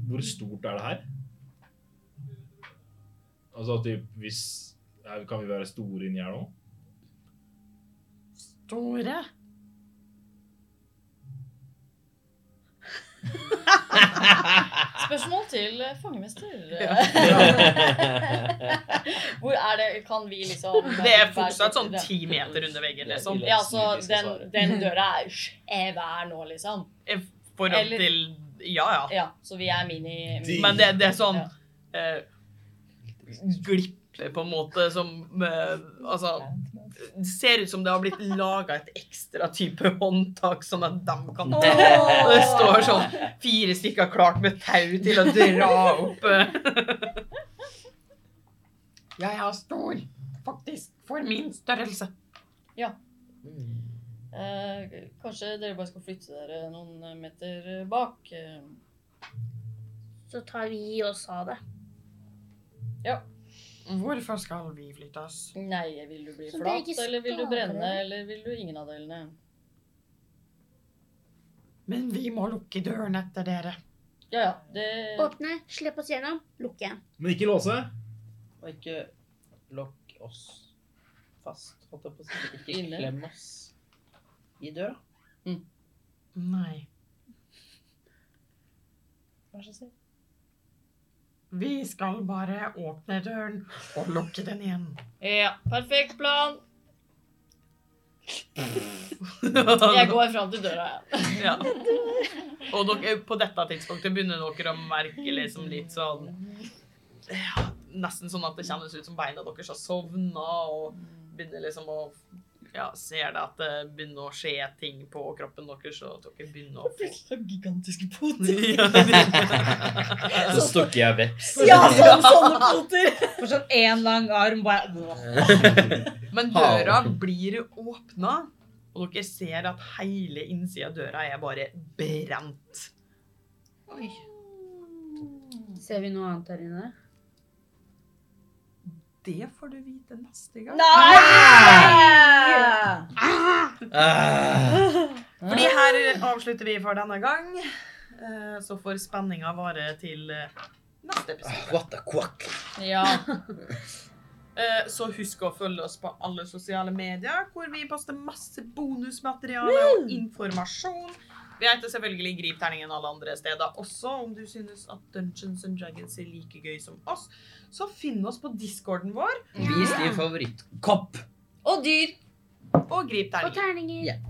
S2: Hvor stort er det her? Altså typ hvis er- Kan vi være store inni her nå?
S1: Store.
S3: Spørsmål til eh, fangemester. Hvor er det Kan vi liksom
S1: Det er fortsatt sånn ti meter under veggen, liksom.
S3: Ja, så den, den døra er svær nå, liksom.
S1: I forhold
S3: Eller-
S1: til Ja, ja.
S3: Ja, så vi er mini...
S2: De-
S3: Men
S1: Men det, det er sånn
S3: Ja.
S1: eh, Glipper, på en måte, som eh, Altså det Ser ut som det har blitt laga et ekstra type håndtak, sånn at de kan ta Og det står sånn fire stykker klart med tau til å dra opp. Jeg er stor, faktisk, for min størrelse.
S11: Mm.
S3: eh, kanskje dere bare skal flytte dere noen meter bak. eh.
S6: Så tar vi oss av det.
S1: Hvorfor skal vi flytte oss?
S3: Nei, vil du bli
S6: Så det er
S3: flat,
S6: ikke
S3: eller vil du
S6: skader,
S3: brenne,
S6: eller?
S3: eller vil du ingen av delene?
S1: Men vi må lukke døren etter dere.
S3: Ja, ja. Det
S6: Åpne, slipp oss gjennom, lukke igjen.
S2: Men ikke låse.
S12: Og ikke lokk oss fast, holdt jeg på å si. Ikke
S3: Inne.
S12: klem oss i døra.
S7: Nei.
S13: Vær så snill.
S7: Vi skal bare åpne døren og lukke den igjen.
S3: Ja, perfekt plan. Jeg går fram til døra, ja.
S7: Ja. Og dere, på dette tidspunktet begynner dere å merke liksom litt sånn ja, Nesten sånn at det kjennes ut som beina deres har sovna, og begynner liksom å ja, Ser det at det begynner å skje ting på kroppen deres, og dere begynner å få
S13: Gigantiske poter.
S7: ja,
S4: Så stokker jeg veps.
S13: Ja,
S3: altså-
S13: sånn, sånne poter! For sånn én lang arm bare
S7: Men døra blir åpna, og dere ser at hele innsida av døra er bare brent.
S1: Ser vi noe annet her inne?
S7: Det får du vite neste gang.
S4: Ah.
S7: Fordi her avslutter vi for denne gang. Eh, Så får spenninga vare til eh, neste episode.
S4: What a quack.
S3: ja.
S7: Eh, Så husk å følge oss på alle sosiale medier, hvor vi poster masse bonusmateriale og informasjon. Vi heter selvfølgelig Grip terningen alle andre steder også. Om du synes at Dungeons and Dragons er like gøy som oss, så finn oss på discorden vår
S4: Vis din favorittkopp.
S14: Og dyr.
S7: og Grip
S6: Og
S7: terningen.
S6: terninger.
S4: Ja.